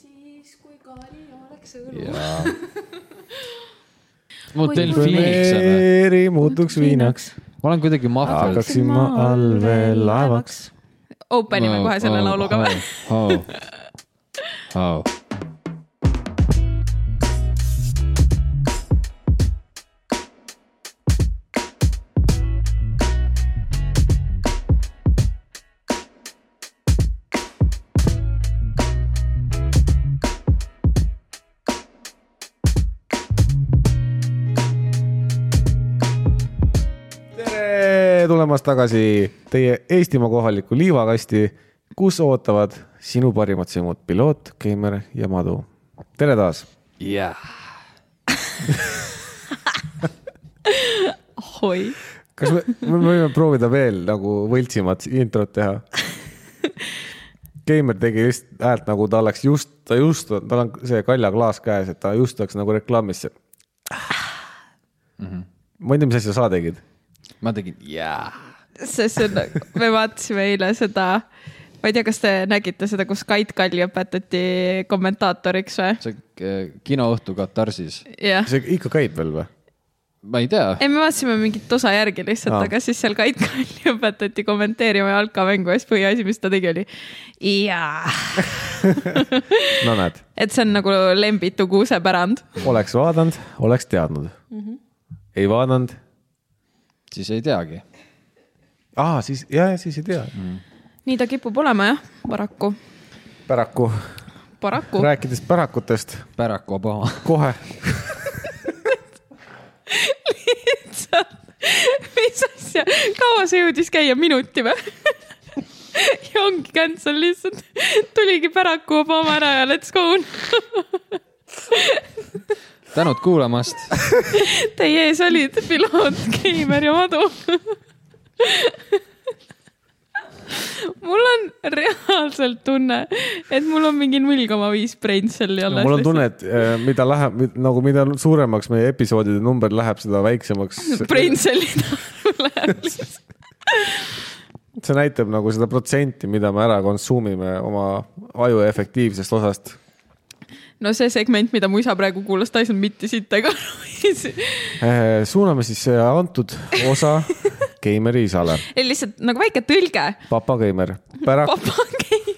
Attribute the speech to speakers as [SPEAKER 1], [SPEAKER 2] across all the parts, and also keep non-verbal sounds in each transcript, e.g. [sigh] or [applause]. [SPEAKER 1] siis , kui Kaari oleks õlu .
[SPEAKER 2] [laughs] jaa .
[SPEAKER 1] Oi,
[SPEAKER 2] motell
[SPEAKER 1] mul-
[SPEAKER 2] Phoenix on või ?
[SPEAKER 3] Premeeri muutuks viinaks ,
[SPEAKER 2] ma olen kuidagi maffia .
[SPEAKER 3] hakkaksin ma allveelaevaks .
[SPEAKER 1] Openime kohe selle laulu ka või ?? [laughs]
[SPEAKER 2] au , au .
[SPEAKER 3] tere tulemast tagasi teie Eestimaa kohalikku liivakasti , kus ootavad sinu parimad sõimud , piloot , geimer ja madu . tere taas .
[SPEAKER 2] jah .
[SPEAKER 1] oi ,
[SPEAKER 3] kas me, me võime proovida veel nagu võltsimat introt teha ? Geimer tegi just häält nagu ta oleks just , ta just , tal on see kaljaklaas käes , et ta just oleks nagu reklaamisse . ma ei tea , mis asja sa tegid .
[SPEAKER 2] ma tegin jah .
[SPEAKER 1] sest see on , me vaatasime eile seda , ma ei tea , kas te nägite seda , kus Kait Kalju õpetati kommentaatoriks või ?
[SPEAKER 2] see äh, kinoõhtu Katarsis ,
[SPEAKER 1] jah ,
[SPEAKER 3] see ikka käib veel või ?
[SPEAKER 2] ma ei tea ,
[SPEAKER 1] ei me vaatasime mingit osa järgi lihtsalt ,
[SPEAKER 3] Aa.
[SPEAKER 1] aga siis seal Kait Kalju [laughs] õpetati kommenteerima jalkamängu ja siis põhiasi , mis ta tegi , oli jaa .
[SPEAKER 3] no näed ,
[SPEAKER 1] et see on nagu Lembitu kuusepärand .
[SPEAKER 3] oleks vaadanud , oleks teadnud mm . -hmm. ei vaadanud
[SPEAKER 2] siis ei teagi .
[SPEAKER 3] aa , siis ja , ja siis ei tea mm. .
[SPEAKER 1] nii ta kipub olema jah , paraku ,
[SPEAKER 3] päraku ,
[SPEAKER 1] paraku .
[SPEAKER 3] rääkides pärakutest
[SPEAKER 2] Barack Obama . [laughs]
[SPEAKER 3] kohe ,
[SPEAKER 1] lihtsalt , mis asja , kaua see jõudis käia , minuti või ? ja ongi cancel lihtsalt , tuligi päraku Obama ära ja let's go .
[SPEAKER 2] tänud kuulamast .
[SPEAKER 1] Teie ees olid piloot , Keimer ja Madu . mul on reaalselt tunne , et mul on mingi null koma viis brain cell'i alles .
[SPEAKER 3] mul on tunne , et äh, mida läheb , nagu mida suuremaks meie episoodide number läheb , seda väiksemaks .
[SPEAKER 1] brain cell'i tarv läheb lihtsalt .
[SPEAKER 3] see näitab nagu seda protsenti , mida me ära konsuumime oma aju efektiivsest osast .
[SPEAKER 1] no see segment , mida mu isa praegu kuulas , ta ei saanud mitte siit ega
[SPEAKER 3] suuname siis äh, antud osa Keimeri isale ,
[SPEAKER 1] ei lihtsalt nagu väike tõlge ,
[SPEAKER 3] papa Keimer , pärak ,
[SPEAKER 1] papagei .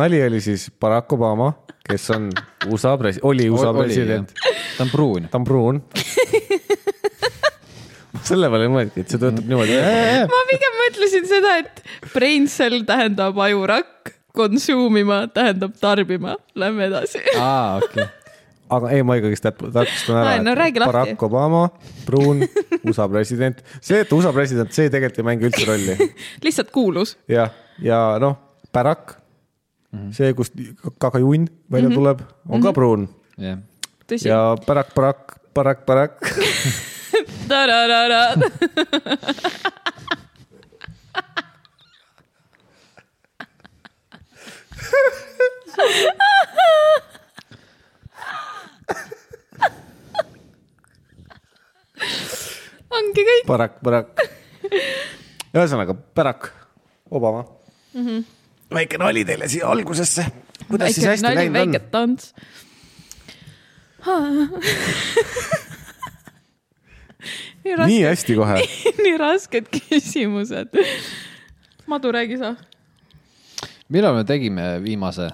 [SPEAKER 3] nali oli siis Barack Obama , kes on USA pres- , oli USA president .
[SPEAKER 2] ta on
[SPEAKER 3] [laughs]
[SPEAKER 2] pruun .
[SPEAKER 3] ta on pruun . selle peale ei mõelnudki , et see töötab niimoodi .
[SPEAKER 1] ma pigem mõtlesin seda , et brain cell tähendab ajurakk , konsuumima tähendab tarbima . Lähme edasi .
[SPEAKER 2] aa , okei .
[SPEAKER 3] aga ei , ma ikkagist täp- täpsustan ära
[SPEAKER 1] Ai, . no räägi lahti.
[SPEAKER 3] Barack Obama , pruun , USA president . see , et ta USA president , see tegelikult ei mängi üldse rolli .
[SPEAKER 1] lihtsalt kuulus .
[SPEAKER 3] jah , ja noh , Barack , see , kust kakajunn välja tuleb , on ka pruun
[SPEAKER 2] jah .
[SPEAKER 1] Mhm. tõsi .
[SPEAKER 3] ja Barack , Barack , Barack , Barack .
[SPEAKER 1] ongi kõik .
[SPEAKER 3] Barack , Barack . ühesõnaga Barack Obama mm . -hmm. väike nali teile siia algusesse . kuidas siis
[SPEAKER 1] väike
[SPEAKER 3] hästi
[SPEAKER 1] nali ,
[SPEAKER 3] läinud
[SPEAKER 1] väike
[SPEAKER 3] on ?
[SPEAKER 1] [laughs] tants . nii
[SPEAKER 3] nii
[SPEAKER 1] raske ,
[SPEAKER 3] hästi kohe .
[SPEAKER 1] nii rasked küsimused . Madu , räägi sa .
[SPEAKER 2] millal me tegime viimase ,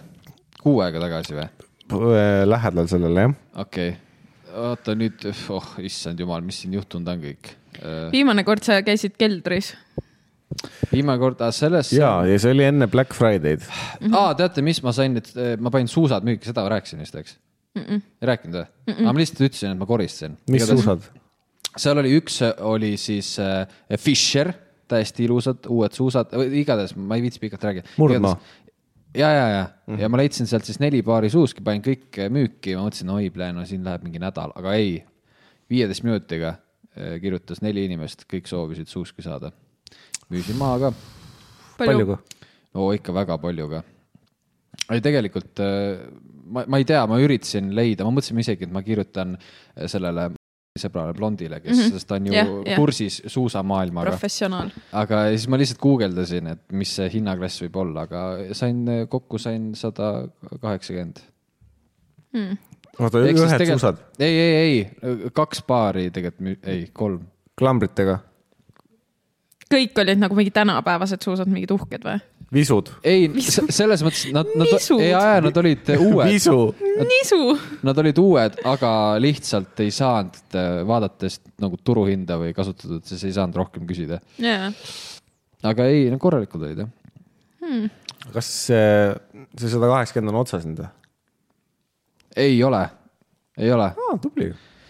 [SPEAKER 2] kuu aega tagasi või ?
[SPEAKER 3] äh, lähedal sellele jah .
[SPEAKER 2] okei okay. , oota nüüd , oh issand jumal , mis siin juhtunud on kõik . Äh,
[SPEAKER 1] viimane kord sa käisid keldris .
[SPEAKER 2] viimane kord , selles ,
[SPEAKER 3] ja , ja see oli enne Black Friday'd .
[SPEAKER 2] aa , teate , mis ma sain , et eh, ma panin suusad müüki , seda ma rääkisin vist , eks mm ? -mm. ei rääkinud või mm ? -mm. aga ma lihtsalt ütlesin , et ma koristasin .
[SPEAKER 3] mis suusad ?
[SPEAKER 2] seal oli üks , oli siis äh, Fisher , täiesti ilusad uued suusad , igatahes ma ei viitsi pikalt rääkida .
[SPEAKER 3] Murdmaa. . Mhm.
[SPEAKER 2] ja , ja , ja mm , -hmm. ja ma leidsin sealt siis neli paari suuski , panin kõik äh, müüki , ma mõtlesin , oi , no siin läheb mingi nädal , aga ei . viieteist minutiga äh, kirjutas neli inimest , kõik soovisid suuski saada . müüsin maha ka ,
[SPEAKER 1] palju,
[SPEAKER 3] palju
[SPEAKER 1] palju? ?
[SPEAKER 2] no ikka väga palju ka . ei , tegelikult äh, ma , ma ei tea , ma üritasin leida , ma mõtlesin isegi , et ma kirjutan sellele sõbrale blondile , kes mm , -hmm. sest ta on ju yeah,
[SPEAKER 1] Mhm. Jah, jah.
[SPEAKER 2] yeah. kursis suusamaailmaga .
[SPEAKER 1] professionaal .
[SPEAKER 2] aga siis ma lihtsalt guugeldasin , et mis see hinnaklass võib olla , aga sain , kokku sain sada kaheksakümmend .
[SPEAKER 3] oota , ühed suusad ,
[SPEAKER 2] ei , ei , ei , kaks paari tegelikult mü- , ei , kolm .
[SPEAKER 3] klambritega ,
[SPEAKER 1] kõik olid nagu mingi tänapäevased suusad , mingid uhked või ?
[SPEAKER 3] visud ,
[SPEAKER 2] ei , selles mõttes
[SPEAKER 1] [laughs]
[SPEAKER 2] nad , nad ,
[SPEAKER 1] Visud.
[SPEAKER 2] ei , nad olid äh,
[SPEAKER 3] [laughs]
[SPEAKER 2] uued ,
[SPEAKER 3] visu ,
[SPEAKER 1] nisu .
[SPEAKER 2] nad olid uued , aga lihtsalt ei saanud , vaadates nagu turuhinda või kasutatud , siis ei saanud rohkem küsida .
[SPEAKER 1] jaa .
[SPEAKER 2] aga ei , need korralikud olid jah .
[SPEAKER 3] kas see , see sada kaheksakümmend on otsas nüüd või ?
[SPEAKER 2] ei ole , ei ole ,
[SPEAKER 3] aa , tubli .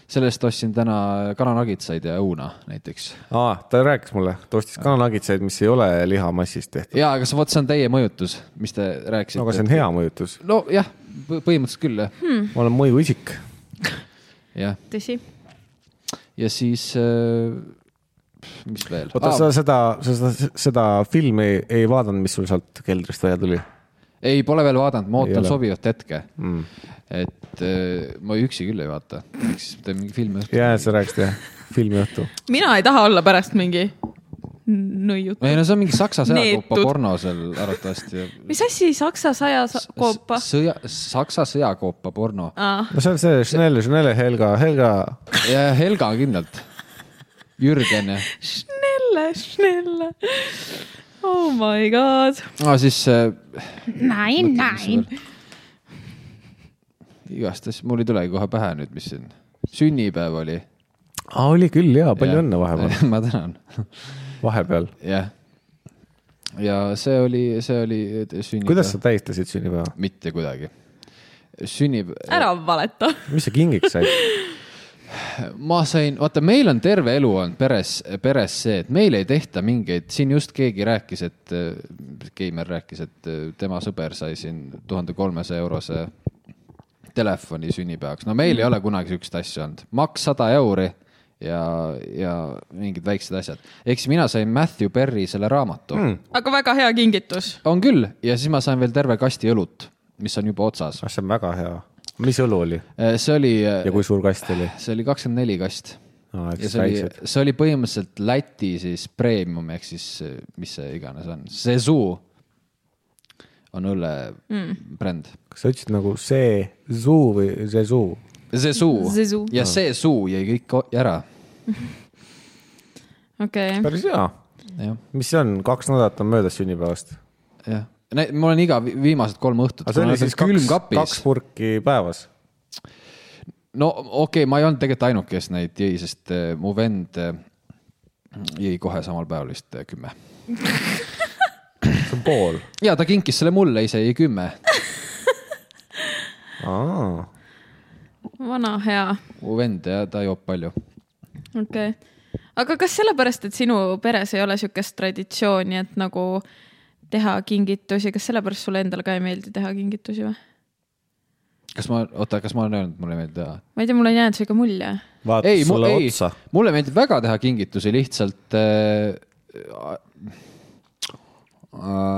[SPEAKER 2] sellest ostsin täna kananagitsaid ja õuna näiteks
[SPEAKER 3] aa , ta rääkis mulle , ta ostis kananagitsaid , mis ei ole lihamassist tehtud .
[SPEAKER 2] jaa , aga see , vot see on teie mõjutus , mis te rääkisite .
[SPEAKER 3] no aga see on hea mõjutus ,
[SPEAKER 2] nojah , põhimõtteliselt küll jah hmm. ,
[SPEAKER 1] Mhm.
[SPEAKER 3] ma olen mõjuisik .
[SPEAKER 2] jah ,
[SPEAKER 1] tõsi .
[SPEAKER 2] ja siis äh, , mis veel ?
[SPEAKER 3] oota , sa seda , sa seda , seda filmi ei vaadanud , mis sul sealt keldrist välja tuli
[SPEAKER 2] ei , pole veel vaadanud , ma
[SPEAKER 3] Ei
[SPEAKER 2] ootan
[SPEAKER 3] ole.
[SPEAKER 2] sobivat hetke .
[SPEAKER 3] mm. ?
[SPEAKER 2] et äh, ma üksi küll ei vaata , eks teen mingi filmi õhtul .
[SPEAKER 3] jaa , sa rääkisid jah , filmiõhtu .
[SPEAKER 1] mina ei taha olla pärast mingi nõiut .
[SPEAKER 2] ei no see on mingi saksa sõjakoopa
[SPEAKER 1] Neetud.
[SPEAKER 2] porno seal arvatavasti .
[SPEAKER 1] mis asi saksa saja sa- koopa ?
[SPEAKER 2] sõja , saksa sõjakoopa porno
[SPEAKER 1] aa ,
[SPEAKER 3] no see on see Schnelle , Schnelle , Helga , Helga .
[SPEAKER 2] ja Helga kindlalt . Jürgen ja
[SPEAKER 1] Schnelle , Schnelle . Oh my god .
[SPEAKER 2] no, , siis äh,
[SPEAKER 1] Nein , nein .
[SPEAKER 2] igastahes mul ei tulegi kohe pähe nüüd , mis siin , sünnipäev oli
[SPEAKER 3] aa , oli küll jaa , palju õnne vahepeal ,.
[SPEAKER 2] [laughs] ma tänan ,
[SPEAKER 3] vahepeal .
[SPEAKER 2] jah . ja see oli , see oli sünnipäev .
[SPEAKER 3] kuidas sa ? tähistasid sünnipäeva ?
[SPEAKER 2] mitte kuidagi . sünnipäev ,
[SPEAKER 1] ära valeta .
[SPEAKER 3] mis sa
[SPEAKER 2] [laughs]
[SPEAKER 3] kingiks said ?
[SPEAKER 2] ma sain , vaata , meil on terve elu on peres , peres see , et meil ei tehta mingeid , siin just keegi rääkis , et , Keimer rääkis , et äh, tema sõber sai siin tuhande kolmesaja eurose telefoni sünnipäevaks . no meil mm. ei ole kunagi sihukest asja olnud , maks sada euri ja , ja mingid väiksed asjad . ehk siis mina sain Matthew Perry selle raamatu mm. .
[SPEAKER 1] aga väga hea kingitus .
[SPEAKER 2] on küll ja siis ma sain veel terve kasti õlut , mis on juba otsas .
[SPEAKER 3] ah , see on väga hea . mis õlu oli
[SPEAKER 2] see oli ,
[SPEAKER 3] ja kui suur kast oli ?
[SPEAKER 2] see oli kakskümmend neli kast .
[SPEAKER 3] aa ,
[SPEAKER 2] ja
[SPEAKER 3] eks
[SPEAKER 2] see oli
[SPEAKER 3] väiksed .,
[SPEAKER 2] see oli põhimõtteliselt Läti siis premium ehk siis , mis see iganes on , Sezuu on õlle mm. bränd .
[SPEAKER 3] kas sa ütlesid nagu see zoo või see zoo ?
[SPEAKER 2] Sezuu
[SPEAKER 1] Sezuu.
[SPEAKER 2] ja see suu jäi kõik o- ära ,
[SPEAKER 1] okei
[SPEAKER 2] Mhm.
[SPEAKER 1] okay. .
[SPEAKER 3] päris hea .
[SPEAKER 2] jah ,
[SPEAKER 3] mis see on , kaks nädalat on möödas sünnipäevast ?
[SPEAKER 2] jah . ma olen iga vi- viimased kolm õhtut .
[SPEAKER 3] aga see oli siis kaks , kaks purki päevas
[SPEAKER 2] no okei okay, , ma ei olnud tegelikult ainuke , kes neid jõi , sest äh, mu vend äh, jõi kohe samal päeval vist äh, kümme .
[SPEAKER 3] see on pool .
[SPEAKER 2] ja ta kinkis selle mulle , ise jõi kümme .
[SPEAKER 3] aa ,
[SPEAKER 1] vana hea
[SPEAKER 2] mu vend ja ta joob palju .
[SPEAKER 1] okei okay. . aga kas sellepärast , et sinu peres ei ole niisugust traditsiooni , et nagu teha kingitusi , kas sellepärast sulle endale ka ei meeldi teha kingitusi või ?
[SPEAKER 2] kas ma , oota , kas ma olen öelnud , et mulle ei meeldi teha ?
[SPEAKER 1] ma ei tea , mulle on jäänud sihuke mulje .
[SPEAKER 3] vaata
[SPEAKER 2] ei ,
[SPEAKER 3] sulle
[SPEAKER 2] ei
[SPEAKER 3] otsa .,
[SPEAKER 2] mulle meeldib väga teha kingitusi , lihtsalt äh, .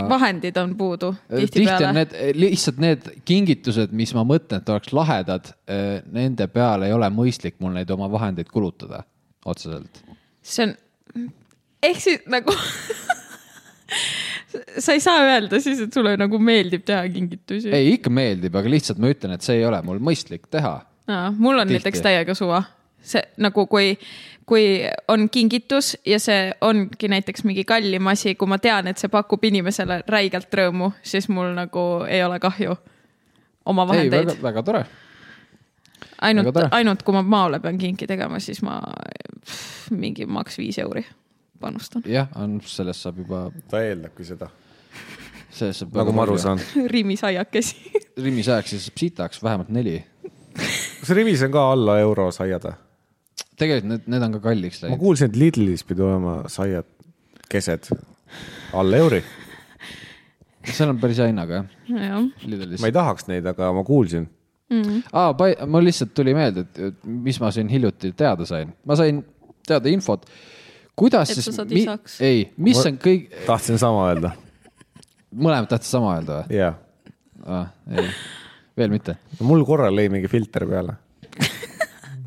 [SPEAKER 1] vahendid on puudu
[SPEAKER 2] tihti on
[SPEAKER 1] tihtipeale .
[SPEAKER 2] need , äh, lihtsalt need kingitused , mis ma mõtlen , et oleks lahedad , nende peale ei ole mõistlik mul neid oma vahendeid kulutada otseselt .
[SPEAKER 1] see on , ehk siis nagu [laughs] sa ei saa öelda siis , et sulle nagu meeldib teha kingitusi .
[SPEAKER 2] ei , ikka meeldib , aga lihtsalt ma ütlen , et see ei ole mul mõistlik teha .
[SPEAKER 1] Aa, mul on
[SPEAKER 2] Tihti.
[SPEAKER 1] näiteks täiega suva , see nagu kui , kui on kingitus ja see ongi näiteks mingi kallim asi , kui ma tean , et see pakub inimesele räigelt rõõmu , siis mul nagu ei ole kahju oma
[SPEAKER 2] ei ,
[SPEAKER 1] vahendeid
[SPEAKER 2] väga ,. väga tore . väga
[SPEAKER 1] ainult
[SPEAKER 2] tore. ,
[SPEAKER 1] ainult kui ma maale pean kinki tegema , siis ma pff, mingi maks viis euri panustan . [laughs]
[SPEAKER 2] jah , on , sellest saab juba ,
[SPEAKER 3] ta eeldabki seda .
[SPEAKER 2] sellest saab .
[SPEAKER 3] nagu ma aru . saan .
[SPEAKER 1] rimisaiakesi .
[SPEAKER 2] Rimis ajaks ja saab sitaks vähemalt neli .
[SPEAKER 3] kas Rivis on ka alla euro saiad või ?
[SPEAKER 2] tegelikult need , need on ka kalliks
[SPEAKER 3] ma
[SPEAKER 2] läinud .
[SPEAKER 3] kuulsin , et Lidlis pidi olema saiad kesed alla euri .
[SPEAKER 2] seal on päris hea hinnaga jah ,
[SPEAKER 1] jah ,
[SPEAKER 2] Lidlis
[SPEAKER 3] ma . ei tahaks neid , aga ma kuulsin .
[SPEAKER 2] aa , mul lihtsalt tuli meelde , et mis ma siin hiljuti teada sain . ma sain teada infot , kuidas
[SPEAKER 1] Et sa
[SPEAKER 2] siis
[SPEAKER 1] saad isaks.
[SPEAKER 2] ei , mis
[SPEAKER 3] Ma-
[SPEAKER 2] on kõik ,
[SPEAKER 3] tahtsin sama öelda .
[SPEAKER 2] mõlemad tahtsid sama öelda või ?
[SPEAKER 3] jaa .
[SPEAKER 2] aa , ei , veel mitte . [laughs]
[SPEAKER 3] mul korra lõi mingi filter peale .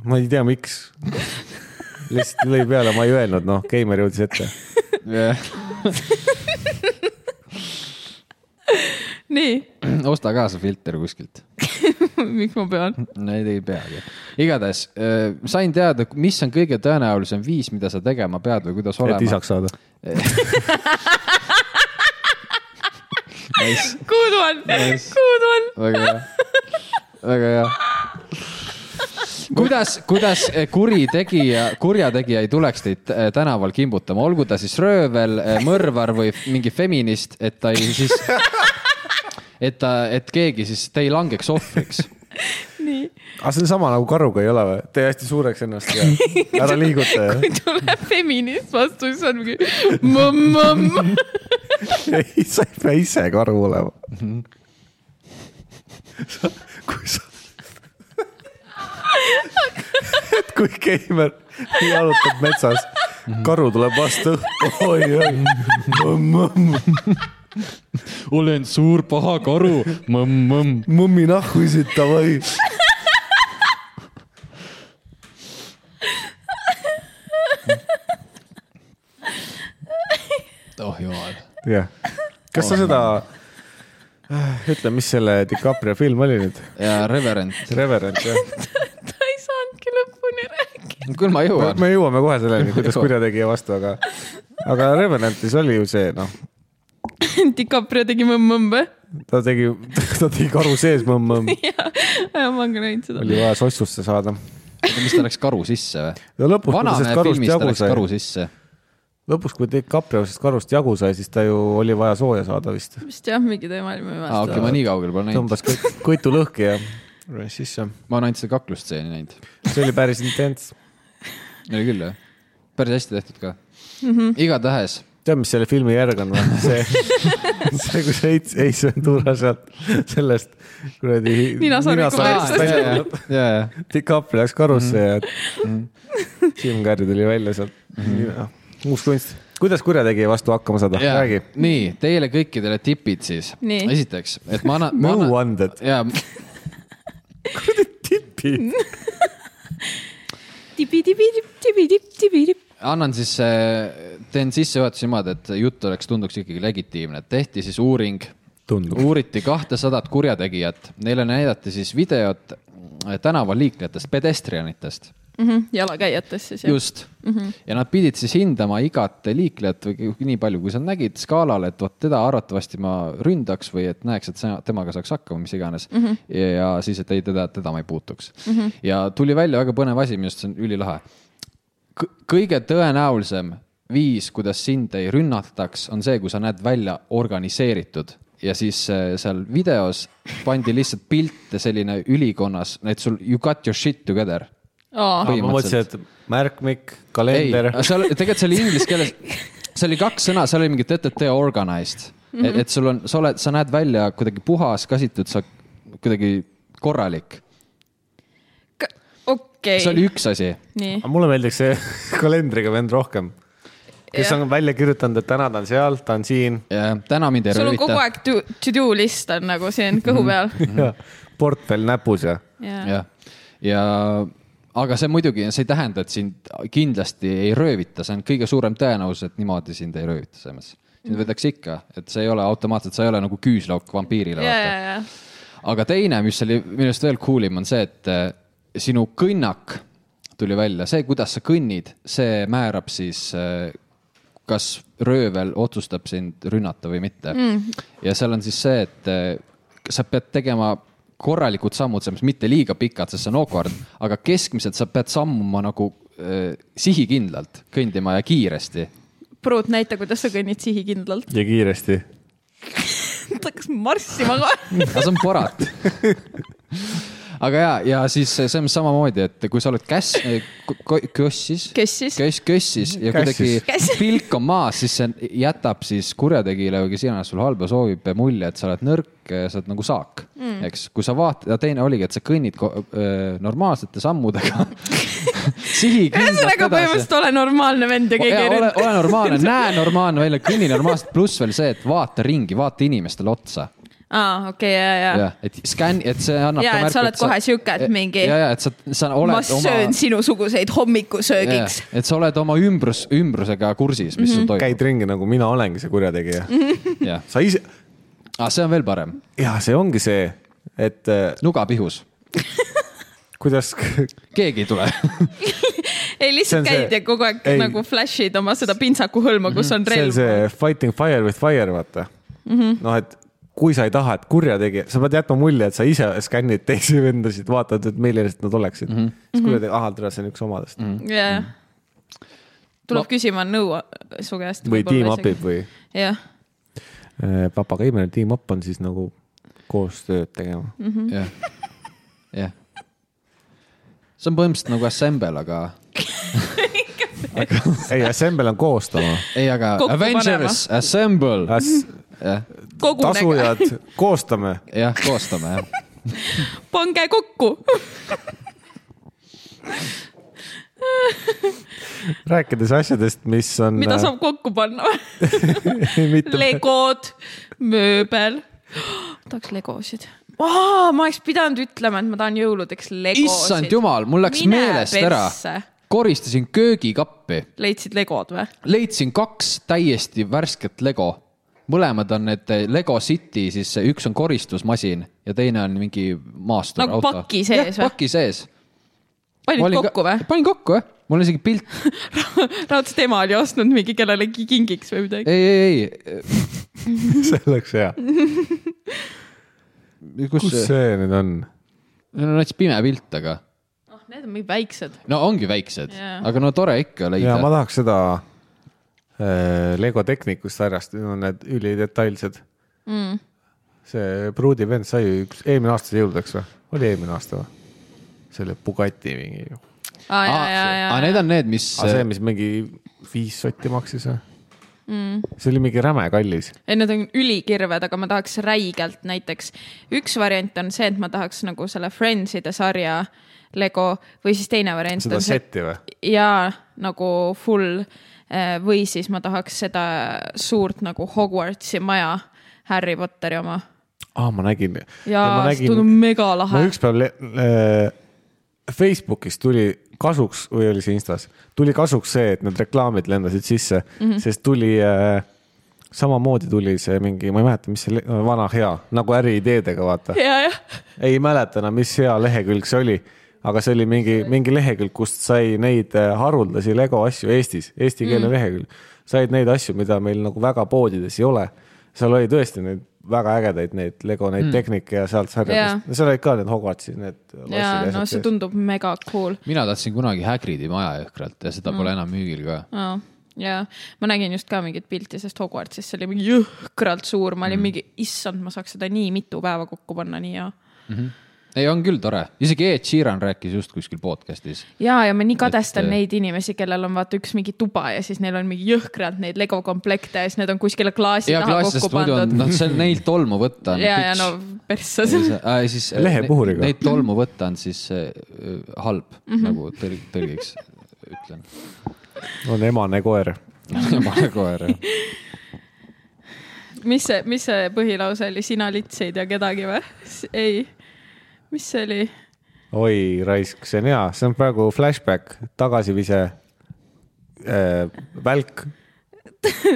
[SPEAKER 3] ma ei tea , miks . lihtsalt lõi peale , ma ei öelnud , noh , Keimer jõudis ette .
[SPEAKER 1] nii , [laughs]
[SPEAKER 2] osta ka see filter kuskilt .
[SPEAKER 1] miks ma
[SPEAKER 2] [laughs]
[SPEAKER 1] pean ?
[SPEAKER 2] Neid ei peagi . igatahes äh, sain teada , mis on kõige tõenäolisem viis , mida sa tegema pead või kuidas
[SPEAKER 3] et
[SPEAKER 2] olema .
[SPEAKER 3] isaks saada .
[SPEAKER 2] Nice.
[SPEAKER 1] Good one , good one .
[SPEAKER 2] väga hea , väga hea . kuidas , kuidas eh, kuritegija , kurjategija ei tuleks teid äh, tänaval kimbutama , olgu ta siis röövel , mõrvar või mingi feminist , et ta ei siis , et ta , et keegi siis , te ei langeks ohvriks .
[SPEAKER 1] nii ,
[SPEAKER 3] aga see on sama nagu karuga ei ole või ? tee hästi suureks ennast ja ära liiguta ja
[SPEAKER 1] kui [laughs] tuleb feminist vastu , siis on [laughs] mingi mõmm-mõmm .
[SPEAKER 3] ei , sa ei pea ise karu olema . kui sa . et kui Keimer jalutab metsas , karu tuleb vastu . oi-oi ,
[SPEAKER 2] olen suur paha karu , mõmm-mõmm .
[SPEAKER 3] mõmmi nahhuisid davai .
[SPEAKER 2] oh jumal .
[SPEAKER 3] jah , kas sa seda , ütle , mis selle DiCaprio film oli nüüd ?
[SPEAKER 2] ja reverend ,
[SPEAKER 3] Reverend jah ?
[SPEAKER 1] [laughs] ta ei saanudki lõpuni rääkida .
[SPEAKER 2] küll ma jõuan .
[SPEAKER 3] me jõuame kohe selleni , kuidas kurjategija vastu , aga , aga Revenantis oli ju see noh ,
[SPEAKER 1] [laughs] DiCaprio tegi mõmm-mõmm või ?
[SPEAKER 3] ta tegi , ta tegi karu sees mõmm-mõmm ,
[SPEAKER 1] jaa , Äh, ma olen ka näinud seda .
[SPEAKER 3] oli vaja sossusse saada .
[SPEAKER 2] mis ta läks karu sisse või ?
[SPEAKER 3] ja lõpus , kui ta
[SPEAKER 2] vanamehe
[SPEAKER 3] sellest karust
[SPEAKER 2] filmis ta
[SPEAKER 3] jagu
[SPEAKER 2] läks
[SPEAKER 3] sai
[SPEAKER 2] karu , sisse .
[SPEAKER 3] lõpus , kui DiCaprio sellest karust jagu sai , siis ta ju oli vaja sooja saada vist .
[SPEAKER 1] vist jah , mingi teema oli , ma ei
[SPEAKER 2] aa , okei ,
[SPEAKER 1] mäleta .
[SPEAKER 2] ma nii kaugel pole näinud .
[SPEAKER 3] tõmbas kõik kõitu lõhki ja röös sisse .
[SPEAKER 2] ma olen ainult seda kaklusstseeni näinud .
[SPEAKER 3] see oli päris intens .
[SPEAKER 2] oli küll jah , päris hästi tehtud ka mm . -hmm. igatahes
[SPEAKER 3] tead , mis selle filmi järg on või ? see , see , kus Heits , Heits Ventura sealt sellest kuradi .
[SPEAKER 1] Ninasarviku
[SPEAKER 2] ah, . ja , ja , ja , ja ,
[SPEAKER 3] DiCaprio läks karusse ja mm. Jim Carrey tuli välja sealt . uus kunst . kuidas kurjategija vastu hakkama saada ,
[SPEAKER 2] ja
[SPEAKER 3] räägi .,
[SPEAKER 2] nii teile kõikidele tipid siis .
[SPEAKER 1] Nii.
[SPEAKER 2] esiteks , et
[SPEAKER 3] [laughs]
[SPEAKER 2] ma annan .
[SPEAKER 3] nõuanded .
[SPEAKER 2] ja ,
[SPEAKER 3] tipid .
[SPEAKER 1] tibi-tibi-tipp , tibi-tipp , tibi-tipp .
[SPEAKER 2] annan siis , teen sissejuhatuse niimoodi , et jutt oleks , tunduks ikkagi legitiimne , tehti siis uuring
[SPEAKER 3] Tundub.
[SPEAKER 2] uuriti kahtesadat kurjategijat , neile näidati siis videot tänavaliiklejatest , pedestrianitest
[SPEAKER 1] jalakäijatest siis Mhm, jah ? Mhm.
[SPEAKER 2] just mm . -hmm. ja nad pidid siis hindama igat liiklejat või kui- nii palju , kui sa nägid skaalal , et vot teda arvatavasti ma ründaks või et näeks , et sa- temaga saaks hakkama , mis iganes mm .
[SPEAKER 1] Mhm.
[SPEAKER 2] -hmm. ja ja siis , et ei teda , teda ma ei puutuks mm . -hmm. ja tuli välja väga põnev asi , minu arust see on ülilahe . kõige tõenäolisem viis , kuidas sind ei rünnataks , on see , kui sa näed välja organiseeritud ja siis äh, seal videos pandi lihtsalt pilte selline ülikonnas , et sul you got your shit together
[SPEAKER 1] aa ,
[SPEAKER 3] Ah, ma mõtlesin , et märkmik , kalender .
[SPEAKER 2] ei , seal , tegelikult see oli inglise keeles ,
[SPEAKER 1] [laughs]
[SPEAKER 2] see oli kaks sõna , seal oli mingi TTT organized mm .
[SPEAKER 1] Mhm.
[SPEAKER 2] -hmm. et sul on , sa oled , sa näed välja kuidagi puhas , käsitud , sa kuidagi korralik . see oli
[SPEAKER 1] okei .
[SPEAKER 2] üks asi .
[SPEAKER 1] nii ,
[SPEAKER 3] aga mulle meeldiks see [laughs] kalendriga vend rohkem , kes
[SPEAKER 1] Jah.
[SPEAKER 3] on välja kirjutanud , et täna ta on seal , ta on siin
[SPEAKER 2] täna mind ei
[SPEAKER 1] sul on kogu
[SPEAKER 2] röövita .
[SPEAKER 1] aeg to to do list on nagu siin
[SPEAKER 2] Mhm.
[SPEAKER 1] kõhu peal .
[SPEAKER 2] [laughs]
[SPEAKER 3] ja portfell näpus ja .
[SPEAKER 1] jaa ,
[SPEAKER 2] jah , ja aga see muidugi , see ei tähenda , et sind kindlasti ei röövita , see on kõige suurem tõenäosus , et niimoodi sind ei röövita selles mõttes .
[SPEAKER 1] Mhm.
[SPEAKER 2] sind võetakse ikka , et see ei ole automaatselt , sa ei ole nagu küüslauk vampiirile .
[SPEAKER 1] jaa , jaa ,
[SPEAKER 2] aga teine , mis oli minu arust veel coolim , on see , et äh, sinu kõnnak tuli välja , see , kuidas sa kõnnid , see määrab siis , kas röövel otsustab sind rünnata või mitte mm. . ja seal on siis see , et äh, sa pead tegema korralikud sammud , selles mõttes mitte liiga pikad , sest see on awkward , aga keskmiselt sa pead sammuma nagu äh, sihikindlalt kõndima ja kiiresti .
[SPEAKER 1] pruut , näita , kuidas sa kõnnid sihikindlalt . [laughs]
[SPEAKER 3] ja kiiresti .
[SPEAKER 1] ta hakkas marssima
[SPEAKER 2] [laughs]
[SPEAKER 1] kohe .
[SPEAKER 2] aga see on parat . aga ja , ja siis see on samamoodi , et kui sa oled käss , kössis ,
[SPEAKER 1] kössis .
[SPEAKER 2] köss , kössis ja kuidagi
[SPEAKER 3] Kässis.
[SPEAKER 1] Käss-
[SPEAKER 2] pilk on maas , siis see jätab siis kurjategijale või kes iganes sul halba soovib eh, mulje , et sa oled nõrk , sa oled nagu saak mm. , eks . kui sa vaatad , ja teine oligi , et sa kõnnid ko- öö, normaalsete
[SPEAKER 1] [laughs]
[SPEAKER 2] sammudega .
[SPEAKER 1] ühesõnaga põhimõtteliselt ole normaalne vend ja keegi ei
[SPEAKER 2] ole ,
[SPEAKER 1] ründa .
[SPEAKER 2] ole normaalne , näe normaalne välja , kõnni normaalselt , pluss veel see , et vaata ringi , vaata inimestele otsa
[SPEAKER 1] aa , okei , ja , ja, ja. .
[SPEAKER 2] jah , et skänn , et see annab
[SPEAKER 1] Jaa,
[SPEAKER 2] ka
[SPEAKER 1] et sa
[SPEAKER 2] märku ,
[SPEAKER 1] oled kohe sihuke, et mingi-
[SPEAKER 2] ja , ja , et sa , sa oled
[SPEAKER 1] ma söön oma... sinusuguseid hommikusöögiks .
[SPEAKER 2] Jaa, et sa oled oma ümbrus , ümbrusega kursis , mis mm
[SPEAKER 1] Mhm.
[SPEAKER 2] -hmm. sul
[SPEAKER 3] käid
[SPEAKER 2] toimub .
[SPEAKER 3] ringi nagu mina olengi see kurjategija .
[SPEAKER 2] jah ,
[SPEAKER 3] sa ise ,
[SPEAKER 2] aga Ah, see on veel parem ,
[SPEAKER 3] ja see ongi see , et äh,
[SPEAKER 2] nuga pihus ,
[SPEAKER 3] kuidas [laughs]
[SPEAKER 2] keegi ei tule .
[SPEAKER 1] ei , lihtsalt
[SPEAKER 3] See on
[SPEAKER 1] käid
[SPEAKER 3] see-
[SPEAKER 1] ja kogu aeg ei.
[SPEAKER 3] ei.
[SPEAKER 1] nagu flash'id oma seda pintsaku hõlma , kus on
[SPEAKER 3] see on
[SPEAKER 1] relv .
[SPEAKER 3] see fighting fire with fire , vaata mm -hmm. . noh , et kui sa ei taha , et kurjategija , sa pead jätma mulje , et sa ise skännid teisi vendasid , vaatad , et millised nad oleksid mm . -hmm. siis kurjategija , ahah , tere , see on üks omadest
[SPEAKER 1] Mhm.
[SPEAKER 3] mm .
[SPEAKER 1] jah . tuleb ma... küsima nõu su käest .
[SPEAKER 3] -hmm. või team up'ib . või
[SPEAKER 1] jah ,
[SPEAKER 3] äh, Papa Keimel team up on siis nagu koostööd tegema mm .
[SPEAKER 1] Mhm.
[SPEAKER 2] jah , jah . see on põhimõtteliselt nagu assembel , aga
[SPEAKER 3] -hmm. [laughs] ei , Assemble on koostama .
[SPEAKER 2] ei , aga
[SPEAKER 1] Kokku
[SPEAKER 2] Avengers , assemble , jah ,
[SPEAKER 1] kogunege ,
[SPEAKER 3] tasujad , koostame .
[SPEAKER 2] jah , koostame jah .
[SPEAKER 1] pange kokku .
[SPEAKER 3] rääkides asjadest , mis on . äh,
[SPEAKER 1] mida
[SPEAKER 3] [laughs]
[SPEAKER 1] saab kokku panna ?
[SPEAKER 3] mitte .
[SPEAKER 1] legod , mööbel . tahaks legosid . ma oleks pidanud ütlema , et ma tahan jõuludeks legosid .
[SPEAKER 2] issand jumal , mul läks
[SPEAKER 1] Mine
[SPEAKER 2] meelest ära
[SPEAKER 1] persse. .
[SPEAKER 2] koristasin köögikappi ,
[SPEAKER 1] leidsid legod või ?
[SPEAKER 2] leidsin kaks täiesti värsket lego . mõlemad on need Lego City , siis see üks on koristusmasin ja teine on mingi maastur .
[SPEAKER 1] Nagu paki sees või?
[SPEAKER 2] või ? paki sees .
[SPEAKER 1] panid kokku või ?
[SPEAKER 2] panin kokku jah , mul on isegi pilt ,
[SPEAKER 1] raudselt ema oli ostnud mingi kellelegi kingiks või midagi .
[SPEAKER 2] ei , ei , ei ,
[SPEAKER 3] [laughs] see oleks hea .
[SPEAKER 2] kus
[SPEAKER 3] kus
[SPEAKER 2] see ,
[SPEAKER 3] see nüüd on ?
[SPEAKER 2] no näiteks pime pilt , aga
[SPEAKER 1] oh , need on mingi väiksed .
[SPEAKER 2] no ongi väiksed
[SPEAKER 1] Jaa.
[SPEAKER 2] yeah. , aga no tore ikka leida
[SPEAKER 3] ja . ma tahaks seda äh, Lego Technicust sarjast , need on need ülidetailsed mm. . see pruudi vend sai üks eelmine aasta jõuludeks või ? oli eelmine aasta või ? see oli Bugatti mingi ,
[SPEAKER 1] aa ,
[SPEAKER 3] Ah,
[SPEAKER 1] jaa , jaa ,
[SPEAKER 2] aga
[SPEAKER 1] jaa .
[SPEAKER 2] Ah, need on need , mis eh,
[SPEAKER 3] aga Ah, see , mis mingi viis sotti maksis või mm. ? see oli mingi räme kallis .
[SPEAKER 1] ei , need on ülikirved , aga ma tahaks räigelt näiteks . üks variant on see , et ma tahaks nagu selle Friendside sarja Lego või siis teine variant
[SPEAKER 3] seda
[SPEAKER 1] on see ,
[SPEAKER 3] seti või ?
[SPEAKER 1] jaa , nagu full eh, või siis ma tahaks seda suurt nagu Hogwartsi maja , Harry Potteri oma .
[SPEAKER 3] aa , Ah, ma nägin .
[SPEAKER 1] jaa , see tundub megalahe
[SPEAKER 3] ma . ükspäev le- le- Facebookis tuli kasuks või oli see Instas , tuli kasuks see , et need reklaamid lendasid sisse mm , -hmm. sest tuli äh, , samamoodi tuli see mingi , ma ei mäleta , mis see le- vana hea nagu äriideedega , vaata .
[SPEAKER 1] ja , jah ,
[SPEAKER 3] ei mäleta enam , mis hea lehekülg see oli , aga see oli mingi , mingi lehekülg , kust sai neid äh, haruldasi Lego asju Eestis , eesti keele mm. lehekülg . said neid asju , mida meil nagu väga poodides ei ole . seal oli tõesti neid väga ägedaid neid Lego neid mm. tehnike ja sealt sarjadest yeah. , seal olid ka need Hogwartsi need
[SPEAKER 1] jaa , no see . tundub mega cool
[SPEAKER 2] mina tahtsin kunagi Hagridi maja jõhkralt ja seda mm. pole enam müügil ka .
[SPEAKER 1] oh, . ja ma nägin just ka mingit pilti sellest Hogwartsist , see oli mingi jõhkralt suur , ma olin mm. mingi , issand , ma saaks seda nii mitu päeva kokku panna , nii hea .
[SPEAKER 2] ei , on küll tore , isegi Ed Sheeran rääkis just kuskil podcast'is .
[SPEAKER 1] ja , ja ma nii kadestan
[SPEAKER 2] Et,
[SPEAKER 1] et,
[SPEAKER 2] äh,
[SPEAKER 1] neid inimesi , kellel on vaata üks mingi tuba ja siis neil on mingi jõhkralt neid Lego komplekte ja siis need on kuskile klaasi
[SPEAKER 2] ja
[SPEAKER 1] taha kokku
[SPEAKER 2] klaasist muidu on , [laughs]
[SPEAKER 1] pandud .
[SPEAKER 2] noh , seal neid tolmu võtta on .
[SPEAKER 1] ja , ja no . persse see
[SPEAKER 2] Äh, siis äh,
[SPEAKER 3] Lehepuhuriga.
[SPEAKER 2] ne- Neid tolmu võtta on siis äh, äh, halb mm ,
[SPEAKER 1] Mhm.
[SPEAKER 2] -hmm. nagu tõl- , tõlgiks ütlen . [laughs]
[SPEAKER 3] on emane koer .
[SPEAKER 2] pane koer .
[SPEAKER 1] [laughs] mis see , mis see põhilause oli , sina lits ei tea kedagi või ? ei , mis see oli ?
[SPEAKER 3] oi raisk , see on hea , see on praegu flashback , tagasivise äh, , välk ,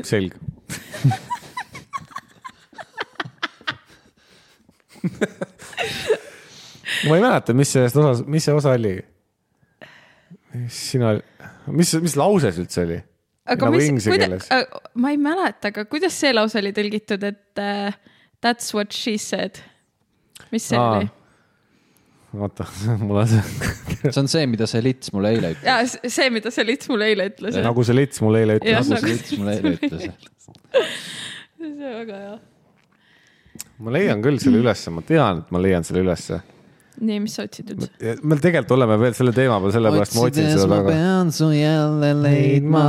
[SPEAKER 3] selg . ma ei mäleta , mis sellest osas , mis see osa oli . sina , mis , mis lauses üldse oli ?
[SPEAKER 1] aga
[SPEAKER 3] nagu
[SPEAKER 1] mis ,
[SPEAKER 3] inglise
[SPEAKER 1] kuida-
[SPEAKER 3] keeles .,
[SPEAKER 1] ma ei mäleta , aga kuidas see lause oli tõlgitud , et uh, that's what she said ? mis see
[SPEAKER 3] Aa.
[SPEAKER 1] Aa. oli ?
[SPEAKER 3] oota , [laughs] mul on see ,
[SPEAKER 2] see on see , mida see lits mulle eile ütles .
[SPEAKER 1] jaa , see , mida see lits mulle eile ütles .
[SPEAKER 3] nagu see lits mulle eile
[SPEAKER 1] Jah,
[SPEAKER 3] ütles .
[SPEAKER 2] nagu
[SPEAKER 1] nagu-
[SPEAKER 2] see lits mulle eile ütles .
[SPEAKER 1] see on väga hea .
[SPEAKER 3] ma leian küll selle ülesse , ma tean , et ma leian selle ülesse
[SPEAKER 1] nii , mis sa otsid üldse ?
[SPEAKER 3] Ja me tegelikult oleme veel selle teema peal , sellepärast ma otsin seda
[SPEAKER 2] ma
[SPEAKER 3] taga .
[SPEAKER 2] pean su jälle leidma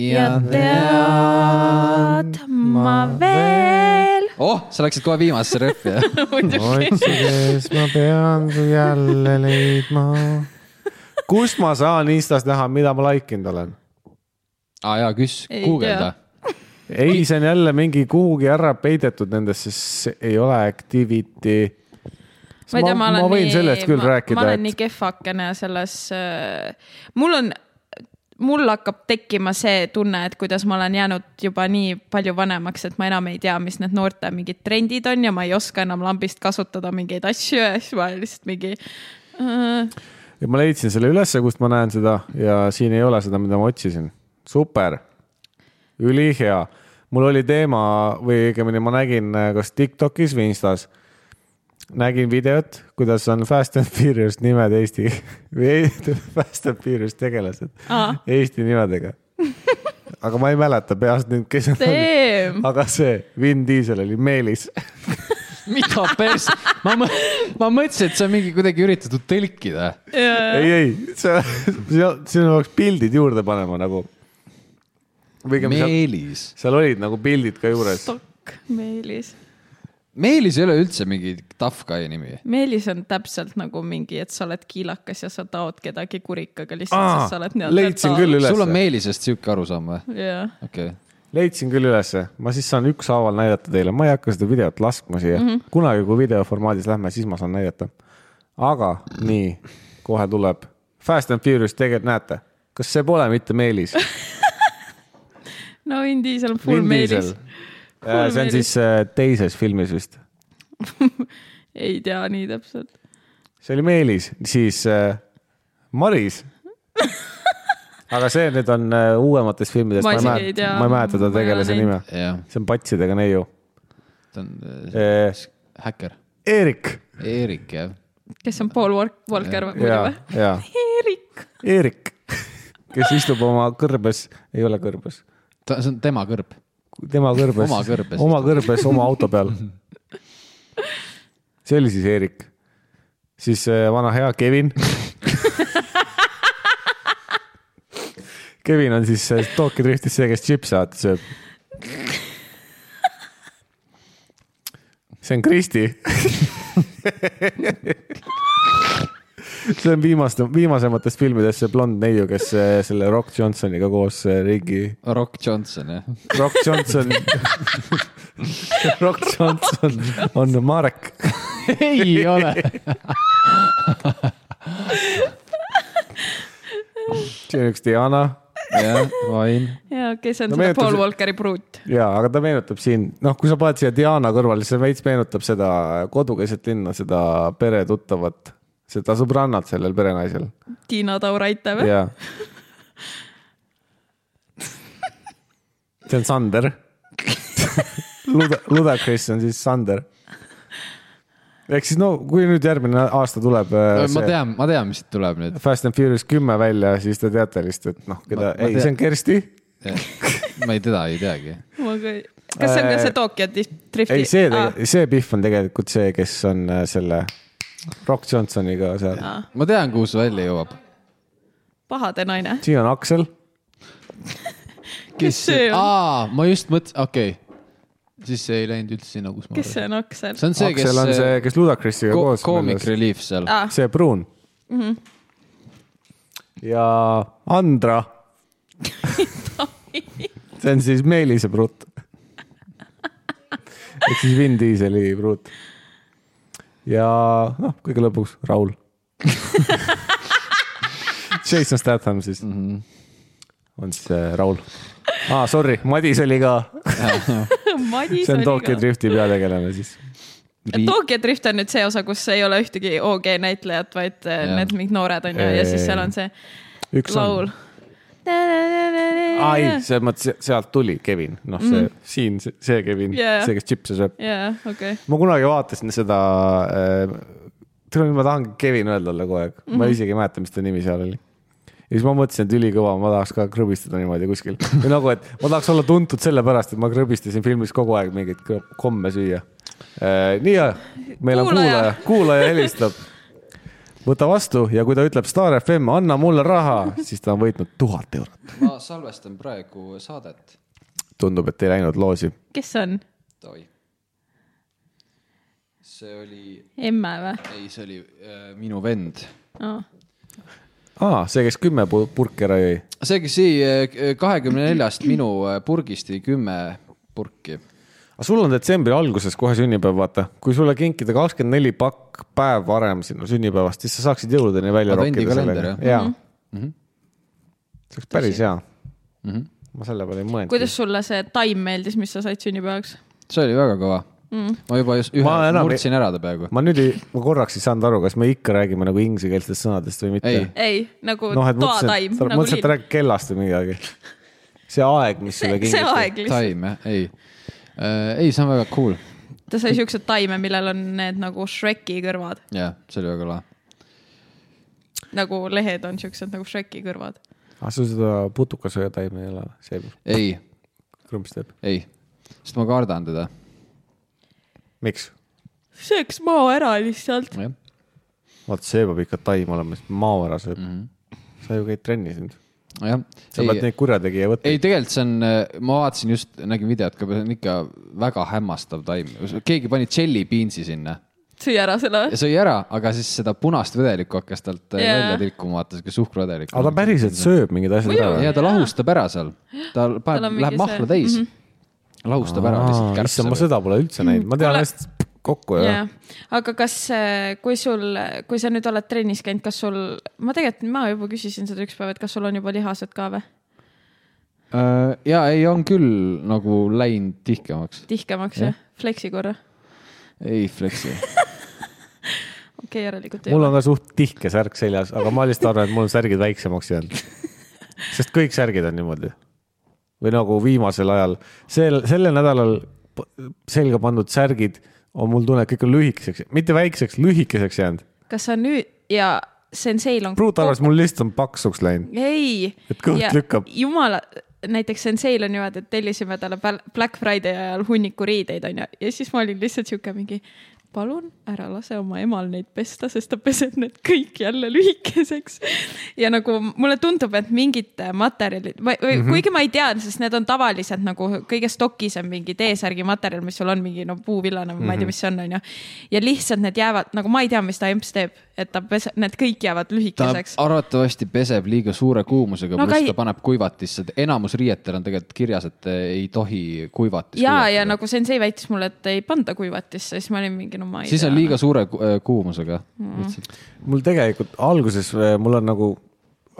[SPEAKER 2] ja
[SPEAKER 1] tead ma veel .
[SPEAKER 2] oh , sa läksid kohe viimasesse rehvi ,
[SPEAKER 1] [laughs]
[SPEAKER 2] jah ?
[SPEAKER 3] otsides ma pean su jälle leidma . kust ma saan Instas näha , mida ma like inud olen ?
[SPEAKER 2] aa jaa , küs ,
[SPEAKER 1] Ei
[SPEAKER 2] guugelda .
[SPEAKER 3] ei , see on jälle mingi kuhugi ära peidetud nendesse , siis ei ole activity .
[SPEAKER 1] ma ei tea , ma olen
[SPEAKER 3] ma võin
[SPEAKER 1] nii,
[SPEAKER 3] sellest küll
[SPEAKER 1] ma, ma
[SPEAKER 3] rääkida ,
[SPEAKER 1] olen
[SPEAKER 3] et
[SPEAKER 1] nii kehvakene selles äh, , mul on , mul hakkab tekkima see tunne , et kuidas ma olen jäänud juba nii palju vanemaks , et ma enam ei tea , mis need noorte mingid trendid on ja ma ei oska enam lambist kasutada mingeid asju ja siis ma olen lihtsalt mingi äh, .
[SPEAKER 3] ja ma leidsin selle ülesse , kust ma näen seda ja siin ei ole seda , mida ma otsisin . super , ülihea . mul oli teema või õigemini ma nägin äh, kas Tiktokis või Instas , nägin videot , kuidas on Fast and Furious nimed Eesti [laughs] või ei- Fast and Furious tegelased
[SPEAKER 1] Aa.
[SPEAKER 3] Eesti nimedega . aga ma ei mäleta peast nüüd , kes need olid .
[SPEAKER 1] Damn ,
[SPEAKER 3] aga see Vin Diesel oli Meelis .
[SPEAKER 2] mida pers- , ma , ma mõtlesin , et see on mingi kuidagi üritatud tõlkida .
[SPEAKER 3] ei , ei , see , sinna peaks pildid juurde panema nagu . või õigemini seal ,
[SPEAKER 2] Meelis .
[SPEAKER 3] seal olid nagu pildid ka juures .
[SPEAKER 1] stokk , Meelis .
[SPEAKER 2] Meelis ei ole üldse mingi tough guy nimi .
[SPEAKER 1] Meelis on täpselt nagu mingi , et sa oled kiilakas ja sa taod kedagi kurikaga
[SPEAKER 3] Aa,
[SPEAKER 1] lihtsalt , sest sa oled nii-öelda .
[SPEAKER 3] leidsin küll üles.
[SPEAKER 2] sul on Meelisest sihuke arusaam või ?
[SPEAKER 1] jah ,
[SPEAKER 2] okei okay. ,
[SPEAKER 3] leidsin küll ülesse , ma siis saan ükshaaval näidata teile , ma ei hakka seda videot laskma siia mm .
[SPEAKER 1] Mhm.
[SPEAKER 3] -hmm. kunagi , kui videoformaadis lähme , siis ma saan näidata . aga nii , kohe tuleb Fast and Furious , tegelikult näete , kas see pole mitte Meelis ?
[SPEAKER 1] no Vin Diesel on [laughs] full
[SPEAKER 3] Vin
[SPEAKER 1] Meelis
[SPEAKER 3] Diesel .. see on
[SPEAKER 1] Meelis.
[SPEAKER 3] siis äh, teises filmis vist
[SPEAKER 1] ei tea nii täpselt .
[SPEAKER 3] see oli Meelis , siis äh,
[SPEAKER 1] [laughs]
[SPEAKER 3] Maris . aga see nüüd on äh, uuemates filmides ,
[SPEAKER 1] Ma
[SPEAKER 3] ma ei
[SPEAKER 1] isegi ei
[SPEAKER 3] mäleta
[SPEAKER 1] tea. ,
[SPEAKER 3] ma ei mäleta
[SPEAKER 1] Ma
[SPEAKER 3] ta
[SPEAKER 1] ei
[SPEAKER 3] tegelase
[SPEAKER 1] ole
[SPEAKER 3] nime
[SPEAKER 1] näinud. ,
[SPEAKER 2] jah ,
[SPEAKER 3] see on patsidega neiu
[SPEAKER 2] ta on äh,
[SPEAKER 3] eh, .
[SPEAKER 2] häkker .
[SPEAKER 3] Eerik
[SPEAKER 2] Eerik jah ,
[SPEAKER 1] kes on Paul Walk- Walker või muidu
[SPEAKER 3] ja
[SPEAKER 1] või ?,
[SPEAKER 3] ja
[SPEAKER 1] Eerik .
[SPEAKER 3] Eerik , kes istub oma kõrbes , ei ole kõrbes ,
[SPEAKER 2] ta , see on tema kõrb .
[SPEAKER 3] tema kõrbes ,
[SPEAKER 2] Oma kõrbes
[SPEAKER 3] oma kõrbes oma auto
[SPEAKER 2] [laughs]
[SPEAKER 3] peal . see oli siis Eerik , siis äh, vana hea
[SPEAKER 2] [laughs]
[SPEAKER 3] Kevin . Kevin on siis äh, Tokyo Driftis see , kes tšipse alati sööb . see on Kristi . [laughs] see on viimaste , viimasematest filmidest see blond neiu , kes äh, selle Rock Johnsoniga koos äh, ringi
[SPEAKER 2] Rock Johnson
[SPEAKER 1] [laughs]
[SPEAKER 2] jah .
[SPEAKER 3] Rock Johnson . Rock Johnson on Marek .
[SPEAKER 2] ei ole .
[SPEAKER 3] siin on üks Diana
[SPEAKER 2] jah , Ain .
[SPEAKER 1] ja kes on
[SPEAKER 3] No
[SPEAKER 1] no, seda
[SPEAKER 3] meenutas-
[SPEAKER 1] Paul Walkeri pruut .
[SPEAKER 3] ja , aga ta meenutab siin , noh , kui sa paned siia Diana kõrvale , siis see veits meenutab seda kodukeset linna , seda peretuttavat , seda sõbrannat sellel perenaisel
[SPEAKER 1] Tiina Tauraite või ?
[SPEAKER 3] ja . see on Sander . Luda , Ludacris on siis Sander . ehk siis no , kui nüüd järgmine aasta tuleb . äh,
[SPEAKER 2] ma tean , ma tean , mis siit tuleb nüüd .
[SPEAKER 3] Fast and Furious kümme välja , siis te teate lihtsalt , et noh ,
[SPEAKER 2] Ma-
[SPEAKER 3] keda ,
[SPEAKER 2] ma
[SPEAKER 3] ei ,
[SPEAKER 2] tean.
[SPEAKER 3] see on Kersti .
[SPEAKER 2] ma ei , teda ei teagi .
[SPEAKER 1] ma ka ei , kas see on ka
[SPEAKER 3] Äh,
[SPEAKER 1] see Tokyo di- drifti ?
[SPEAKER 3] ei , see ,
[SPEAKER 2] Ah.
[SPEAKER 3] see Pihv on tegelikult see , kes on äh, selle Rock Johnsoniga seal .
[SPEAKER 2] ma tean , kuhu see välja jõuab .
[SPEAKER 1] pahade naine .
[SPEAKER 3] siin on Aksel ,
[SPEAKER 1] kes see on ?
[SPEAKER 2] aa , ma just mõtlesin , okei okay. . siis see ei läinud üldse sinna , kus ma .
[SPEAKER 1] kes see on , Aksel ?
[SPEAKER 2] see on see , kes äh,
[SPEAKER 3] Aksel on see , kes Ludacrisiga
[SPEAKER 2] ko
[SPEAKER 3] koos .
[SPEAKER 2] koomik Relief seal .
[SPEAKER 1] Ah, Mhm.
[SPEAKER 3] see pruun mm . -hmm. ja
[SPEAKER 1] [laughs]
[SPEAKER 3] Andra . see on siis Meelise pruut . ehk siis Vin Dieseli pruut . ja noh , kõige lõpuks
[SPEAKER 1] [laughs]
[SPEAKER 3] Raul . Jason Statham siis mm . -hmm. on siis äh, Raul . aa , sorry , Madis oli ka .
[SPEAKER 1] Madis
[SPEAKER 3] see on
[SPEAKER 1] oli
[SPEAKER 3] Tokyo
[SPEAKER 1] ka .
[SPEAKER 3] Drifti peategelane siis .
[SPEAKER 1] Tokyo Drift on nüüd see osa , kus ei ole ühtegi OG näitlejat , vaid äh,
[SPEAKER 2] Jah.
[SPEAKER 1] need mingid noored on ju , ja siis seal on see
[SPEAKER 3] üks on
[SPEAKER 1] laul .
[SPEAKER 3] ai , selles mõttes se- sealt tuli Kevin , noh , see mm. siin see, see Kevin
[SPEAKER 1] Jajah.
[SPEAKER 3] yeah. , see , kes tšipse sööb .
[SPEAKER 1] jaa , okei .
[SPEAKER 3] ma kunagi vaatasin seda äh, , tead , ma tahan Kevin öelda talle kogu aeg mm , -hmm. ma isegi ei mäleta , mis ta nimi seal oli . ja siis ma mõtlesin , et ülikõva , ma tahaks ka krõbistada niimoodi kuskil või nagu , et ma tahaks olla tuntud sellepärast , et ma krõbistasin filmis kogu aeg mingeid krõ- komme süüa äh, . nii ja , meil on
[SPEAKER 1] Kuulaja.
[SPEAKER 3] kuulaja , kuulaja helistab võta vastu ja kui ta ütleb Star FM , anna mulle raha , siis ta on võitnud tuhat eurot .
[SPEAKER 2] ma salvestan praegu saadet .
[SPEAKER 3] tundub , et ei läinud loosi .
[SPEAKER 1] kes see on ?
[SPEAKER 2] oi . see oli ,
[SPEAKER 1] emme või
[SPEAKER 2] ei , see oli äh, minu vend .
[SPEAKER 1] oh. ?
[SPEAKER 3] aa , see , kes kümme pu- purki ära jõi .
[SPEAKER 2] see , kes jäi kahekümne neljast minu eh, purgist jäi kümme purki .
[SPEAKER 3] aga sul on detsembri alguses kohe sünnipäev , vaata , kui sulle kinkida kakskümmend neli pakk päev varem sinu sünnipäevast , siis sa saaksid jõuludeni välja rokkida
[SPEAKER 2] Advendikalender,
[SPEAKER 3] sellega .
[SPEAKER 2] jah? Mhm.
[SPEAKER 3] jaa . see oleks päris hea . ma selle peale ei mõelnud .
[SPEAKER 1] kuidas sulle see taim meeldis , mis sa said sünnipäevaks ?
[SPEAKER 2] see oli väga kõva mm. . ma juba just ühe
[SPEAKER 3] Ma enam ei-
[SPEAKER 2] murdsin ära ta peaaegu .
[SPEAKER 3] ma nüüd ei , ma korraks ei saanud aru , kas me ikka räägime nagu inglisekeelsetest sõnadest või mitte
[SPEAKER 2] Ei. .
[SPEAKER 1] ei , nagu
[SPEAKER 3] noh , et
[SPEAKER 1] toataim
[SPEAKER 3] mõtlesin , et ,
[SPEAKER 1] nagu
[SPEAKER 3] mõtlesin , et ta räägib kellast või midagi . see aeg , mis sulle
[SPEAKER 1] [laughs] see
[SPEAKER 3] kingiti .
[SPEAKER 1] aeg lihtsalt .
[SPEAKER 2] taim jah , ei . ei , see on väga cool .
[SPEAKER 1] ta sai siukseid taime , millel on need nagu Shreki kõrvad ,
[SPEAKER 2] jah , see oli väga lahe .
[SPEAKER 1] nagu lehed on siuksed nagu Shreki kõrvad .
[SPEAKER 3] aga Ah, sul seda putukasööjataime ei ole või ? see
[SPEAKER 2] ei ,
[SPEAKER 3] krõmps teeb .
[SPEAKER 2] ei , sest ma kardan teda .
[SPEAKER 3] miks ?
[SPEAKER 1] sööks mao ära lihtsalt .
[SPEAKER 2] jah ,
[SPEAKER 3] vaat see peab ikka taim olema , siis mao ära sööb mm .
[SPEAKER 2] Mhm.
[SPEAKER 3] -hmm. sa ju käid trennis nüüd .
[SPEAKER 2] jah .
[SPEAKER 3] sa pead neid kurjategija võtma .
[SPEAKER 2] ei , tegelikult see on , ma vaatasin just , nägin videot ka , see on ikka väga hämmastav taim . keegi pani jelly beans'i sinna
[SPEAKER 1] süüa ära selle
[SPEAKER 2] ja
[SPEAKER 1] või ?
[SPEAKER 2] sõi ära , aga siis seda punast vedelikku hakkas talt yeah.
[SPEAKER 1] Jaa.
[SPEAKER 2] välja tilkuma , vaata sihuke suhkruvedelik .
[SPEAKER 3] aga ta päriselt sööb mingid asjad ära või ?
[SPEAKER 2] ja ta lahustab ära seal , ta
[SPEAKER 1] on
[SPEAKER 2] paneb ,
[SPEAKER 1] mingi
[SPEAKER 2] läheb
[SPEAKER 1] see- Mhm.
[SPEAKER 2] mahla täis mm , -hmm. lahustab ära lihtsalt
[SPEAKER 3] issand , ma
[SPEAKER 2] kärbsele .
[SPEAKER 3] seda pole üldse näinud , ma tean
[SPEAKER 1] Kuule-
[SPEAKER 3] hästi kokku ja
[SPEAKER 1] jah , aga kas , kui sul , kui sa nüüd oled trennis käinud , kas sul , ma tegelikult , ma juba küsisin seda ükspäev , et kas sul on juba lihased ka või ,
[SPEAKER 2] ja Äh, ei , on küll nagu läinud tihkemaks .
[SPEAKER 1] tihkemaks
[SPEAKER 2] Jah.
[SPEAKER 1] jah , fleksi korra ,
[SPEAKER 2] ei fleksi .
[SPEAKER 1] okei okay, , järelikult ei
[SPEAKER 3] mul
[SPEAKER 1] ole .
[SPEAKER 3] on ka suht tihke särk seljas , aga ma lihtsalt arvan , et mul on särgid
[SPEAKER 2] [laughs]
[SPEAKER 3] väiksemaks jäänud . sest kõik särgid on niimoodi . või nagu viimasel ajal , sel , sellel nädalal p- selga pandud särgid on mul tunne , et kõik on lühikeseks , mitte väikseks , lühikeseks jäänud .
[SPEAKER 1] kas sa nüüd ja Senseil on .
[SPEAKER 3] pruut arvas , mul lihtsalt on paksuks läinud .
[SPEAKER 1] ei .
[SPEAKER 3] Et kõht lükkab.
[SPEAKER 1] jumala , näiteks Senseil on niimoodi , et tellisime talle Bal- Black Friday ajal hunniku riideid onju ja siis ma olin lihtsalt siuke mingi palun ära lase oma emal neid pesta , sest ta peseb need kõik jälle lühikeseks . ja nagu mulle tundub , et mingid materjalid või , või mm
[SPEAKER 3] Mhm.
[SPEAKER 1] -hmm. kuigi ma ei tea , sest need on tavaliselt nagu kõige stokisem mingi T-särgi materjal , mis sul on mingi no puuvillane või mm -hmm. ma
[SPEAKER 3] Mhm.
[SPEAKER 1] ei tea , mis see on , onju . ja lihtsalt need jäävad nagu ma ei tea , mis ta emps teeb , et ta peseb , need kõik jäävad
[SPEAKER 2] ta
[SPEAKER 1] lühikeseks .
[SPEAKER 2] arvatavasti peseb liiga suure kuumusega
[SPEAKER 1] No
[SPEAKER 2] no, ,
[SPEAKER 1] aga
[SPEAKER 2] pluss
[SPEAKER 1] ei-
[SPEAKER 2] ta paneb kuivatisse , enamus riietel on tegelikult kirjas , et ei tohi kuivatisse .
[SPEAKER 1] ja , ja . nagu sensei väitis mulle , et ei panda kuivatisse , siis ma olin mingi , no ma ei
[SPEAKER 2] siis
[SPEAKER 1] tea . Mhm.
[SPEAKER 2] on liiga suure ku- äh, kuumusega lihtsalt .
[SPEAKER 3] mul tegelikult alguses , mul on nagu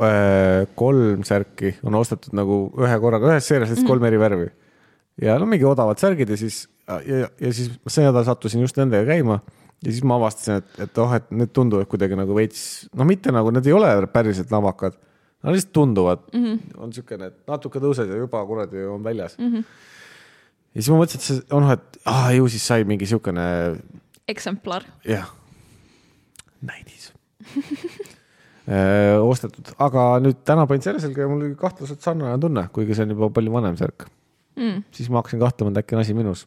[SPEAKER 3] äh, kolm särki on ostetud nagu ühe korraga ühes seerias , lihtsalt kolm eri värvi . ja no mingi odavad särgid ja siis , ja, ja siis ma see nädal sattusin just nendega käima ja siis ma avastasin , et , et oh , et need tunduvad kuidagi nagu veits , no mitte nagu need ei ole päriselt namakad , nad lihtsalt tunduvad mm , -hmm. on siukene , et natuke tõused ja juba kuradi on väljas mm . -hmm. ja siis ma mõtlesin , et see , noh , et ah, ju siis sai mingi siukene
[SPEAKER 1] eksemplar .
[SPEAKER 3] jah , [laughs] näidis Äh, ostetud , aga nüüd täna panin selle selga ja mul oli kahtlaselt sarnane tunne , kuigi see on juba palju vanem särk mm. . siis ma hakkasin kahtlema , et äkki on asi minus .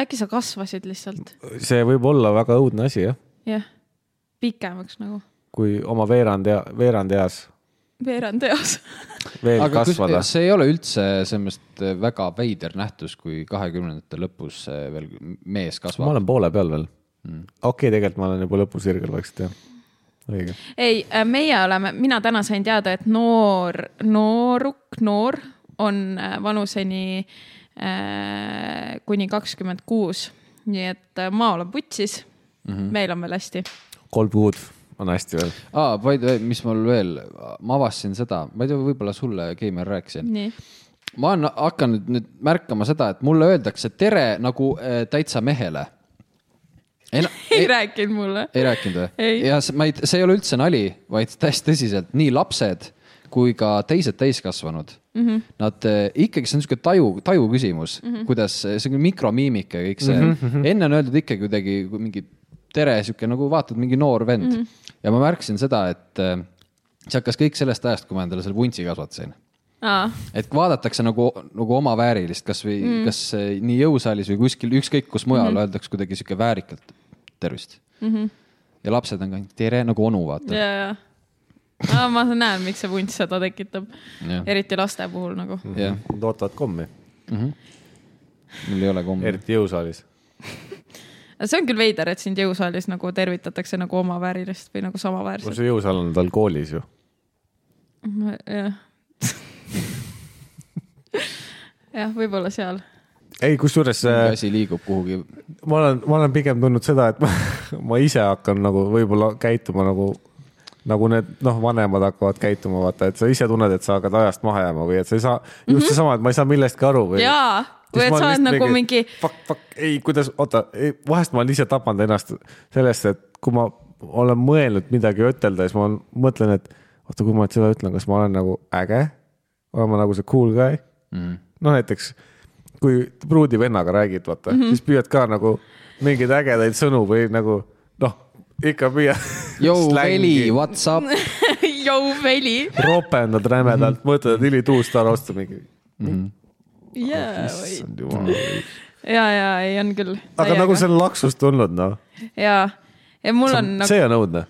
[SPEAKER 1] äkki sa kasvasid lihtsalt ,
[SPEAKER 3] see võib olla väga õudne asi jah ,
[SPEAKER 1] jah , pikemaks nagu ,
[SPEAKER 3] kui oma veerand , veerand eas
[SPEAKER 1] veerand eas .
[SPEAKER 3] veel aga
[SPEAKER 2] aga kus,
[SPEAKER 3] kasvada .
[SPEAKER 2] see ei ole üldse sellest väga veider nähtus , kui kahekümnendate lõpus äh, veel mees
[SPEAKER 3] ma
[SPEAKER 2] kasvab .
[SPEAKER 3] olen poole peal veel mm. . okei okay, , tegelikult ma olen juba lõpusirgel vaikselt jah , õige .
[SPEAKER 1] [laughs] ei , meie oleme , mina täna sain teada , et noor , nooruk , noor on äh, vanuseni äh, kuni kakskümmend kuus , nii et äh, ma olen putsis mm ,
[SPEAKER 2] Mhm.
[SPEAKER 1] -hmm. meil on veel hästi .
[SPEAKER 3] kolm kuud on hästi veel .
[SPEAKER 2] aa , by the way , mis mul veel , ma avastasin seda , ma ei tea , võib-olla sulle , Keimar , rääkisin .
[SPEAKER 1] nii , [laughs]
[SPEAKER 2] ma olen hakanud nüüd märkama seda , et mulle öeldakse tere nagu äh, täitsa mehele .
[SPEAKER 3] [laughs]
[SPEAKER 2] ei,
[SPEAKER 1] ei rääkinud mulle .
[SPEAKER 2] ei rääkinud või
[SPEAKER 1] Ei. ?
[SPEAKER 2] ja see , ma ei , see ei ole üldse nali , vaid täiesti tõsiselt nii lapsed kui ka teised täiskasvanud mm . -hmm. Nad eh, ikkagi , see on niisugune taju , taju küsimus mm , -hmm. kuidas eh, see on mikromiimika ja kõik see mm . -hmm. enne on öeldud ikkagi kuidagi kui mingi tere , sihuke nagu vaatad mingi noor vend mm -hmm. ja ma märkasin seda , et eh, see hakkas kõik sellest ajast , kui ma endale selle vuntsi kasvatasin
[SPEAKER 1] aa ,
[SPEAKER 2] et vaadatakse nagu , nagu oma väärilist , kasvõi mm. kas eh, nii jõusaalis või kuskil ükskõik kus mujal
[SPEAKER 1] Mhm.
[SPEAKER 2] mm. öeldakse kuidagi sihuke väärikalt tervist mm . -hmm. ja lapsed on ka tere nagu onu vaata .
[SPEAKER 1] ja , ja . aa , ma näen , miks see vunts seda tekitab
[SPEAKER 2] jah ,
[SPEAKER 1] eriti laste puhul nagu .
[SPEAKER 2] jah ,
[SPEAKER 3] Nad ootavad kommi ,
[SPEAKER 2] mul ei ole kommi .
[SPEAKER 3] eriti jõusaalis .
[SPEAKER 1] see on küll veider , et sind jõusaalis nagu tervitatakse nagu oma väärilist või nagu
[SPEAKER 3] mul
[SPEAKER 1] samaväärselt .
[SPEAKER 3] see jõusaal on tal koolis ju .
[SPEAKER 1] jah [laughs] jah , võib-olla seal .
[SPEAKER 3] ei , kusjuures äh,
[SPEAKER 2] mingi asi liigub kuhugi .
[SPEAKER 3] ma olen , ma olen pigem tundnud seda , et [laughs] ma, ma ise hakkan nagu võib-olla käituma nagu , nagu need noh , vanemad hakkavad käituma , vaata , et sa ise tunned , et sa hakkad ajast maha jääma või et sa ei saa , just seesama , et ma ei saa millestki aru või .
[SPEAKER 1] jaa , või et sa oled nagu mingi ,
[SPEAKER 3] Fuck , fuck , ei , kuidas , oota , vahest ma olen ise tapanud ennast sellest , et kui ma olen mõelnud midagi ütelda , siis ma olen- mõtlen , et oota , kui ma nüüd seda ütlen , kas ma olen nagu äge , olen ma nagu see cool guy mm. ? no näiteks , kui pruudi vennaga räägid , vaata
[SPEAKER 1] Mhm.
[SPEAKER 3] mm , -hmm. siis püüad ka nagu mingeid ägedaid sõnu või nagu noh , ikka püüad . [laughs]
[SPEAKER 2] Jou , Veli , what's up ?
[SPEAKER 1] [laughs] jõu veli .
[SPEAKER 3] ropendad rämedalt mm , -hmm. mõtled ,
[SPEAKER 1] Mhm.
[SPEAKER 3] et hilituust ära osta mingi .
[SPEAKER 1] jaa ,
[SPEAKER 3] Oh, issand jumal .
[SPEAKER 1] jaa , ei on küll .
[SPEAKER 3] aga nagu see on laksust tulnud noh ,
[SPEAKER 1] jaa , ja mul on nagu
[SPEAKER 3] see on õudne .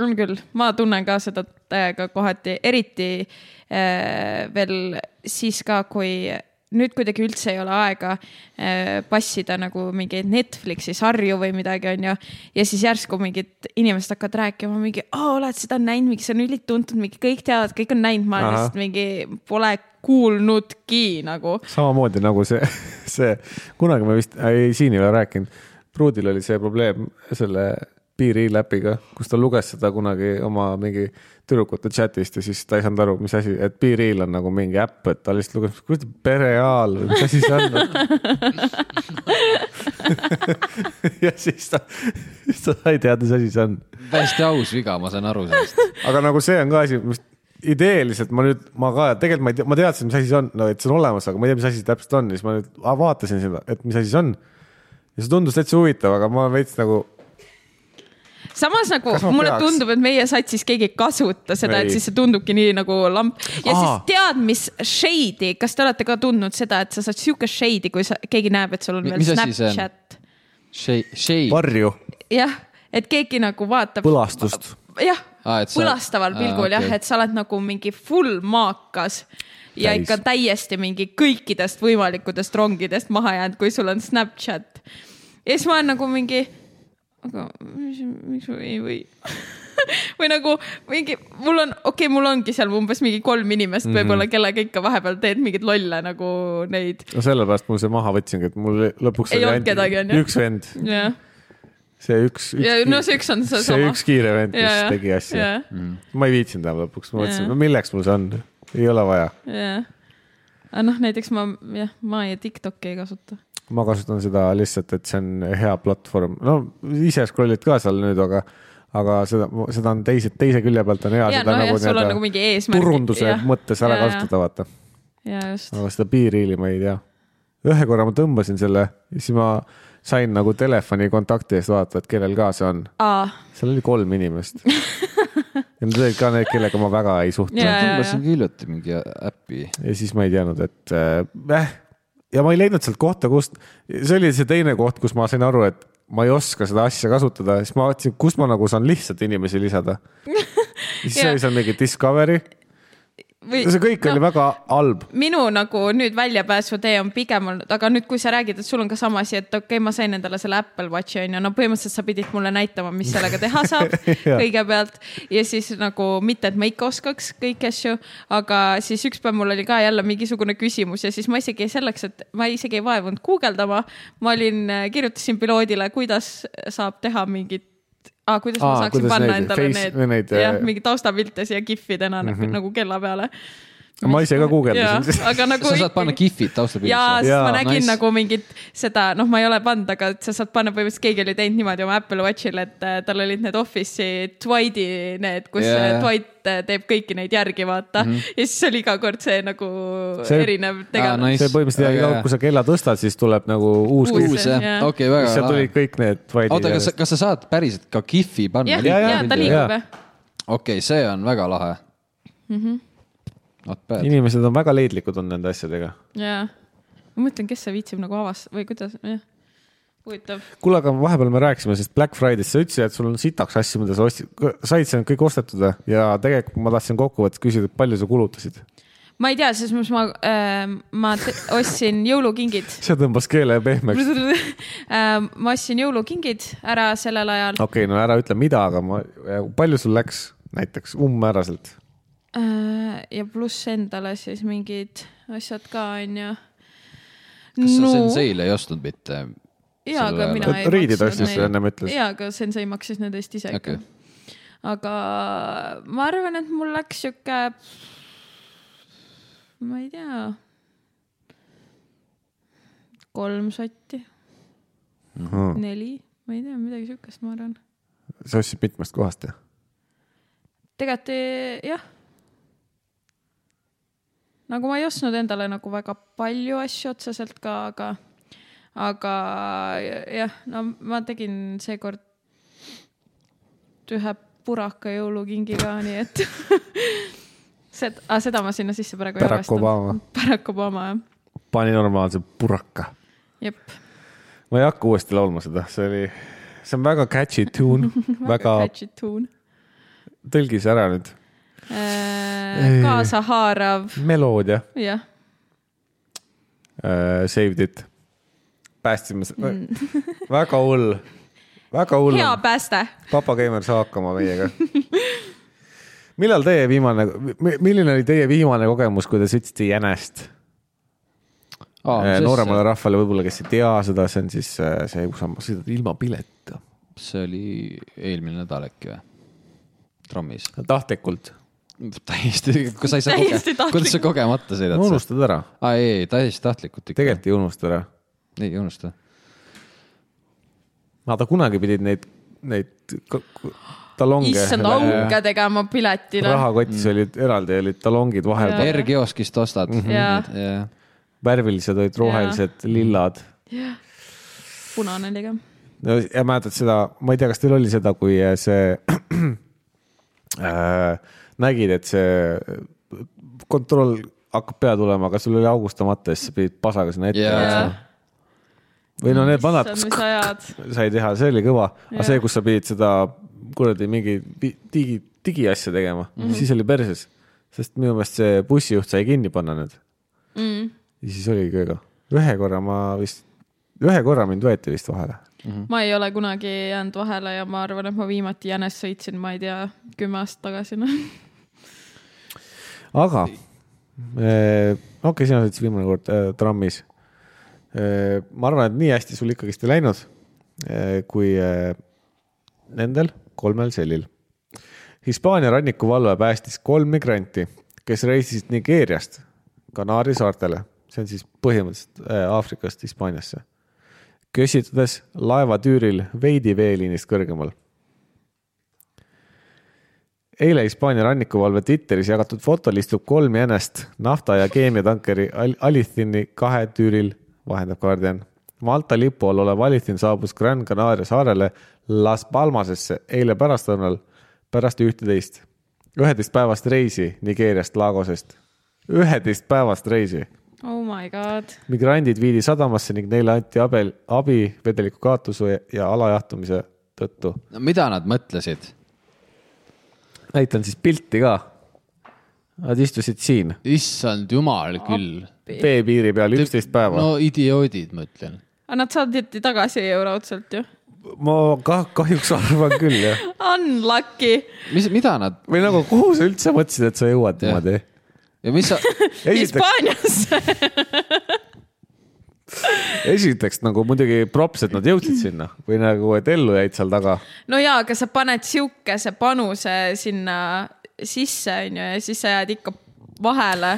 [SPEAKER 1] on küll , ma tunnen ka seda täiega kohati , eriti äh, veel siis ka , kui nüüd kuidagi üldse ei ole aega äh, passida nagu mingeid Netflixi sarju või midagi , onju . ja siis järsku mingid inimesed hakkavad rääkima mingi , aa , oled seda näinud , mingi see on ülituntud , mingi kõik teavad , kõik on näinud , ma olen
[SPEAKER 3] Ahah.
[SPEAKER 1] lihtsalt mingi , pole kuulnudki nagu .
[SPEAKER 3] samamoodi nagu see , [laughs] see , kunagi me vist , ei siin ei ole rääkinud , pruudil oli see probleem selle piiriläpiga , kus ta luges seda kunagi oma mingi tüdrukute chat'ist ja siis ta ei saanud aru , mis asi , et piiriil on nagu mingi äpp , et ta lihtsalt luges , kuidas ta pereaal või mis asi see [laughs] on . ja siis ta , siis ta sai teada , mis asi see on
[SPEAKER 2] hästi aus viga , ma saan aru sellest .
[SPEAKER 3] aga nagu see on ka asi , mis ideeliselt ma nüüd , ma ka tegelikult ma ei tea , ma teadsin , mis asi see on , no et see on olemas , aga ma ei tea , mis asi see täpselt on ja siis ma nüüd a- vaatasin seda , et mis asi see on . ja see tundus täitsa huvitav , aga ma veits nagu ,
[SPEAKER 1] samas nagu
[SPEAKER 3] Kas ma
[SPEAKER 1] mulle
[SPEAKER 3] peaks?
[SPEAKER 1] tundub , et meie satsis keegi ei kasuta seda ,
[SPEAKER 3] Ei.
[SPEAKER 1] et siis see tundubki nii nagu lamp ja Aa.
[SPEAKER 3] Aa.
[SPEAKER 1] siis tead , mis shade'i , kas te olete ka tundnud seda , et sa saad sihuke shade'i , kui sa , keegi näeb , et sul on
[SPEAKER 2] Mi-
[SPEAKER 1] veel
[SPEAKER 2] mis asi see on?
[SPEAKER 1] Snapchat .
[SPEAKER 2] Shade , shade ,
[SPEAKER 3] varju ,
[SPEAKER 1] jah , et keegi nagu vaatab ,
[SPEAKER 3] põlastust .
[SPEAKER 1] jah
[SPEAKER 3] Ah,
[SPEAKER 2] Aa, et , sa-
[SPEAKER 1] põlastaval
[SPEAKER 2] aa,
[SPEAKER 1] pilgul jah ,
[SPEAKER 2] okei.
[SPEAKER 1] et sa oled nagu mingi full maakas ja
[SPEAKER 3] Täis.
[SPEAKER 1] Täis. ikka täiesti mingi kõikidest võimalikudest rongidest maha jäänud , kui sul on Snapchat . ja siis ma olen nagu mingi , aga mis- miks ma ei või ? [laughs] või nagu mingi , mul on , okei okay, , mul ongi seal umbes mingi kolm inimest mm -hmm.
[SPEAKER 3] Mhm.
[SPEAKER 1] võib-olla , kellega ikka vahepeal teed mingeid lolle nagu neid ,
[SPEAKER 3] no sellepärast mul see maha võtsingi , et mul lõpuks
[SPEAKER 1] Ei
[SPEAKER 3] oli
[SPEAKER 1] olnud kedagi, on ju?
[SPEAKER 3] üks vend ,
[SPEAKER 1] jah .
[SPEAKER 3] see üks, üks .
[SPEAKER 1] ja no see üks on
[SPEAKER 3] see
[SPEAKER 1] seesama .
[SPEAKER 3] üks kiire vend , kes tegi asja . ma ei viitsinud enam lõpuks , ma mõtlesin ,
[SPEAKER 1] Jaa.
[SPEAKER 3] no milleks mul see on , ei ole vaja .
[SPEAKER 1] jah , aga noh , näiteks ma jah , ma ja Tiktoki ei kasuta .
[SPEAKER 3] ma kasutan seda lihtsalt , et see on hea platvorm , no ise scroll'id ka seal nüüd , aga , aga seda , seda on teise , teise külje pealt on hea
[SPEAKER 1] ja
[SPEAKER 3] seda
[SPEAKER 1] noh , jah , sul on
[SPEAKER 3] nii-öelda
[SPEAKER 1] nagu mingi eesmärk .
[SPEAKER 3] turunduse ja. mõttes ära ja, kasutada , vaata ,
[SPEAKER 1] ja just ,
[SPEAKER 3] aga seda piiriili ma ei tea . ühe korra ma tõmbasin selle , siis ma sain nagu telefoni kontakti eest vaadata , et kellel ka see on ,
[SPEAKER 1] aa ,
[SPEAKER 3] seal oli kolm
[SPEAKER 1] [laughs]
[SPEAKER 3] inimest . ja need olid ka need , kellega ma väga ei suhtlenud
[SPEAKER 1] Jaa, jaa,
[SPEAKER 2] tõmbasin ka hiljuti mingi äppi .
[SPEAKER 3] ja siis ma ei teadnud , et äh, äh, ja ma ei leidnud sealt kohta , kust , see oli see teine koht , kus ma sain aru , et ma ei oska seda asja kasutada , siis ma vaatasin , kus ma nagu saan lihtsalt inimesi
[SPEAKER 1] [laughs]
[SPEAKER 3] lisada . siis
[SPEAKER 1] Jaa.
[SPEAKER 3] oli seal mingi discovery ,
[SPEAKER 1] või noh,
[SPEAKER 3] see kõik oli väga halb .
[SPEAKER 1] minu nagu nüüd väljapääsutee on pigem olnud , aga nüüd , kui sa räägid , et sul on ka sama asi , et okei okay, , ma sain endale selle Apple Watchi onju , no põhimõtteliselt sa pidid mulle näitama , mis sellega teha saab
[SPEAKER 3] [laughs] Jaa.
[SPEAKER 1] kõigepealt ja siis nagu mitte , et ma ikka oskaks kõiki asju , aga siis üks päev mul oli ka jälle mingisugune küsimus ja siis ma isegi selleks , et ma isegi ei vaevunud guugeldama , ma olin , kirjutasin piloodile , kuidas saab teha mingit ah, , kuidas
[SPEAKER 3] Aa,
[SPEAKER 1] ma saaksin
[SPEAKER 3] kuidas
[SPEAKER 1] panna
[SPEAKER 3] neid-
[SPEAKER 1] endale
[SPEAKER 3] face-
[SPEAKER 1] need,
[SPEAKER 3] või
[SPEAKER 1] need
[SPEAKER 3] neid,
[SPEAKER 1] jah
[SPEAKER 3] äh, , Mhm.
[SPEAKER 1] mingi taustapilte siia kihvidena mm -hmm. nagu kella peale
[SPEAKER 3] ma ise ka
[SPEAKER 1] Jaa,
[SPEAKER 3] guugeldasin .
[SPEAKER 1] aga nagu
[SPEAKER 2] sa saad panna kihvid taustapildisse .
[SPEAKER 1] jaa , sest
[SPEAKER 3] Jaa,
[SPEAKER 1] ma nägin nice.
[SPEAKER 2] nice.
[SPEAKER 1] nagu mingit seda , noh , ma ei ole pannud , aga et sa saad panna , põhimõtteliselt keegi oli teinud niimoodi oma Apple Watchile , et äh, tal olid need Office'i Dwight'i need , kus
[SPEAKER 2] Jaa, Mhm.
[SPEAKER 1] yeah.
[SPEAKER 2] jaa.
[SPEAKER 1] Dwight äh, teeb kõiki neid järgi , vaata mm . -hmm. ja siis oli iga kord see nagu see...
[SPEAKER 3] See-
[SPEAKER 1] erinev
[SPEAKER 2] Aa,
[SPEAKER 1] tegelane .
[SPEAKER 2] nice.
[SPEAKER 3] see põhimõtteliselt iga kord , kui sa kella tõstad , siis tuleb nagu uus
[SPEAKER 1] Uus.
[SPEAKER 3] uus ,
[SPEAKER 2] uus jah
[SPEAKER 1] Jaa. ,
[SPEAKER 2] okei , väga
[SPEAKER 3] seal
[SPEAKER 2] lahe
[SPEAKER 3] tulid . kõik need .
[SPEAKER 2] oota , kas , kas sa saad päriselt ka kihvi panna ?
[SPEAKER 1] jah ,
[SPEAKER 3] Jaa, jaa.
[SPEAKER 1] ja ta liigub
[SPEAKER 3] Jaa.
[SPEAKER 1] jah .
[SPEAKER 2] okei , see on väga lahe mm . -hmm.
[SPEAKER 1] Mhm.
[SPEAKER 2] Not bad .
[SPEAKER 3] inimesed on väga leidlikud on nende asjadega .
[SPEAKER 1] jaa . ma mõtlen , kes see viitsib nagu avast- või kuidas , jah . huvitav .
[SPEAKER 3] kuule , aga vahepeal me rääkisime sellest Black Friday'st , sa ütlesid , et sul on sitaks asju , mida sa ostsid , said sa need kõik ostetud või? ja tegelikult ma tahtsin kokkuvõttes küsida , et palju sa kulutasid ?
[SPEAKER 1] ma ei tea , selles mõttes ma äh, , ma te- ostsin jõulukingid
[SPEAKER 3] see tõmbas keele pehmeks .
[SPEAKER 1] [laughs] Ähm, ma ostsin jõulukingid ära sellel ajal
[SPEAKER 3] okei okay, , no ära ütle mida , aga ma , palju sul läks näiteks umbmääraselt ?
[SPEAKER 1] Äh, ja pluss endale siis mingid asjad ka onju .
[SPEAKER 2] kas sa Senseile ei ostnud mitte ? sel
[SPEAKER 1] jaa , aga
[SPEAKER 2] ajal?
[SPEAKER 1] mina
[SPEAKER 3] Et
[SPEAKER 1] ei
[SPEAKER 3] riided ostis, ennem ütles.
[SPEAKER 1] jaa , aga Sensei maksis need eest ise
[SPEAKER 2] Okei.
[SPEAKER 1] okay. . aga ma arvan , et mul läks sihuke , ma ei tea , kolm sotti , neli , ma ei tea , midagi siukest , ma arvan .
[SPEAKER 3] Hm. sa ostsid mitmest kohast jah ?
[SPEAKER 1] tegelikult ei- jah . nagu ma ei ostnud endale nagu väga palju asju otseselt ka , aga , aga jah , no ma tegin seekord ühe puraka jõulukingiga , nii et [laughs] seda , seda ma sinna sisse praegu ei
[SPEAKER 3] Barack Obama. .
[SPEAKER 1] Barack Obama , jah .
[SPEAKER 3] pani normaalse puraka .
[SPEAKER 1] jep ,
[SPEAKER 3] ma ei hakka uuesti laulma seda , see oli , see on väga catchy tune , väga
[SPEAKER 1] väga catchy tune .
[SPEAKER 3] tõlgi see ära nüüd .
[SPEAKER 1] kaasahaarav ,
[SPEAKER 3] meloodia
[SPEAKER 1] Äh, jah ,
[SPEAKER 3] uh, , saved it . päästsime seda mm. . [laughs] väga hull , väga hull .
[SPEAKER 1] hea pääste .
[SPEAKER 3] Papa Keimar saa hakkama
[SPEAKER 1] [laughs]
[SPEAKER 3] meiega . millal teie viimane , milline oli teie viimane kogemus , kui te sõitsite jänest Eh, nooremale rahvale , võib-olla , kes ei tea seda , see on siis eh, see , kus sa sõidad ilma piletita .
[SPEAKER 2] see oli eelmine nädal äkki või ? trammis .
[SPEAKER 3] tahtlikult .
[SPEAKER 2] täiesti , kui sa ei saa
[SPEAKER 1] Täiesti
[SPEAKER 2] koge- , kuidas sa
[SPEAKER 1] tahtlikult.
[SPEAKER 2] kogemata sõidad no, ?
[SPEAKER 3] unustad ära ,
[SPEAKER 2] aa ei , ei täiesti tahtlikult ikka .
[SPEAKER 3] tegelikult ei unusta ära .
[SPEAKER 2] ei unusta .
[SPEAKER 3] vaata , kunagi pidid neid , neid k- k- talonge .
[SPEAKER 1] issand , auke tegema piletile .
[SPEAKER 3] rahakotis olid eraldi , olid talongid vahel ,
[SPEAKER 1] Jaa.
[SPEAKER 2] R-kioskist ostad
[SPEAKER 3] Mhm.
[SPEAKER 2] mm .
[SPEAKER 1] Jaa.
[SPEAKER 2] -hmm.
[SPEAKER 3] värvilised olid rohelised , lillad .
[SPEAKER 1] punane oli ka .
[SPEAKER 3] no ja mäletad seda , ma ei tea , kas teil oli seda , kui see [clears throat] äh, nägid , et see äh, kontroll hakkab peale tulema , aga sul oli augustamata ja siis sa pidid pasaga sinna ette
[SPEAKER 2] Jaa.
[SPEAKER 3] jooksma . või no need vanad ,
[SPEAKER 1] issand , mis
[SPEAKER 3] kus [laughs]
[SPEAKER 1] ajad .
[SPEAKER 3] sai teha , see oli kõva , aga
[SPEAKER 1] Jaa.
[SPEAKER 3] see , kus sa pidid seda kuradi mingi pi- digi , digiasja tegema mm , -hmm. siis oli perses , sest minu meelest see bussijuht sai kinni panna need ja siis oligi kõige , ühe korra ma vist , ühe korra mind võeti vist vahele .
[SPEAKER 1] ma ei ole kunagi jäänud vahele ja ma arvan , et ma viimati jänes sõitsin , ma ei tea , kümme aastat tagasi noh .
[SPEAKER 3] aga eh, okei okay, , sina sõitsid viimane kord eh, trammis eh, . ma arvan , et nii hästi sul ikkagist ei läinud eh, kui eh, nendel kolmel sellil . Hispaania rannikuvalve päästis kolm migranti , kes reisisid Nigeeriast Kanaari saartele , see on siis põhimõtteliselt eh, Aafrikast Hispaaniasse , kösitades laevatüüril veidi veeliinist kõrgemal eile Hispaania rannikuvalve Twitteris jagatud fotol istub kolm jänest nafta ja keemiatankeri Al- Alithini kahe tüüril , vahendab Guardian . Malta lipu all olev Alithin saabus Gran Canaria saarele Las Palmasesse eile pärastlõunal pärast ühteteist , üheteistpäevast reisi Nigeeriast Lagosest . üheteistpäevast reisi .
[SPEAKER 1] Oh my god .
[SPEAKER 3] migrandid viidi sadamasse ning neile anti abel , abi vedeliku kaotuse ja alajahtumise tõttu .
[SPEAKER 2] no mida nad mõtlesid ?
[SPEAKER 3] näitan siis pilti ka . Nad istusid siin
[SPEAKER 2] issand jumal küll .
[SPEAKER 3] veepiiri peal üksteist päeva no. .
[SPEAKER 2] no idioodid , ma ütlen .
[SPEAKER 1] aga nad saadeti tagasi raudselt ju .
[SPEAKER 3] ma ka kahjuks arvan küll jah .
[SPEAKER 1] Unlucky .
[SPEAKER 2] mis , mida nad
[SPEAKER 3] või nagu , kuhu sa üldse mõtlesid , et sa jõuad
[SPEAKER 2] Jah.
[SPEAKER 3] niimoodi ?
[SPEAKER 2] ja mis sa ,
[SPEAKER 3] esiteks ,
[SPEAKER 1] Hispaaniasse .
[SPEAKER 3] esiteks nagu muidugi props , et nad jõudsid sinna või nagu , et ellu jäid seal taga .
[SPEAKER 1] [laughs] no jaa , aga sa paned siukese panuse sinna sisse onju ja siis sa jääd ikka vahele .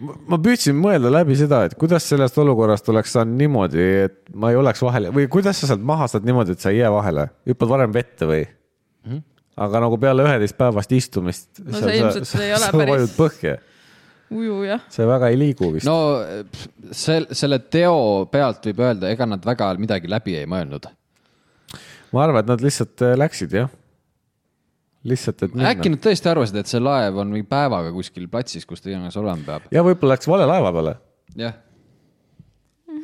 [SPEAKER 3] ma püüdsin mõelda läbi seda , et kuidas sellest olukorrast oleks saanud niimoodi , et ma ei oleks vahele või kuidas sa sealt maha saad niimoodi , et sa ei jää vahele , hüppad varem vette või ? aga nagu peale üheteist päevast istumist .
[SPEAKER 1] Mhm. No see ilmselt ei ole päris-
[SPEAKER 3] vajud põhja ,
[SPEAKER 1] ujuja .
[SPEAKER 3] sa väga ei liigu vist no. .
[SPEAKER 2] no sel- , selle teo pealt võib öelda , ega nad väga midagi läbi ei mõelnud .
[SPEAKER 3] ma arvan , et nad lihtsalt äh, läksid jah . lihtsalt , et minna.
[SPEAKER 2] äkki nad tõesti arvasid , et see laev on mingi päevaga kuskil platsis , kus ta iganes olema peab .
[SPEAKER 3] ja võib-olla läks vale laeva peale ,
[SPEAKER 2] jah ,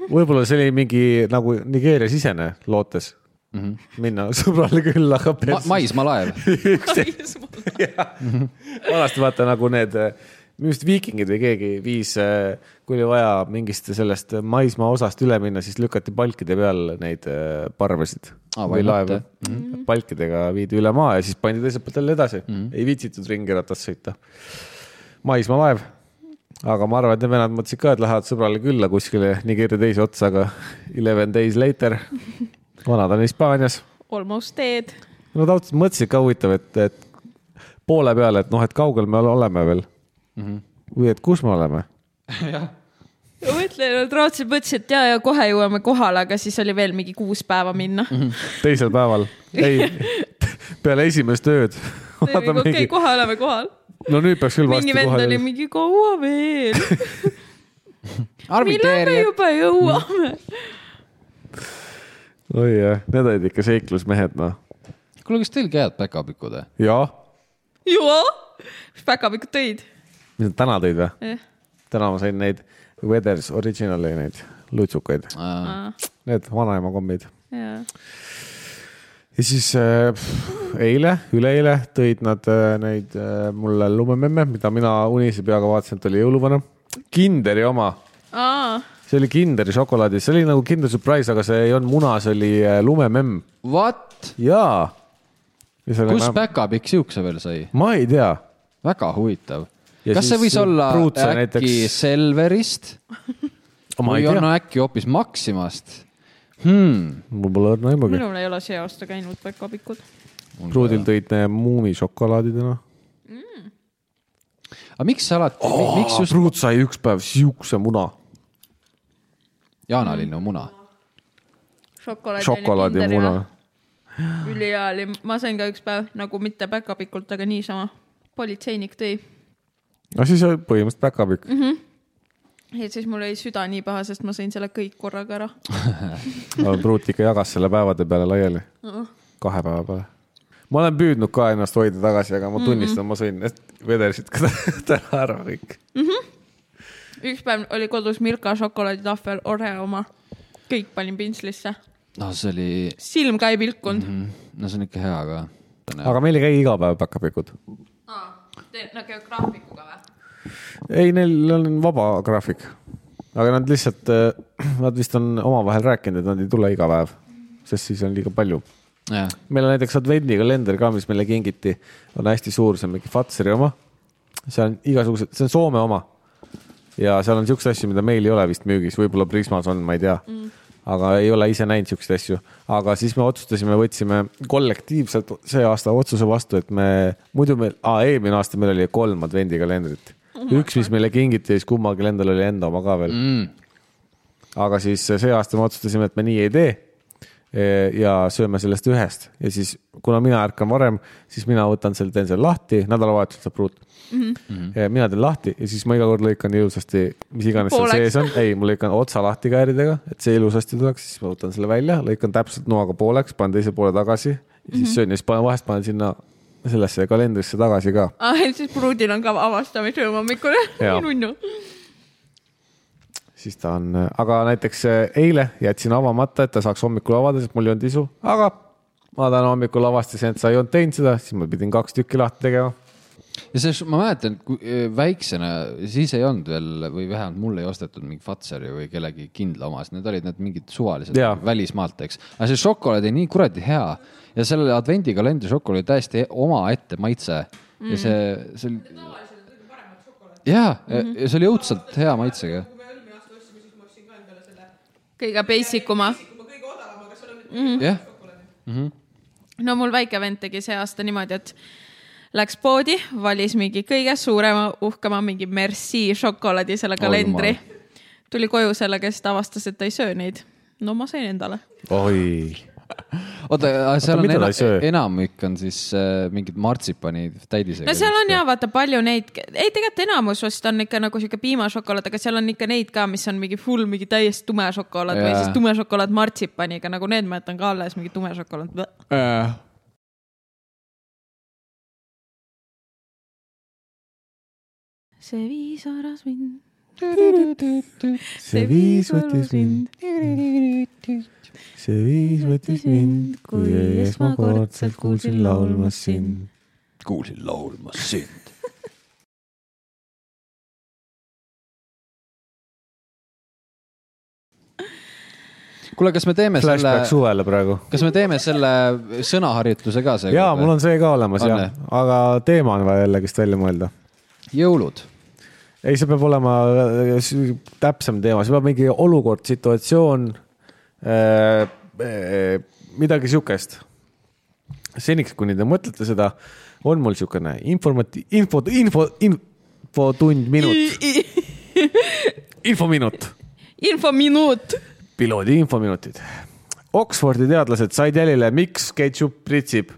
[SPEAKER 3] võib-olla see oli mingi nagu Nigeeria sisene lootes mm -hmm. minna sõbrale külla , aga pers- ma, [laughs]
[SPEAKER 2] maismaalaev .
[SPEAKER 3] vanasti vaata nagu need , minu arust viikingid või keegi viis , kui oli vaja mingist sellest maismaa osast üle minna , siis lükati palkide peal neid äh, parvesid
[SPEAKER 2] Aa,
[SPEAKER 3] või
[SPEAKER 2] why not,
[SPEAKER 3] laevu
[SPEAKER 2] jah.
[SPEAKER 3] mm -hmm. palkidega viidi üle maa ja siis pandi teiselt poolt jälle edasi mm , -hmm. ei viitsitud ringi ratast sõita maismaalaev . aga ma arvan , et need vennad mõtlesid ka , et lähevad sõbrale külla kuskile Nigeeria teise otsa , aga eleven days later , vanad on Hispaanias .
[SPEAKER 1] Almost dead .
[SPEAKER 3] Nad ausalt mõtlesid ka huvitav , et , et poole peale , et noh , et kaugel me oleme veel mm . -hmm. või et kus me oleme .
[SPEAKER 1] ma mõtlen , et rootslased mõtlesid , et ja , ja kohe jõuame kohale , aga siis oli veel mingi kuus päeva minna .
[SPEAKER 3] Mhm.
[SPEAKER 1] [laughs]
[SPEAKER 3] teisel päeval , ei , peale esimest
[SPEAKER 1] [laughs]
[SPEAKER 3] ööd .
[SPEAKER 1] nagu, okei , kohe oleme kohal .
[SPEAKER 3] no nüüd peaks küll
[SPEAKER 1] mingi
[SPEAKER 3] varsti
[SPEAKER 1] vend oli
[SPEAKER 3] kohale .
[SPEAKER 1] mingi , kaua veel , millal me
[SPEAKER 2] arbitreerijad .
[SPEAKER 1] juba jõuame ? [laughs]
[SPEAKER 3] oi jah , need olid ikka seiklusmehed , noh .
[SPEAKER 2] kuule , kas teil käivad päkapikud eh? või ?
[SPEAKER 3] jah ,
[SPEAKER 1] juba ? mis päkapikud tõid ?
[SPEAKER 3] mis nad täna tõid või ?
[SPEAKER 1] jah ,
[SPEAKER 3] täna ma sain neid Weathers Originali neid lutsukaid , need vanaema kommid .
[SPEAKER 1] jah .
[SPEAKER 3] ja siis äh, pff, eile , üleeile tõid nad äh, neid äh, mulle lumememme , mida mina unise peaga vaatasin , et oli jõuluvana . Kinderi oma ,
[SPEAKER 1] aa ,
[SPEAKER 3] see oli Kinderi šokolaadis , see oli nagu Kinder Surprise , aga see ei olnud muna , see oli äh, lumememm
[SPEAKER 2] What ?
[SPEAKER 3] jaa .
[SPEAKER 2] kus ? päkapikk siukse veel sai ?
[SPEAKER 3] ma ei tea ,
[SPEAKER 2] väga huvitav .
[SPEAKER 3] Ja
[SPEAKER 2] kas see
[SPEAKER 3] siis
[SPEAKER 2] võis olla
[SPEAKER 3] Pruutse
[SPEAKER 2] äkki
[SPEAKER 3] näiteks-
[SPEAKER 2] näiteks... Selverist
[SPEAKER 3] ma
[SPEAKER 2] või
[SPEAKER 3] ei
[SPEAKER 2] on
[SPEAKER 3] tea ,
[SPEAKER 2] äkki hoopis Maximast hmm. ?
[SPEAKER 3] mul pole õrna aimugi .
[SPEAKER 1] minul ei ole see aasta käinud päkapikud .
[SPEAKER 3] pruudil tõid need muumi šokolaadidena
[SPEAKER 2] aga miks alati oh, ,
[SPEAKER 3] oh, .
[SPEAKER 2] miks just
[SPEAKER 3] pruut sai üks päev siukse muna ,
[SPEAKER 2] jaanalinnu muna ?
[SPEAKER 3] šokolaadimuna .
[SPEAKER 1] ülihea oli , ma sain ka üks päev nagu mitte päkapikult , aga niisama . politseinik tõi
[SPEAKER 3] no siis oli põhimõtteliselt päkapikk mm .
[SPEAKER 1] ja siis mul oli süda nii paha , sest ma sõin selle kõik korraga ära .
[SPEAKER 3] -hmm. pruut ikka jagas selle päevade peale laiali , kahe päeva peale ma olen püüdnud ka ennast hoida tagasi , aga ma tunnistan mm , -mm. ma sõin need vedelsid ka [laughs] täna ära kõik .
[SPEAKER 1] üks päev oli kodus Milka šokolaaditahvel , Oreo oma . kõik panin pintslisse ,
[SPEAKER 2] no see oli ,
[SPEAKER 1] silm ka ei
[SPEAKER 2] Mhm.
[SPEAKER 1] pilkunud mm .
[SPEAKER 2] no see on ikka hea ka .
[SPEAKER 3] aga meil ei käi iga päev päkapikud .
[SPEAKER 1] -hmm. Te nagu graafikuga või ?
[SPEAKER 3] ei , neil on vaba graafik , aga nad lihtsalt , [clears throat] nad vist on omavahel rääkinud , et nad ei tule iga päev , sest siis on liiga palju .
[SPEAKER 2] jah ,
[SPEAKER 3] meil on näiteks advendikalender ka , mis meile kingiti , on hästi suur , see on mingi Fazeri oma . see on igasugused , see on Soome oma . ja seal on siukseid asju , mida meil ei ole vist müügis , võib-olla Prismas on , ma ei tea mm. aga ei ole ise näinud siukseid asju , aga siis me otsustasime , võtsime kollektiivselt see aasta otsuse vastu , et me muidu meil , eelmine aasta meil oli kolm advendikalendrit oh . üks , mis meile kingiti ja siis kummalgi endal oli enda oma ka veel
[SPEAKER 2] mm.
[SPEAKER 3] aga siis see aasta me otsustasime , et me nii ei tee . ja sööme sellest ühest ja siis , kuna mina ärkan varem , siis mina võtan selle , teen selle lahti , nädalavahetusel saab pruut mm . -hmm. mina teen lahti ja siis ma iga kord lõikan ilusasti , mis iganes seal
[SPEAKER 1] Pooleks.
[SPEAKER 3] sees on , ei , ma lõikan otsa lahti kääridega , et see ilusasti tuleks , siis ma võtan selle välja , lõikan täpselt noaga pooleks , panen teise poole tagasi ja siis mm -hmm. söön ja siis panen vahest panen sinna sellesse kalendrisse tagasi ka .
[SPEAKER 1] aa , Ah, et siis pruudil on ka avastamisöö
[SPEAKER 2] [laughs]
[SPEAKER 1] hommikul .
[SPEAKER 3] Jaa.
[SPEAKER 1] nunnu .
[SPEAKER 3] siis ta on , aga näiteks äh, eile jätsin avamata , et ta saaks hommikul avada , sest mul ei olnud isu , aga ma täna hommikul avastasin , et sa ei olnud teinud seda , siis ma pidin kaks tükki lahti tegema .
[SPEAKER 2] ja see , ma mäletan , väiksena siis ei olnud veel või vähemalt mulle ei ostetud mingi Fazeri või kellegi kindla oma , sest need olid need mingid suvalised
[SPEAKER 3] Jaa.
[SPEAKER 2] välismaalt , eks . aga see šokolaad oli nii kuradi hea ja sellele advendikalendri šokolaad oli täiesti omaette maitse mm.
[SPEAKER 1] Mhm.
[SPEAKER 2] ja see , see oli . jaa ,
[SPEAKER 1] Mhm.
[SPEAKER 2] ja see oli õudselt hea maitsega .
[SPEAKER 1] kõige basic uma . Mhm.
[SPEAKER 2] jah ,
[SPEAKER 1] no mul väike vend tegi see aasta niimoodi , et läks poodi , valis mingi kõige suurema , uhkema mingi Merci šokolaadi selle kalendri
[SPEAKER 2] jumal. .
[SPEAKER 1] tuli koju sellega , siis ta avastas , et ta ei söö neid . no ma sõin endale .
[SPEAKER 3] oi ,
[SPEAKER 2] oota , seal on
[SPEAKER 3] mida ta
[SPEAKER 2] ena,
[SPEAKER 3] ei söö?
[SPEAKER 2] enamik on siis äh, mingid martsipani täidisega .
[SPEAKER 1] no seal on ja vaata palju neid , ei tegelikult enamus vast on ikka nagu sihuke piimašokolaad , aga seal on ikka neid ka , mis on mingi full mingi täiesti tume šokolaad või
[SPEAKER 2] Jaa.
[SPEAKER 1] siis tume šokolaad martsipaniga , nagu need ma jätan ka alles , mingi tume šokolaad .
[SPEAKER 2] äh. .
[SPEAKER 1] see viis aras mind ,
[SPEAKER 3] see viis võttis mind , see viis võttis mind , kui esmakordselt kuulsin laulmas sind .
[SPEAKER 2] kuulsin laulmas sind . kuule , kas me teeme
[SPEAKER 3] Flashback
[SPEAKER 2] selle ,
[SPEAKER 3] suvele praegu .
[SPEAKER 2] kas me teeme selle sõnaharjutuse ka seekord ?
[SPEAKER 3] jaa , mul on see ka olemas
[SPEAKER 2] On
[SPEAKER 3] jah
[SPEAKER 2] jah? ,
[SPEAKER 3] aga teema on vaja jällegist välja mõelda .
[SPEAKER 2] jõulud .
[SPEAKER 3] ei , see peab olema äh, s- täpsem teema , see peab mingi olukord , situatsioon äh, , äh, midagi sihukest . seniks , kuni te mõtlete seda , on mul sihukene informati- , info , info , infotund , minut , infominut ,
[SPEAKER 1] infominuut .
[SPEAKER 3] piloodi infominutid . Oxfordi teadlased said jälile , miks ketšup pritsib .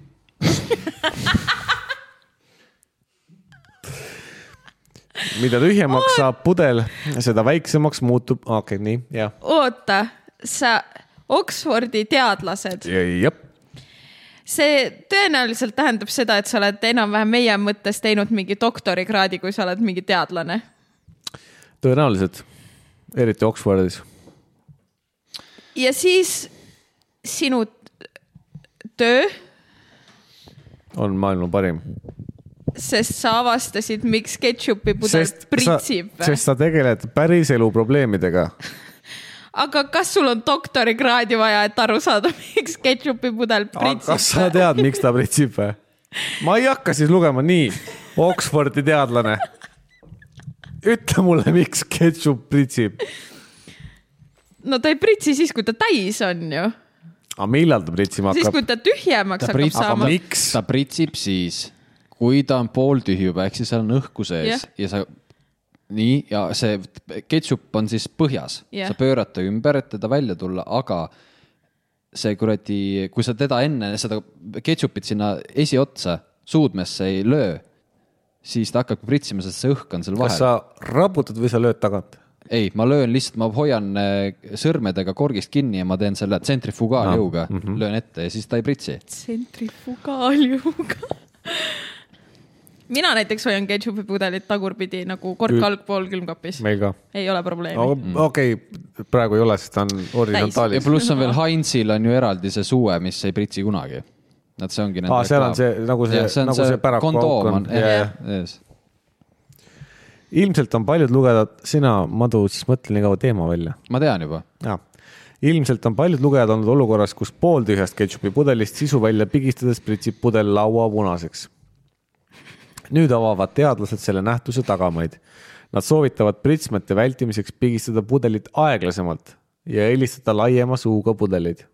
[SPEAKER 3] mida tühjemaks saab pudel , seda väiksemaks muutub , okei okay, , nii , jah .
[SPEAKER 1] oota , sa , Oxfordi teadlased ,
[SPEAKER 3] jep
[SPEAKER 1] see tõenäoliselt tähendab seda , et sa oled enam-vähem meie mõttes teinud mingi doktorikraadi , kui sa oled mingi teadlane .
[SPEAKER 3] tõenäoliselt , eriti Oxfordis .
[SPEAKER 1] ja siis sinu töö ,
[SPEAKER 3] on maailma parim .
[SPEAKER 1] sest sa avastasid , miks ketšupi pudel
[SPEAKER 3] sest sa ,
[SPEAKER 1] pritsib .
[SPEAKER 3] sest sa tegeled päriselu probleemidega .
[SPEAKER 1] aga kas sul on doktorikraadi vaja , et aru saada , [laughs] miks ketšupi pudel pritsib ?
[SPEAKER 3] kas sa tead , miks ta pritsib või ? ma ei hakka siis lugema , nii , Oxfordi teadlane . ütle mulle , miks ketšup pritsib .
[SPEAKER 1] no ta ei pritsi siis , kui ta täis on ju .
[SPEAKER 3] aga millal ta pritsima
[SPEAKER 1] siis , kui
[SPEAKER 3] hakkab ?
[SPEAKER 1] ta tühjemaks
[SPEAKER 2] ta
[SPEAKER 1] hakkab
[SPEAKER 2] pritsib ,
[SPEAKER 3] Aga .
[SPEAKER 1] saama
[SPEAKER 3] mi-
[SPEAKER 2] miks ? ta pritsib siis , kui ta on pooltühi juba , ehk siis seal on õhku sees
[SPEAKER 1] Jah.
[SPEAKER 2] yeah. ja sa , nii , ja see ketšup on siis põhjas
[SPEAKER 1] Jah.
[SPEAKER 2] yeah. , sa pöörad ta ümber , et teda välja tulla , aga see kuradi , kui sa teda enne seda ketšupit sinna esiotsa suudmesse ei löö , siis ta hakkabki pritsima , sest see õhk on seal
[SPEAKER 3] kas
[SPEAKER 2] vahel
[SPEAKER 3] sa raputad või sa lööd tagant ?
[SPEAKER 2] ei , ma löön lihtsalt , ma hoian äh, sõrmedega korgist kinni ja ma teen selle tsentrifugaaljõuga
[SPEAKER 3] Ah,
[SPEAKER 2] no. , mm
[SPEAKER 3] mhm.
[SPEAKER 2] -hmm. löön ette ja siis ta ei pritsi .
[SPEAKER 1] tsentrifugaaljõuga . [laughs] mina näiteks hoian ketšupi pudelit tagurpidi nagu kork
[SPEAKER 3] Ü-
[SPEAKER 1] algpool külmkapis .
[SPEAKER 3] meil ka .
[SPEAKER 1] ei ole probleemi .
[SPEAKER 3] okei , praegu ei ole , sest ta on
[SPEAKER 2] ja
[SPEAKER 3] horisontaalis .
[SPEAKER 2] pluss on veel Heinzil on ju eraldi see suue , mis ei pritsi kunagi . Nad , see ongi nende .
[SPEAKER 3] Aa, seal on see- nagu see- nagu see päraku auk
[SPEAKER 2] kondoom
[SPEAKER 3] on.
[SPEAKER 2] on ,
[SPEAKER 3] Jah,
[SPEAKER 2] jah
[SPEAKER 3] jah. ,
[SPEAKER 2] jah .
[SPEAKER 3] ilmselt on paljud lugejad , sina , Madu , siis mõtle nii kaua teema välja
[SPEAKER 2] ma tean juba .
[SPEAKER 3] jaa , ilmselt on paljud lugejad olnud olukorras , kus pooltühjast ketšupi pudelist sisu välja pigistades pritsib pudel laua punaseks . nüüd avavad teadlased selle nähtuse tagamaid . Nad soovitavad pritsmete vältimiseks pigistada pudelit aeglasemalt ja eelistada laiema suuga pudeleid .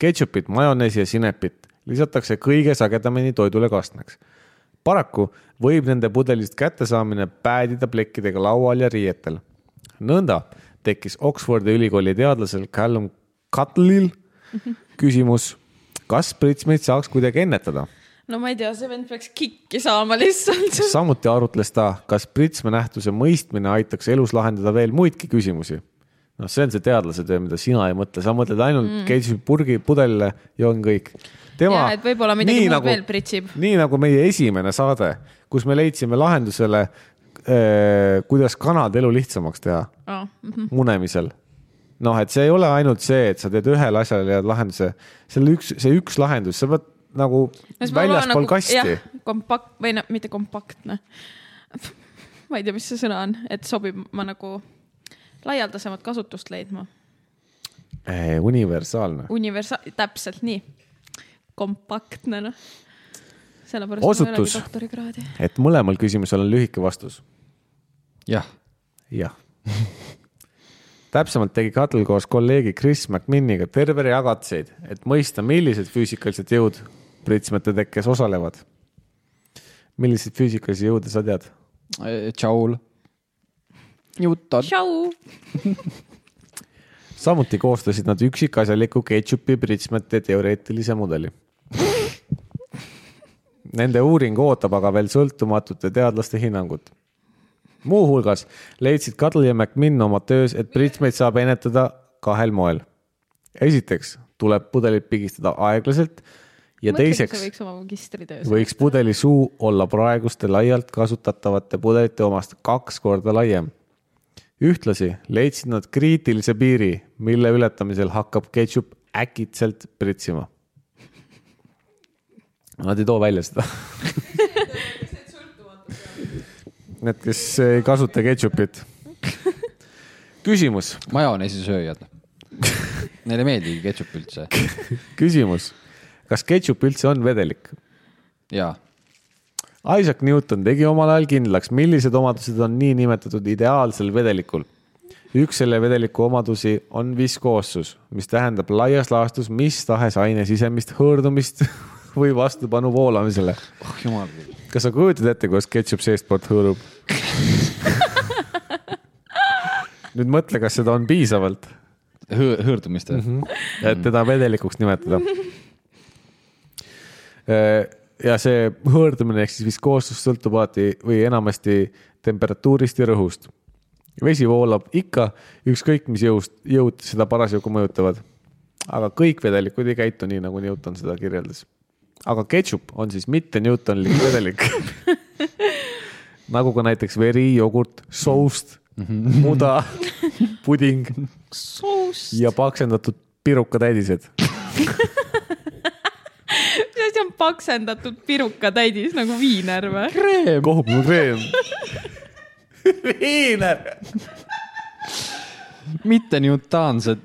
[SPEAKER 3] ketšupit , majoneesi ja sinepit lisatakse kõige sagedamini toidule kastmeks . paraku võib nende pudelist kättesaamine päädida plekkidega laual ja riietel . nõnda tekkis Oxfordi ülikooli teadlasel Callum Cutlil küsimus , kas pritsmeid saaks kuidagi ennetada .
[SPEAKER 1] no ma ei tea , see vend peaks kikki saama
[SPEAKER 3] [laughs]
[SPEAKER 1] lihtsalt .
[SPEAKER 3] samuti arutles ta , kas pritsme nähtuse mõistmine aitaks elus lahendada veel muidki küsimusi . noh , see on see teadlase töö , mida sina ei mõtle , sa mõtled ainult mm. ketšupi purgi , pudelile ja on kõik . tema
[SPEAKER 1] Jaa, et võib-olla midagi
[SPEAKER 3] nii
[SPEAKER 1] muud veel pritsib.
[SPEAKER 3] nii nagu meie esimene saade , kus me leidsime lahendusele , kuidas kanade elu lihtsamaks teha
[SPEAKER 1] Ah, mm.
[SPEAKER 3] munemisel . noh , et see ei ole ainult see , et sa teed ühele asjale leiad lahenduse , selle üks , see üks lahendus , sa pead nagu no, väljaspool nagu, kasti .
[SPEAKER 1] kompakt või no mitte kompaktne . [laughs] ma ei tea , mis see sõna on , et sobib ma nagu laialdasemat kasutust leidma .
[SPEAKER 3] Äh, universaalne .
[SPEAKER 1] Universa- , täpselt nii . kompaktne noh . sellepärast
[SPEAKER 3] Osutus.
[SPEAKER 1] ma ei olegi doktorikraadi .
[SPEAKER 3] et mõlemal küsimusel on lühike vastus .
[SPEAKER 2] jah ,
[SPEAKER 3] jah . täpsemalt tegi Katl koos kolleegi Chris McMinniga terve rea katseid , et mõista , millised füüsikalised jõud pritsmete tekkes osalevad . milliseid füüsikalisi jõude sa tead ?
[SPEAKER 2] E, Joule . Newton .
[SPEAKER 1] tšau .
[SPEAKER 3] samuti koostasid nad üksikasjaliku ketšupi pritsmete teoreetilise mudeli . Nende uuring ootab aga veel sõltumatute teadlaste hinnangut . muuhulgas leidsid Kadri ja McMinn oma töös , et pritsmeid saab ennetada kahel moel . esiteks tuleb pudelit pigistada aeglaselt ja teiseks
[SPEAKER 1] võiks oma magistritöös või... .
[SPEAKER 3] võiks pudeli suu olla praeguste laialt kasutatavate pudelite omast kaks korda laiem . ühtlasi leidsid nad kriitilise piiri , mille ületamisel hakkab ketšup äkitselt pritsima . Nad ei too välja seda . Need , kes ei kasuta ketšupit . küsimus ,
[SPEAKER 2] majoneesi sööjad . Neile ei meeldigi ketšup üldse .
[SPEAKER 3] küsimus , kas ketšup üldse on vedelik ?
[SPEAKER 2] jaa ,
[SPEAKER 3] Isaac Newton tegi omal ajal kindlaks , millised omadused on niinimetatud ideaalsel vedelikul . üks selle vedeliku omadusi on viskoossus , mis tähendab laias laastus mis tahes aine sisemist hõõrdumist [laughs] või vastupanu voolamisele .
[SPEAKER 2] oh jumal .
[SPEAKER 3] kas sa kujutad ette , kuidas ketšup seestpoolt hõõrub ? [laughs] nüüd mõtle , kas seda on piisavalt ,
[SPEAKER 2] hõõrdumist
[SPEAKER 3] Mhm.
[SPEAKER 2] või ?
[SPEAKER 3] et teda vedelikuks nimetada . ja see hõõrdumine ehk siis viskoossus sõltub alati või enamasti temperatuurist ja rõhust . vesi voolab ikka , ükskõik mis jõust , jõud seda parasjagu mõjutavad . aga kõik vedelikud ei käitu nii , nagu Newton seda kirjeldas . aga ketšup on siis mitte Newtonlik vedelik . nagu ka näiteks veri , jogurt , soust , muda , puding
[SPEAKER 1] soos .
[SPEAKER 3] ja paksendatud pirukatädised .
[SPEAKER 1] see asi on paksendatud pirukatäidis nagu viiner
[SPEAKER 3] [laughs]
[SPEAKER 1] või ?
[SPEAKER 3] kreem . kohub mu kreem . [laughs] viiner .
[SPEAKER 2] mitte newtaansed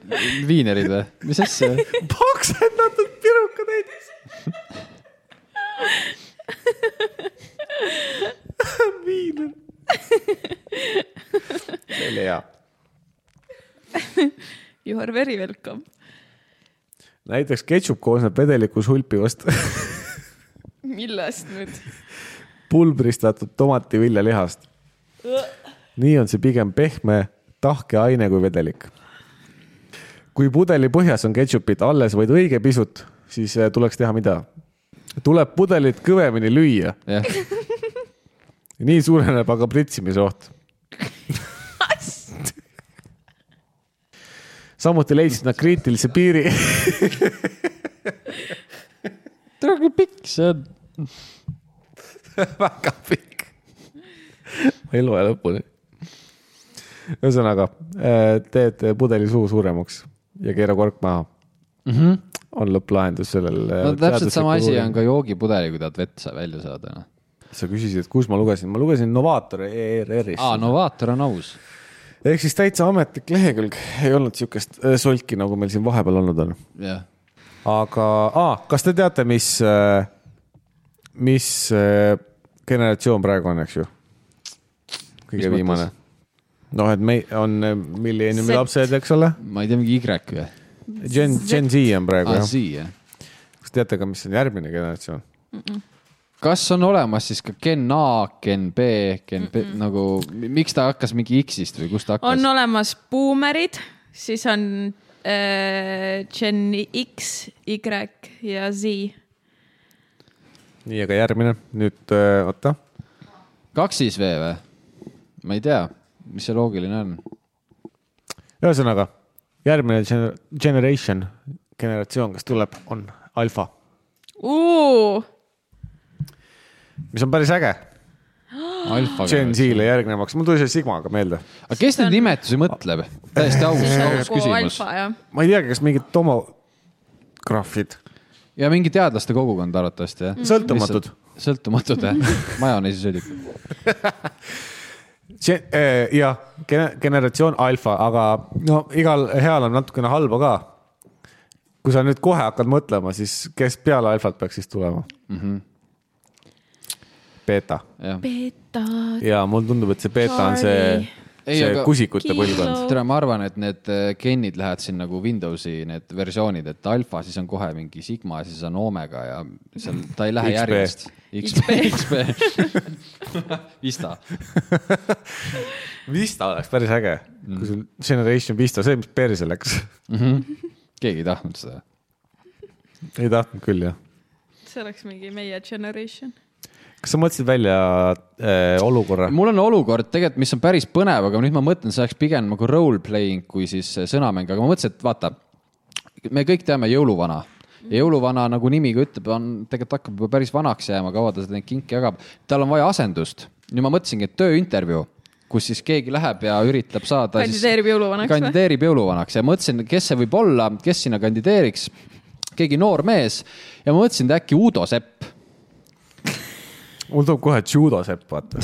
[SPEAKER 2] viinerid või ? mis asja ?
[SPEAKER 3] paksendatud pirukatädis . [laughs] viiner . veel hea .
[SPEAKER 1] You are very welcome .
[SPEAKER 3] näiteks ketšup koosneb vedelikus hulpivast
[SPEAKER 1] millest nüüd ?
[SPEAKER 3] pulbristatud tomativiljalihast . nii on see pigem pehme , tahke aine kui vedelik . kui pudeli põhjas on ketšupit alles vaid õige pisut , siis eh, tuleks teha mida ? tuleb pudelit kõvemini lüüa ,
[SPEAKER 2] jah ,
[SPEAKER 3] nii suureneb aga pritsimise oht . samuti leidsid nad kriitilise piiri .
[SPEAKER 2] tere kui pikk see on .
[SPEAKER 3] väga pikk . ma ei loe lõpuni . ühesõnaga , teed pudeli suu suuremaks ja keera kork maha . on lõpplahendus sellel .
[SPEAKER 2] Mhm.
[SPEAKER 3] äh,
[SPEAKER 2] no täpselt sama asi on . ka joogipudeli , kui tahad vett sa- välja saada noh. no. .
[SPEAKER 3] sa küsisid , et kus ma lugesin , ma lugesin Novaator ERR-is
[SPEAKER 2] aa , Novaator on aus .
[SPEAKER 3] ehk siis täitsa ametlik lehekülg , ei olnud siukest äh, solki , nagu meil siin vahepeal olnud on .
[SPEAKER 2] jah .
[SPEAKER 3] aga ah, , kas te teate , mis , mis äh, generatsioon praegu on , eks ju ? kõige
[SPEAKER 2] Mis
[SPEAKER 3] viimane . noh , et me on äh,
[SPEAKER 1] Z.
[SPEAKER 3] milleniumi lapsed , eks ole .
[SPEAKER 2] ma ei tea , mingi Y või ?
[SPEAKER 3] Gen , Gen Z on praegu
[SPEAKER 2] aa ,
[SPEAKER 3] jah .
[SPEAKER 2] Ah, Z jah .
[SPEAKER 3] kas teate ka , mis on järgmine generatsioon ?
[SPEAKER 2] kas on olemas siis ka gen A , gen B , gen B mm -mm. nagu , miks ta hakkas mingi X-ist või kust ta hakkas
[SPEAKER 1] on ? olemas buumerid , siis on äh, Gen X , Y ja Z .
[SPEAKER 3] nii , aga järgmine nüüd äh, oota ,
[SPEAKER 2] kaks siis V või ? ma ei tea , mis see loogiline on .
[SPEAKER 3] ühesõnaga järgmine gener- generation , generatsioon , kes tuleb , on alfa , mis on päris äge .
[SPEAKER 2] alfa .
[SPEAKER 3] Gen Z-le järgnevaks , mul tuli see Sigmaga meelde
[SPEAKER 2] aga kes neid nimetusi mõtleb ? täiesti aus , aus küsimus .
[SPEAKER 1] ja
[SPEAKER 3] ma ei teagi , kas mingid tomograafid ,
[SPEAKER 2] ja mingi teadlaste kogukond arvatavasti jah ?
[SPEAKER 3] Sõltumatud. .
[SPEAKER 2] sõltumatud [laughs] jah , majoneesi sõiduk .
[SPEAKER 3] eh, jah , generatsioon alfa , aga no igal heal on natukene halba ka . kui sa nüüd kohe hakkad mõtlema , siis kes peale alfat peaks siis tulema mm ? -hmm. beeta
[SPEAKER 2] jah ,
[SPEAKER 1] beeta .
[SPEAKER 3] ja mulle tundub , et see beeta on see ,
[SPEAKER 2] Ei,
[SPEAKER 3] see
[SPEAKER 2] aga-
[SPEAKER 3] kusikute põlvkond .
[SPEAKER 1] Kilo.
[SPEAKER 2] tere , ma arvan , et need äh, genid lähevad siin nagu Windowsi need versioonid , et alfa , siis on kohe mingi sigma , siis on oomega ja seal ta ei lähe
[SPEAKER 3] XP.
[SPEAKER 2] järjest . XP , XP , [laughs] Vista .
[SPEAKER 3] Vista oleks päris äge mm. , kui sul Generation Vista , see , mis perse läks .
[SPEAKER 2] keegi ei tahtnud seda .
[SPEAKER 3] ei tahtnud küll jah .
[SPEAKER 1] see oleks mingi meie generation .
[SPEAKER 3] kas sa mõtlesid välja äh, olukorra ?
[SPEAKER 2] mul on olukord tegelikult , mis on päris põnev , aga nüüd ma mõtlen , see oleks pigem nagu role playing kui siis äh, sõnamäng , aga ma mõtlesin , et vaata , me kõik teame jõuluvana . ja jõuluvana nagu nimi ka ütleb , on tegelikult hakkab juba päris vanaks jääma , kaua ta seda neid kinke jagab , tal on vaja asendust . nüüd ma mõtlesingi , et tööintervjuu , kus siis keegi läheb ja üritab saada .
[SPEAKER 1] Kandideerib jõuluvanaks või?
[SPEAKER 2] kandideerib jõuluvanaks ja mõtlesin , kes see võib olla , kes sinna kandideeriks . keegi noor mees ja ma mõtlesin , et äkki Uudo Sepp
[SPEAKER 3] [laughs] mul tuleb kohe judo sepp , vaata .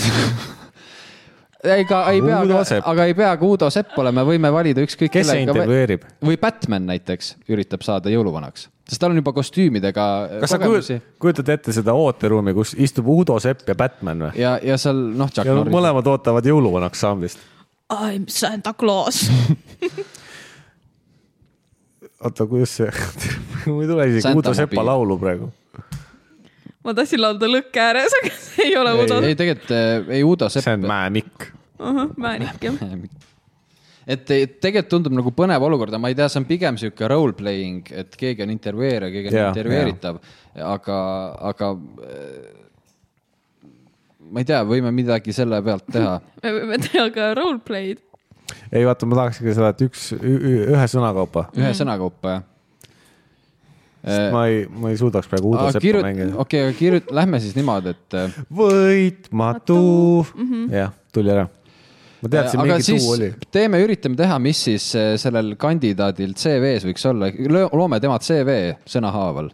[SPEAKER 2] ega ei pea
[SPEAKER 3] Udo , Sepp.
[SPEAKER 2] aga ei pea ka Uudo Sepp olema , võime valida ükskõik
[SPEAKER 3] Kes see intervjueerib?
[SPEAKER 2] või Batman näiteks üritab saada jõuluvanaks , sest tal on juba kostüümidega äh,
[SPEAKER 3] kas sa
[SPEAKER 2] kogemusi
[SPEAKER 3] kujutad , kujutad ette seda ooteruumi , kus istub Udo Sepp ja Batman või ?
[SPEAKER 2] ja , ja seal noh , Chuck
[SPEAKER 3] ja
[SPEAKER 2] Norris .
[SPEAKER 3] mõlemad ootavad jõuluvanaks saamist .
[SPEAKER 1] I m Santa Claus .
[SPEAKER 3] oota , kuidas see , [laughs] mul ei tule isegi
[SPEAKER 2] Santa
[SPEAKER 3] Udo Sepa
[SPEAKER 2] mobiil.
[SPEAKER 3] laulu praegu .
[SPEAKER 1] [laughs] ma tahtsin laulda lõkke ääres , aga see ei ole
[SPEAKER 3] Ei,
[SPEAKER 1] Udo .
[SPEAKER 2] ei , tegelikult eh, ei Uudo Sepp .
[SPEAKER 3] see on Mäemikk .
[SPEAKER 1] Määrik jah .
[SPEAKER 2] et eh, tegelikult tundub nagu põnev olukord , aga ma ei tea , see on pigem sihuke role playing , et keegi on intervjueerija , keegi on
[SPEAKER 3] Jaa,
[SPEAKER 2] intervjueeritav , aga , aga . ma ei tea , võime midagi selle pealt teha .
[SPEAKER 1] me võime teha ka roleplay'd .
[SPEAKER 3] ei vaata , ma tahaksingi seda , et üks , ühe sõna kaupa .
[SPEAKER 2] ühe sõna kaupa , jah .
[SPEAKER 3] ma ei , ma ei suudaks praegu Udo
[SPEAKER 2] aga
[SPEAKER 3] Seppa
[SPEAKER 2] kirjut- ,
[SPEAKER 3] mängida .
[SPEAKER 2] okei , aga kirjut- , lähme siis niimoodi , et äh,
[SPEAKER 3] võitmatu . jah , tuli ära . ma teadsin ,
[SPEAKER 2] Äh, aga
[SPEAKER 3] mingi
[SPEAKER 2] siis
[SPEAKER 3] tuu oli .
[SPEAKER 2] teeme , üritame teha , mis siis äh, sellel kandidaadil CV-s võiks olla , loome tema CV sõnahaaval .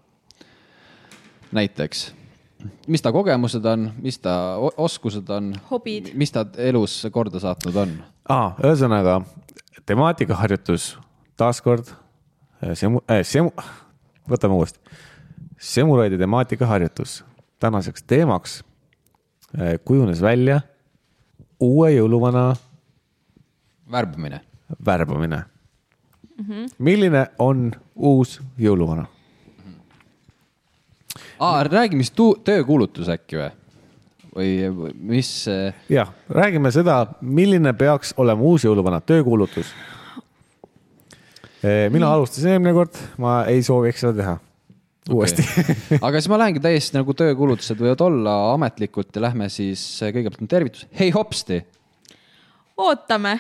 [SPEAKER 2] näiteks , mis ta kogemused on , mis ta o- oskused on ,
[SPEAKER 1] hobid .
[SPEAKER 2] mis ta elus korda saatnud on .
[SPEAKER 3] ah, . ühesõnaga temaatikaharjutus taaskord äh, semu- äh, , semu- , võtame uuesti . Semuraidi temaatikaharjutus tänaseks teemaks äh, kujunes välja uue jõuluvana
[SPEAKER 2] värbamine .
[SPEAKER 3] värbamine mm . -hmm. milline on uus jõuluvana ?
[SPEAKER 2] aa , räägi , mis tu- , töökuulutus äkki või ? või mis , äh,
[SPEAKER 3] jah , räägime seda , milline peaks olema uus jõuluvana töökuulutus . mina alustasin eelmine kord , ma ei sooviks seda teha uuesti [laughs] okay. .
[SPEAKER 2] aga siis ma lähengi täiesti nagu töökuulutused võivad olla ametlikult ja lähme siis äh, kõigepealt on tervitus , hei hopsti
[SPEAKER 1] ootame .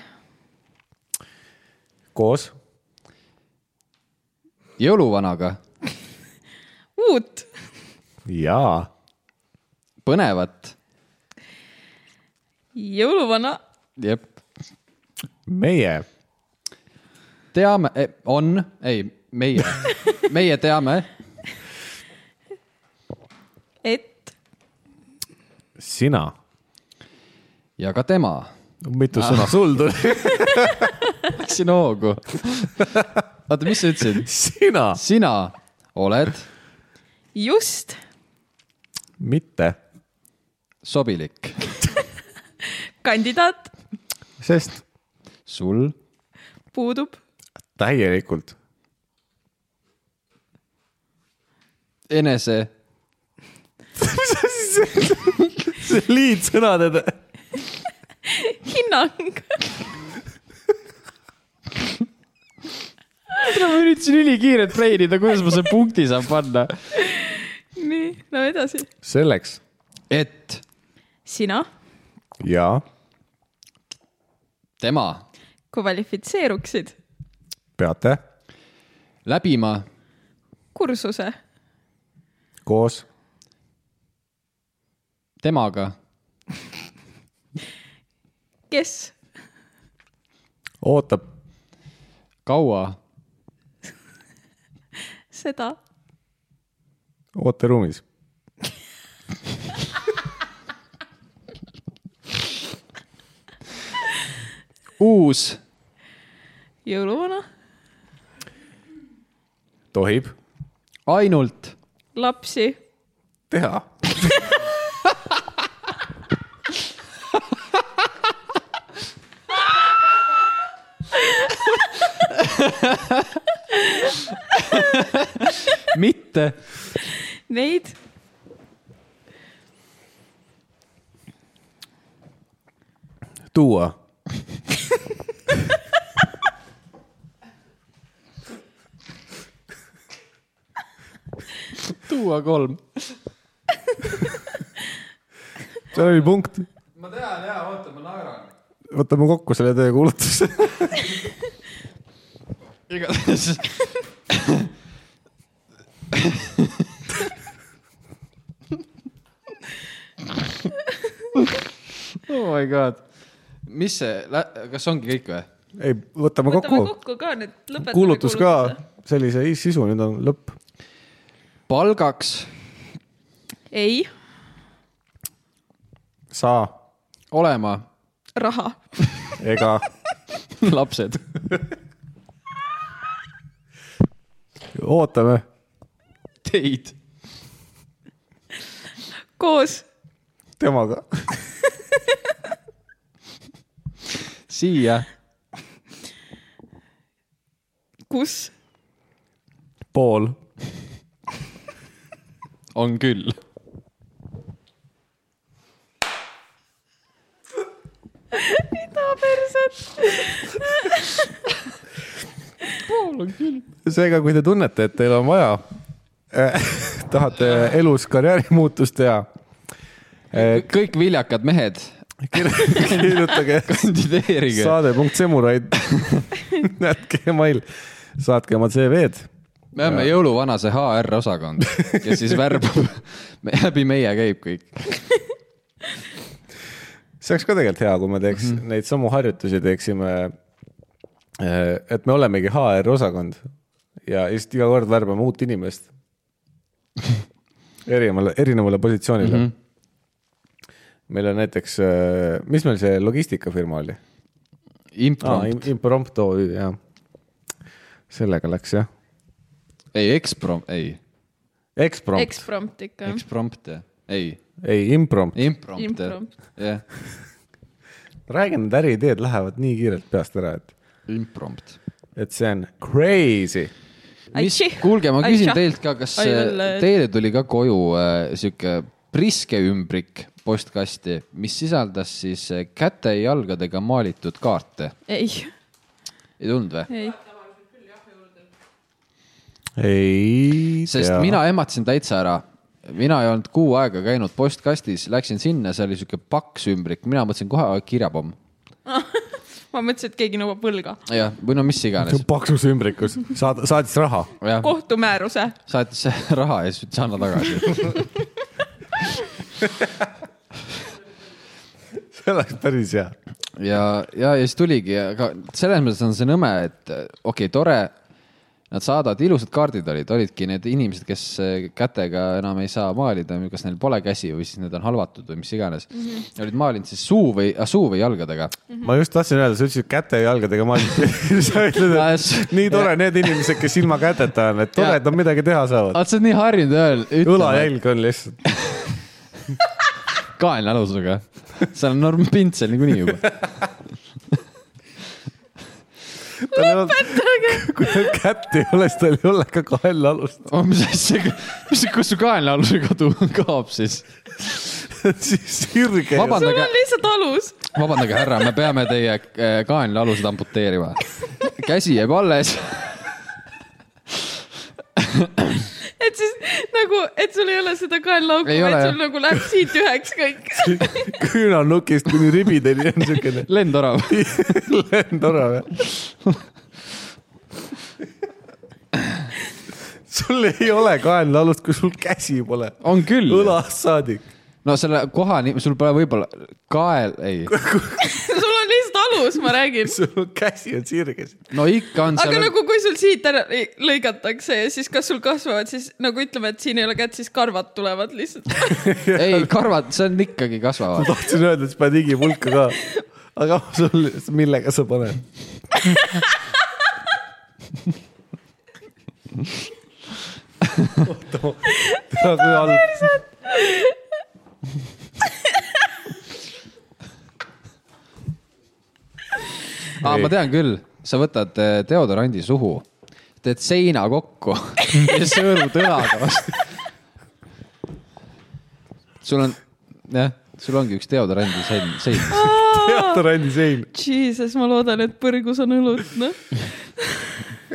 [SPEAKER 3] koos
[SPEAKER 2] jõuluvanaga ,
[SPEAKER 1] uut .
[SPEAKER 3] jaa ,
[SPEAKER 2] põnevat ,
[SPEAKER 1] jõuluvana .
[SPEAKER 2] jep .
[SPEAKER 3] meie
[SPEAKER 2] teame , on , ei , meie , meie teame ,
[SPEAKER 1] et
[SPEAKER 3] sina .
[SPEAKER 2] ja ka tema .
[SPEAKER 3] mitu sõna sul tuli ?
[SPEAKER 2] Läksin hoogu . oota , mis sa ütlesid ?
[SPEAKER 3] [laughs] sina .
[SPEAKER 2] sina oled
[SPEAKER 1] just
[SPEAKER 3] mitte ,
[SPEAKER 2] sobilik ,
[SPEAKER 1] kandidaat
[SPEAKER 3] sest
[SPEAKER 2] sul
[SPEAKER 1] puudub
[SPEAKER 3] täielikult
[SPEAKER 2] enese ,
[SPEAKER 3] see [laughs] liitsõnade ,
[SPEAKER 1] hinnang . [laughs]
[SPEAKER 2] ma üritasin ülikiirelt treenida , kuidas ma selle punkti saan panna .
[SPEAKER 1] nii , no edasi .
[SPEAKER 3] selleks
[SPEAKER 2] et
[SPEAKER 1] sina
[SPEAKER 3] ja
[SPEAKER 2] tema
[SPEAKER 1] kvalifitseeruksid
[SPEAKER 3] peate
[SPEAKER 2] läbima
[SPEAKER 1] kursuse
[SPEAKER 3] koos
[SPEAKER 2] temaga
[SPEAKER 1] kes
[SPEAKER 3] ootab
[SPEAKER 2] kaua
[SPEAKER 1] seda
[SPEAKER 3] ooteruumis .
[SPEAKER 2] uus
[SPEAKER 1] jõuluvana ,
[SPEAKER 3] tohib
[SPEAKER 2] ainult
[SPEAKER 1] lapsi ,
[SPEAKER 3] teha .
[SPEAKER 2] mitte
[SPEAKER 1] neid
[SPEAKER 3] tuua
[SPEAKER 2] tuua kolm
[SPEAKER 3] seal oli punkt ,
[SPEAKER 2] ma tean ja oota , ma naeran .
[SPEAKER 3] võtame kokku selle
[SPEAKER 2] [laughs]
[SPEAKER 3] töökuulutuse .
[SPEAKER 2] igatahes . [laughs] oh my god , mis see , kas ongi kõik või ?
[SPEAKER 3] ei , võtame
[SPEAKER 1] võtame
[SPEAKER 3] kokku ,
[SPEAKER 1] kokku ka nüüd , lõpetame
[SPEAKER 3] kuulutus ka , sellise sisu , nüüd on lõpp .
[SPEAKER 2] palgaks
[SPEAKER 1] ei ,
[SPEAKER 3] saa
[SPEAKER 2] olema
[SPEAKER 1] raha .
[SPEAKER 2] [laughs]
[SPEAKER 3] ega
[SPEAKER 2] lapsed .
[SPEAKER 3] ootame
[SPEAKER 2] Teid .
[SPEAKER 1] koos
[SPEAKER 3] temaga .
[SPEAKER 2] siia .
[SPEAKER 1] kus
[SPEAKER 3] pool
[SPEAKER 2] on küll .
[SPEAKER 3] seega , kui te tunnete , et teil on vaja eh, , [laughs] tahate elus karjäärimuutust teha ,
[SPEAKER 2] kõik viljakad mehed ,
[SPEAKER 3] [laughs] kirjutage
[SPEAKER 2] kandideerige .
[SPEAKER 3] [laughs] saade.semuraid gmail , saatke oma CV-d .
[SPEAKER 2] me oleme jõuluvanase HR osakond , kes siis värbab , [laughs] läbi meie käib kõik .
[SPEAKER 3] see oleks ka tegelikult hea , kui me teeks mm -hmm. neid samu harjutusi teeksime . et me olemegi HR osakond ja just iga kord värbame uut [laughs] inimest . erinevale , erinevale positsioonile mm . -hmm. meil on näiteks , mis meil see logistikafirma oli ? ah, . Imprompt OÜ , jah . sellega läks jah .
[SPEAKER 2] ei , Exprom- , ei ,
[SPEAKER 3] Eksprompt ,
[SPEAKER 1] eksprompt ikka .
[SPEAKER 2] Exprompt , ei ,
[SPEAKER 3] ei Imprompt .
[SPEAKER 2] Imprompt ,
[SPEAKER 1] Imprompt.
[SPEAKER 2] jah ,
[SPEAKER 3] räägin , need äriideed lähevad nii kiirelt peast ära , et ,
[SPEAKER 2] Imprompt .
[SPEAKER 3] et see on crazy .
[SPEAKER 2] mis
[SPEAKER 1] Aitši. ,
[SPEAKER 2] kuulge , ma küsin
[SPEAKER 1] Aitšah.
[SPEAKER 2] teilt ka , kas äh,
[SPEAKER 1] Ai, jälle.
[SPEAKER 2] teile tuli ka koju äh, sihuke priske ümbrik postkasti , mis sisaldas siis äh, käte ja jalgadega maalitud kaarte ?
[SPEAKER 1] ei ,
[SPEAKER 2] ei tulnud või ?
[SPEAKER 1] ei ,
[SPEAKER 3] ei
[SPEAKER 2] sest ja. mina ehmatasin täitsa ära . mina ei olnud kuu aega käinud postkastis , läksin sinna , see oli sihuke paks ümbrik , mina mõtlesin kohe "Oi, kirjapomm .
[SPEAKER 1] ma mõtlesin , et keegi nõuab võlga .
[SPEAKER 2] jah , või no mis
[SPEAKER 3] see
[SPEAKER 2] iganes
[SPEAKER 3] on . paksus ümbrikus , saad , saatis raha .
[SPEAKER 2] jah ,
[SPEAKER 1] kohtumääruse ,
[SPEAKER 2] saatis raha ja siis ütles anna tagasi .
[SPEAKER 3] see oleks päris hea .
[SPEAKER 2] ja , ja , ja siis tuligi , aga selles mõttes on see nõme , et okei okay, , tore . Nad saadavad , ilusad kaardid olid , olidki need inimesed , kes eh, kätega enam ei saa maalida , kas neil pole käsi või siis need on halvatud või mis iganes mm . -hmm. olid maalinud siis suu või , suu või jalgadega .
[SPEAKER 3] ma just tahtsin öelda , sa ütlesid käte ja jalgadega maalis . [laughs] sa ütled ,
[SPEAKER 2] Ah,
[SPEAKER 3] et nii tore , need inimesed , kes ilma käteta on , et tore , et nad midagi teha saavad .
[SPEAKER 2] oled ah, sa nii harjunud öel ütlema , et
[SPEAKER 3] õlajälg on lihtsalt .
[SPEAKER 2] kaelne alusega . seal on norm pintsel niikuinii juba .
[SPEAKER 3] lõpetage . kui tal kätt ei ole , siis tal ei ole ka kael [laughs] alust .
[SPEAKER 2] Oh, mis asja , mis , kus su kaelne aluse kadu kaob siis ?
[SPEAKER 3] siis sirge . [laughs]
[SPEAKER 1] sul
[SPEAKER 2] vabandage
[SPEAKER 1] on , lihtsalt alus .
[SPEAKER 2] vabandage härra , me peame teie eh, kaelne alused amputeerima . käsi jääb alles .
[SPEAKER 1] et siis nagu , et sul ei ole seda kaelauku ,
[SPEAKER 2] Ei ole,
[SPEAKER 1] vaid
[SPEAKER 2] jah.
[SPEAKER 1] sul nagu läheb siit üheks kõik . [laughs]
[SPEAKER 3] küünalnukist kuni ribideni on siukene
[SPEAKER 2] lendorav .
[SPEAKER 3] lendorav jah . [laughs] sul ei ole kaenlaalust , kui sul käsi pole .
[SPEAKER 2] on küll .
[SPEAKER 3] õlast saadik .
[SPEAKER 2] no selle koha , sul pole võib-olla kael , ei .
[SPEAKER 1] sul on lihtsalt alus , ma räägin .
[SPEAKER 3] sul käsi on sirges .
[SPEAKER 2] no ikka on
[SPEAKER 1] aga
[SPEAKER 2] seal .
[SPEAKER 1] nagu , kui sul siit ära lõi- lõigatakse ja siis kas sul kasvavad siis nagu ütleme , et siin ei ole kätt , siis karvad tulevad lihtsalt .
[SPEAKER 2] ei , karvad , see on ikkagi
[SPEAKER 3] ma
[SPEAKER 2] kasvavad .
[SPEAKER 3] tahtsin öelda , et sa paned igipulka ka . aga sul , millega sa paned ? oota , kui halb .
[SPEAKER 2] aa , ma tean küll , sa võtad eh, deodorandi suhu , teed seina kokku [laughs] ja sõõrud õlaga vastu . sul on , jah , sul ongi üks deodorandi sein , sein .
[SPEAKER 3] teatrandi sein .
[SPEAKER 1] [laughs] Jesus , ma loodan , et põrgus on õlut , noh .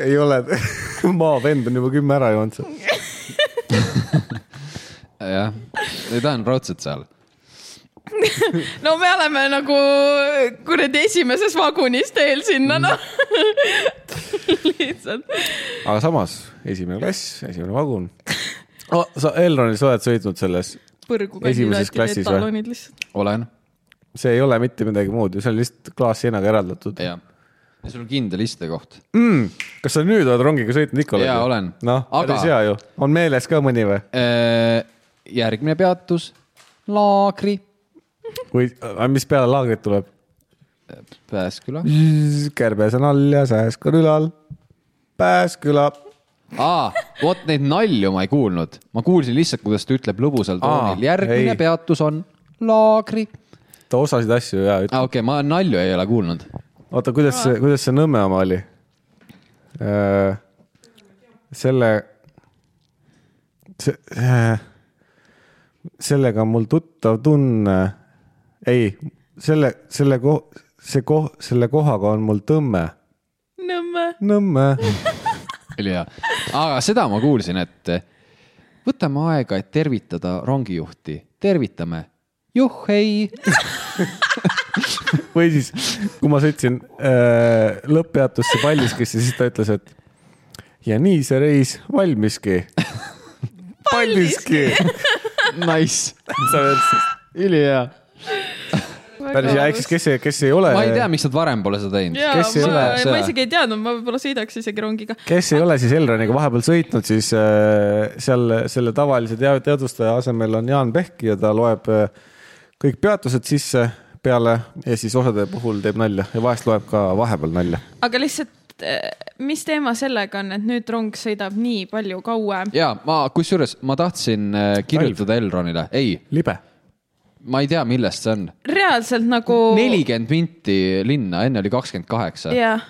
[SPEAKER 3] ei ole , maavend on juba kümme ära joonud seal .
[SPEAKER 2] jah , ta on raudselt seal .
[SPEAKER 1] no me oleme nagu kuradi esimeses vagunis teel sinna , noh . [laughs] lihtsalt .
[SPEAKER 3] aga samas esimene klass , esimene vagun oh, . sa Elronis oled sõitnud selles ,
[SPEAKER 1] põrgu
[SPEAKER 3] Esimeses
[SPEAKER 1] kandidaatide
[SPEAKER 3] klassis või?
[SPEAKER 1] etalonid lihtsalt .
[SPEAKER 2] olen ,
[SPEAKER 3] see ei ole mitte midagi muud ju , see on lihtsalt klaasseinaga eraldatud .
[SPEAKER 2] jah . ja sul on kindel istekoht .
[SPEAKER 3] kas sa nüüd oled rongiga sõitnud ikka
[SPEAKER 2] Jaa, olen.
[SPEAKER 3] noh ,
[SPEAKER 2] Aga-
[SPEAKER 3] päris hea ju , on meeles ka mõni või ?
[SPEAKER 2] järgmine Eh, peatus , laagri .
[SPEAKER 3] või , mis peale äh, laagrit tuleb ?
[SPEAKER 2] Pääsküla .
[SPEAKER 3] kärbes on all ja sääsk on ülal . Pääsküla .
[SPEAKER 2] aa , vot neid nalju ma ei kuulnud , ma kuulsin lihtsalt , kuidas ta ütleb lõbusal
[SPEAKER 3] Aa,
[SPEAKER 2] toonil , järgmine
[SPEAKER 3] ei.
[SPEAKER 2] ei. peatus on laagri .
[SPEAKER 3] ta osasid asju ja üt-
[SPEAKER 2] aa , okei okay, , ma nalju ei ole kuulnud .
[SPEAKER 3] oota , kuidas see , kuidas see Nõmme oma oli ? selle , see , sellega on mul tuttav tunne . ei , selle , selle ko- , see ko- , selle kohaga on mul tõmme .
[SPEAKER 1] Nõmme .
[SPEAKER 3] Nõmme .
[SPEAKER 2] oli hea , aga seda ma kuulsin , et võtame aega , et tervitada rongijuhti , tervitame . juhhei ,
[SPEAKER 3] või siis , kui ma sõitsin äh, lõpppeatusse Paldiskisse , siis ta ütles , et ja nii see reis valmiski . Paldiski .
[SPEAKER 2] nice ,
[SPEAKER 3] sa veel
[SPEAKER 2] ülihea .
[SPEAKER 3] päris hea , eks kes , kes ei ole ,
[SPEAKER 2] ma ei tea , miks nad varem pole seda teinud .
[SPEAKER 1] jaa ,
[SPEAKER 3] kes ei
[SPEAKER 1] ma
[SPEAKER 3] ole- ,
[SPEAKER 1] ma isegi ei teadnud , ma võib-olla sõidaks isegi rongiga .
[SPEAKER 3] kes ei ole siis Elroniga vahepeal sõitnud , siis äh, seal selle tavalise tea- teadvustaja asemel on Jaan Pehki ja ta loeb äh, kõik peatused sisse peale ja siis osade puhul teeb nalja ja vahest loeb ka vahepeal nalja .
[SPEAKER 1] aga lihtsalt , mis teema sellega on , et nüüd rong sõidab nii palju kauem ?
[SPEAKER 2] ja ma , kusjuures ma tahtsin äh, kirjutada Elronile , ei ,
[SPEAKER 3] libe .
[SPEAKER 2] ma ei tea , millest see on .
[SPEAKER 1] reaalselt nagu .
[SPEAKER 2] nelikümmend minti linna , enne oli kakskümmend kaheksa .
[SPEAKER 1] jah ,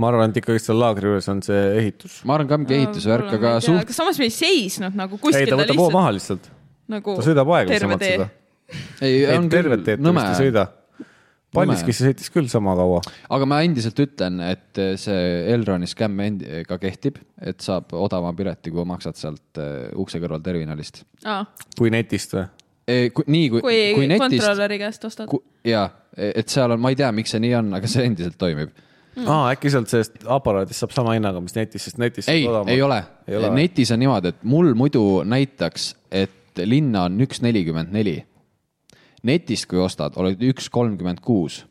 [SPEAKER 3] ma arvan , et ikkagi seal laagri juures on see ehitus .
[SPEAKER 2] ma arvan ka mingi ehitusvärk , aga suht- ,
[SPEAKER 1] aga samas me ei seisnud nagu
[SPEAKER 3] ei ,
[SPEAKER 1] kuskil ,
[SPEAKER 3] ta võtab hoo maha lihtsalt ,
[SPEAKER 1] nagu .
[SPEAKER 3] ta sõidab aeglasemalt seda ..
[SPEAKER 2] ei ,
[SPEAKER 3] ei
[SPEAKER 2] on ,
[SPEAKER 3] tervet
[SPEAKER 2] küll
[SPEAKER 3] teed ta
[SPEAKER 2] nõme
[SPEAKER 3] vist ei , sõida . Paldiskisse sõitis küll sama kaua .
[SPEAKER 2] aga ma endiselt ütlen , et see Elroni skämm end- ka kehtib , et saab odavama pileti , kui maksad sealt äh, ukse kõrval terminalist .
[SPEAKER 3] kui netist või ?
[SPEAKER 2] nii kui ,
[SPEAKER 1] kui,
[SPEAKER 2] kui
[SPEAKER 1] kui
[SPEAKER 2] netist ,
[SPEAKER 1] kontrolöri käest ostad .
[SPEAKER 2] jaa , et seal on , ma ei tea , miks see nii on , aga see endiselt toimib .
[SPEAKER 3] Mm. aa , äkki sealt sellest aparaadist saab sama hinnaga , mis netis , sest netis .
[SPEAKER 2] ei , ei ole
[SPEAKER 3] Ei ole. ,
[SPEAKER 2] netis on niimoodi , et mul muidu näitaks , et linna on üks nelikümmend neli . netist , kui ostad , oled üks kolmkümmend kuus .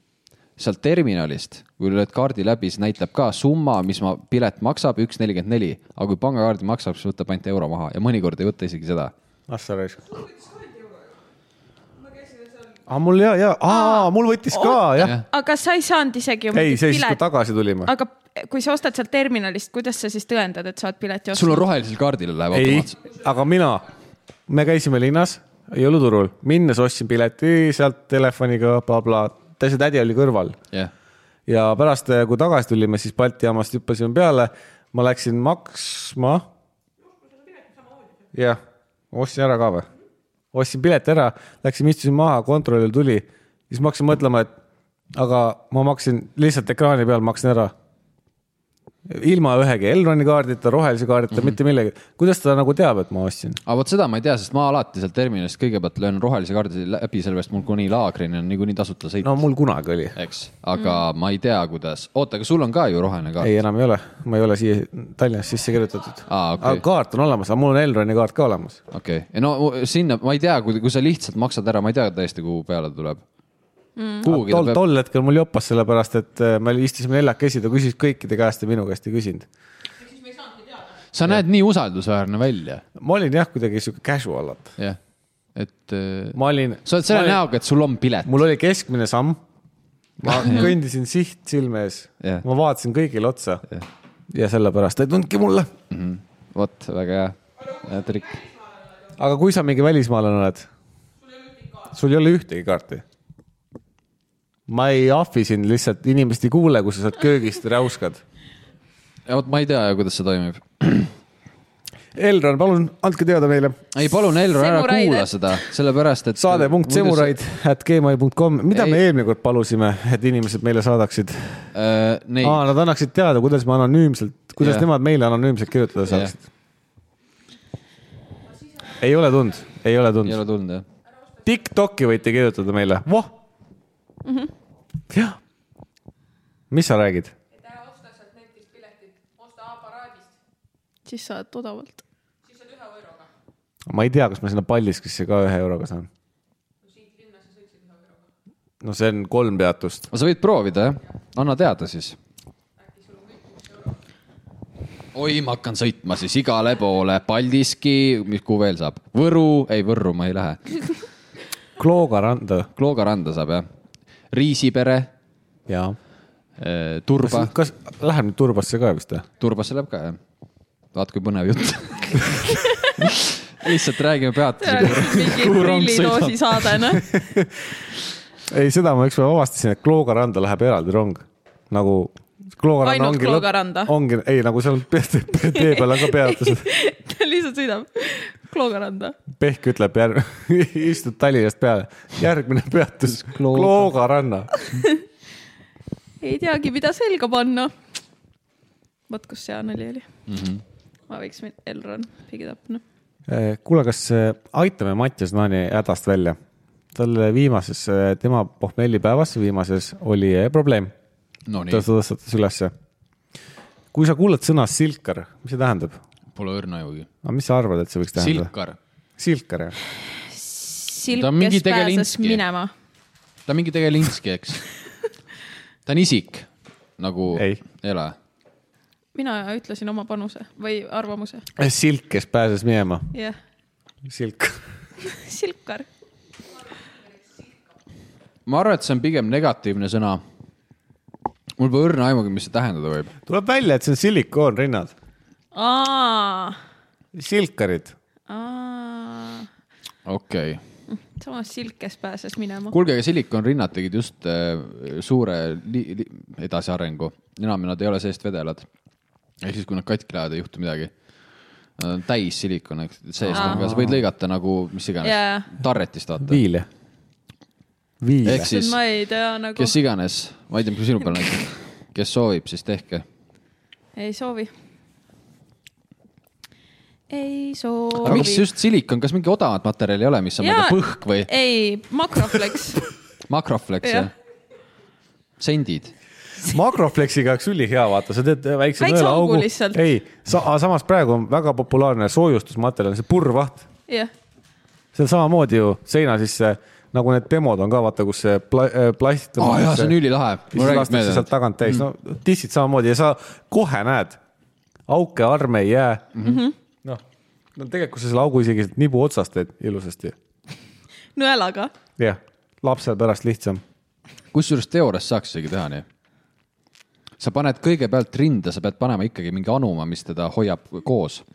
[SPEAKER 2] sealt terminalist , kui lööd kaardi läbi , siis näitab ka summa , mis ma , pilet maksab , üks nelikümmend neli , aga kui pangakaardi maksab , siis võtab ainult euro maha ja mõnikord ei võta isegi seda .
[SPEAKER 3] ah sa raisk . aa , mul ja , ja , aa , mul võttis ka jah .
[SPEAKER 1] aga sa ei saanud isegi .
[SPEAKER 3] ei , see siis , kui tagasi tulime .
[SPEAKER 1] aga kui sa ostad sealt terminalist , kuidas sa siis tõendad , et sa oled pileti
[SPEAKER 2] sul
[SPEAKER 1] ostnud ?
[SPEAKER 2] on rohelisel kaardil läheb
[SPEAKER 3] ei
[SPEAKER 2] automaatselt .,
[SPEAKER 3] aga mina , me käisime linnas , jõuluturul , minnes ostsin pileti sealt telefoniga blablabla , täitsa tädi oli kõrval
[SPEAKER 2] jah ,
[SPEAKER 3] ja pärast , kui tagasi tulime , siis Balti jaamast hüppasime peale , ma läksin maksma . jah , ostsin ära ka või ? ostsin pileti ära , läksime istusime maha , kontrollöör tuli , siis ma hakkasin mõtlema , et aga ma maksin lihtsalt ekraani peal maksin ära . ilma ühegi Elroni kaardita , rohelise kaardita mm , -hmm. mitte millegi , kuidas ta nagu teab , et ma ostsin ?
[SPEAKER 2] aga vot seda ma ei tea , sest ma alati sealt terminalist kõigepealt löön rohelise kaardi läbi , sellepärast mul kuni laagrini on niikuinii tasuta sõit .
[SPEAKER 3] no mul kunagi oli ,
[SPEAKER 2] eks , aga mm. ma ei tea , kuidas , oota , aga sul on ka ju roheline kaart ?
[SPEAKER 3] ei enam ei ole , ma ei ole siia Tallinnas sisse kirjutatud .
[SPEAKER 2] Aa, okei.
[SPEAKER 3] aga kaart on olemas , aga mul on Elroni kaart ka olemas .
[SPEAKER 2] okei okay. , no sinna ma ei tea , kui , kui sa lihtsalt maksad ära , ma ei tea täiesti , kuhu peale ta tuleb mm. . kuhugi ta
[SPEAKER 3] tol ,
[SPEAKER 2] peab ,
[SPEAKER 3] tol hetkel mul jopas , sellepärast et äh, me istusime neljakesi , ta küsis kõikide käest ja minu käest ei küsinud .
[SPEAKER 2] sa näed nii usaldusväärne välja ,
[SPEAKER 3] ma olin jah , kuidagi sihuke casual , et
[SPEAKER 2] jah , et äh,
[SPEAKER 3] ma olin .
[SPEAKER 2] sa oled selle näoga , et sul on pilet .
[SPEAKER 3] mul oli keskmine samm .
[SPEAKER 2] [laughs]
[SPEAKER 3] ma kõndisin siht silme ees
[SPEAKER 2] Jah.
[SPEAKER 3] ma vaatasin kõigile otsa ja, ja sellepärast ei tundki mulle .
[SPEAKER 2] vot , väga hea, hea trikk .
[SPEAKER 3] aga kui sa mingi välismaalane oled ? sul ei ole ühtegi kaarti ? ma ei ahvi sind lihtsalt , inimesed ei kuule , kui sa sealt köögist räuskad .
[SPEAKER 2] vot ma ei tea , kuidas see toimib .
[SPEAKER 3] Elron , palun andke teada meile
[SPEAKER 2] ei , palun , Elron , ära
[SPEAKER 1] Semuraid,
[SPEAKER 2] kuula
[SPEAKER 1] et-
[SPEAKER 2] seda , sellepärast et .
[SPEAKER 3] saade punkt semuraid at gmail.com , mida ei. me
[SPEAKER 2] Ei.
[SPEAKER 3] eelmine kord palusime , et inimesed meile saadaksid ?
[SPEAKER 2] äh, . Neid
[SPEAKER 3] aa , nad annaksid teada , kuidas me anonüümselt , kuidas
[SPEAKER 2] Jah.
[SPEAKER 3] yeah. nemad meile anonüümselt kirjutada
[SPEAKER 2] Jah.
[SPEAKER 3] saaksid yeah. . ei ole tulnud , ei ole
[SPEAKER 2] ei ole
[SPEAKER 3] tulnud .
[SPEAKER 2] tulnud , jah ?
[SPEAKER 3] Tiktoki võite kirjutada meile , voh mm . -hmm. jah . mis sa räägid ?
[SPEAKER 1] siis saad
[SPEAKER 2] [laughs]
[SPEAKER 1] odavalt .
[SPEAKER 3] ma ei tea , kas ma sinna Paldiskisse ka ühe euroga saan . no see on kolm peatust .
[SPEAKER 2] no sa võid proovida jah , anna teada siis . oi , ma hakkan sõitma siis igale poole , Paldiski , mis , kuhu veel saab , Võru , ei Võrru ma ei lähe ,
[SPEAKER 3] Klooga randa
[SPEAKER 2] Klooga randa saab jah . riisipere ,
[SPEAKER 3] jaa .
[SPEAKER 2] turba ,
[SPEAKER 3] kas läheb nüüd turbasse ka vist või ?
[SPEAKER 2] turbasse läheb ka jah . vaat kui põnev jutt . lihtsalt räägime peatusega .
[SPEAKER 1] mingi
[SPEAKER 2] Kuhu rong
[SPEAKER 1] prillidoosi saade ,
[SPEAKER 2] [laughs]
[SPEAKER 1] noh .
[SPEAKER 3] ei , seda ma ükspäev avastasin , et Klooga randa läheb eraldi rong nagu .
[SPEAKER 1] Ainult Klooga randa?
[SPEAKER 3] ongi , ei nagu seal pe- te- pe- tee peal on ka peatused .
[SPEAKER 1] ta lihtsalt sõidab Kloogaranda .
[SPEAKER 3] Pehk ütleb järg- , [laughs] istud Tallinnast peale , järgmine peatus
[SPEAKER 2] Klooga.
[SPEAKER 3] Klooga ranna .
[SPEAKER 1] ei teagi , mida selga panna . vot kus see Anneli oli .
[SPEAKER 2] Mhm.
[SPEAKER 1] ma võiks minna , Elron , Big It Up , noh .
[SPEAKER 3] kuule , kas äh, aitame Mattias Naani hädast välja ? tal viimases , tema pohmellipäevas viimases oli äh, probleem ta
[SPEAKER 2] Nonii ,
[SPEAKER 3] tõstatas ülesse . kui sa kuuled sõna silkar , mis see tähendab ?
[SPEAKER 2] pole õrna ajugi .
[SPEAKER 3] aga mis sa arvad , et see võiks tähendada ?
[SPEAKER 2] Silkar ,
[SPEAKER 3] silkar , jah .
[SPEAKER 1] Silk ,
[SPEAKER 2] Ta on mingi
[SPEAKER 1] kes pääses
[SPEAKER 2] tegelinski.
[SPEAKER 1] minema .
[SPEAKER 2] ta on mingi tegelinski , eks . ta on isik nagu
[SPEAKER 3] Ei.
[SPEAKER 2] ela .
[SPEAKER 1] mina ütlesin oma panuse või arvamuse ,
[SPEAKER 3] silk , kes pääses minema .
[SPEAKER 1] jah .
[SPEAKER 3] silk .
[SPEAKER 1] Silkar .
[SPEAKER 2] ma arvan , et see on pigem negatiivne sõna . mul pole õrna aimugi , mis see tähendada võib .
[SPEAKER 3] tuleb välja , et see on silikoonrinnad .
[SPEAKER 1] aa ,
[SPEAKER 3] silkarid .
[SPEAKER 1] aa ,
[SPEAKER 2] okei okay. .
[SPEAKER 1] samas Silk , kes pääses minema .
[SPEAKER 2] kuulge , aga Silicon rinnad tegid just äh, suure li- li- edasiarengu , enam nad ei ole seest vedelad . ehk siis , kui nad katki lähevad , ei juhtu midagi . Nad on täis silikon , eks , seest on ka , sa võid lõigata nagu mis iganes
[SPEAKER 1] Jaa.
[SPEAKER 2] yeah. tarretist vaata .
[SPEAKER 3] viile . viile
[SPEAKER 2] ehk . siis
[SPEAKER 1] ma ei tea nagu
[SPEAKER 2] kes , iganes , ma ei tea , mis sinu peal on , kes soovib , siis tehke .
[SPEAKER 1] ei soovi . ei soovi .
[SPEAKER 2] aga miks just silikon , kas mingi odavat materjali ei ole , mis on
[SPEAKER 1] Jaa.
[SPEAKER 2] yeah. põhk või
[SPEAKER 1] ei ,
[SPEAKER 2] [laughs]
[SPEAKER 1] makroflex
[SPEAKER 2] makroflex
[SPEAKER 1] Jah.
[SPEAKER 2] yeah. ja sendid ?
[SPEAKER 3] makroflexiga oleks ülihea , vaata , sa teed eh, väikse
[SPEAKER 1] Väikse
[SPEAKER 3] nõelaaugu
[SPEAKER 1] augu lihtsalt. .
[SPEAKER 3] ei , samas praegu on väga populaarne soojustusmaterjal , see purrvaht
[SPEAKER 1] jah ,
[SPEAKER 3] see on samamoodi ju seina sisse , nagu need demod on ka vaata , kus see pla- , plast .
[SPEAKER 2] aa jaa , see on ülilahe .
[SPEAKER 3] ja siis lastakse sealt tagant täis , no
[SPEAKER 2] Mhm.
[SPEAKER 3] tissid samamoodi ja sa kohe näed , auke arme ei jää
[SPEAKER 2] Mhm.
[SPEAKER 3] mm . -hmm. noh , no tegelikult sa selle augu isegi sealt nibu otsast teed ilusasti ,
[SPEAKER 1] nõelaga .
[SPEAKER 3] jah , lapsel pärast lihtsam .
[SPEAKER 2] kusjuures teoorias saaks isegi teha nii . sa paned kõigepealt rinda , sa pead panema ikkagi mingi anuma , mis teda hoiab koos .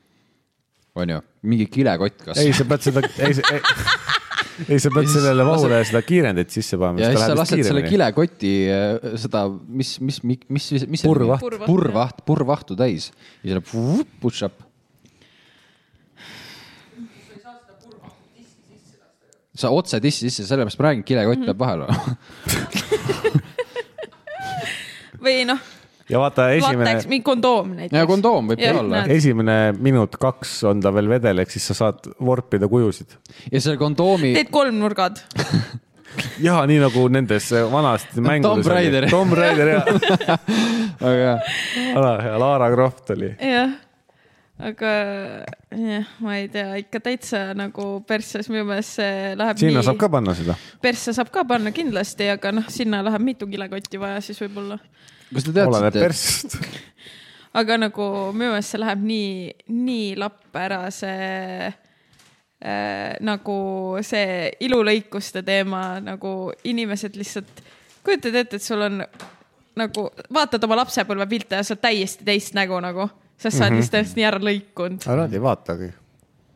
[SPEAKER 2] onju , mingi kilekott kas .
[SPEAKER 3] ei , sa pead seda , ei ,
[SPEAKER 2] [laughs]
[SPEAKER 3] ei sa pead
[SPEAKER 2] siis
[SPEAKER 3] sellele
[SPEAKER 2] lased-
[SPEAKER 3] vahule seda kiirendit sisse panema .
[SPEAKER 2] ja siis sa lased selle . kilekoti äh, seda , mis , mis , mis , mis , mis .
[SPEAKER 3] Purrvaht.
[SPEAKER 1] Purrvaht,
[SPEAKER 2] purrvaht , purrvahtu täis ja siis läheb push up . sa otse tissi sisse , sellepärast ma räägin ,
[SPEAKER 1] Mhm.
[SPEAKER 2] kilekott peab vahel olema . [laughs]
[SPEAKER 1] või noh ,
[SPEAKER 3] ja vaata esimene
[SPEAKER 1] lateks , mingi kondoom näiteks .
[SPEAKER 2] ja kondoom võib
[SPEAKER 1] Jah,
[SPEAKER 2] ka olla
[SPEAKER 1] näed. .
[SPEAKER 3] esimene minut , kaks on ta veel vedel , ehk siis sa saad vorpida kujusid
[SPEAKER 2] ja selle kondoomi .
[SPEAKER 1] teed kolmnurgad .
[SPEAKER 3] ja nii nagu nendes vanasti mängudes .
[SPEAKER 2] Tomb Raider.
[SPEAKER 3] Tomb Raider
[SPEAKER 2] [laughs]
[SPEAKER 3] ja ,
[SPEAKER 2] väga hea .
[SPEAKER 3] ja Lara Croft oli .
[SPEAKER 1] jah , aga jah , ma ei tea , ikka täitsa nagu persses minu meelest see läheb
[SPEAKER 3] sinna
[SPEAKER 1] nii
[SPEAKER 3] saab ka . panna seda .
[SPEAKER 1] persse saab ka panna kindlasti , aga noh , sinna läheb mitu kilekotti vaja siis võib-olla .
[SPEAKER 2] kas te
[SPEAKER 3] oleneb
[SPEAKER 2] teadsite ,
[SPEAKER 3] persest .
[SPEAKER 1] aga nagu minu meelest see läheb nii , nii lapp ära see äh, nagu see ilulõikuste teema nagu inimesed lihtsalt , kujutad ette , et sul on nagu vaatad oma lapsepõlvepilte ja sa oled täiesti teist nägu nagu , sest
[SPEAKER 3] Mhm.
[SPEAKER 1] sa oled lihtsalt ennast nii ära lõikunud .
[SPEAKER 3] aga nad ei vaatagi .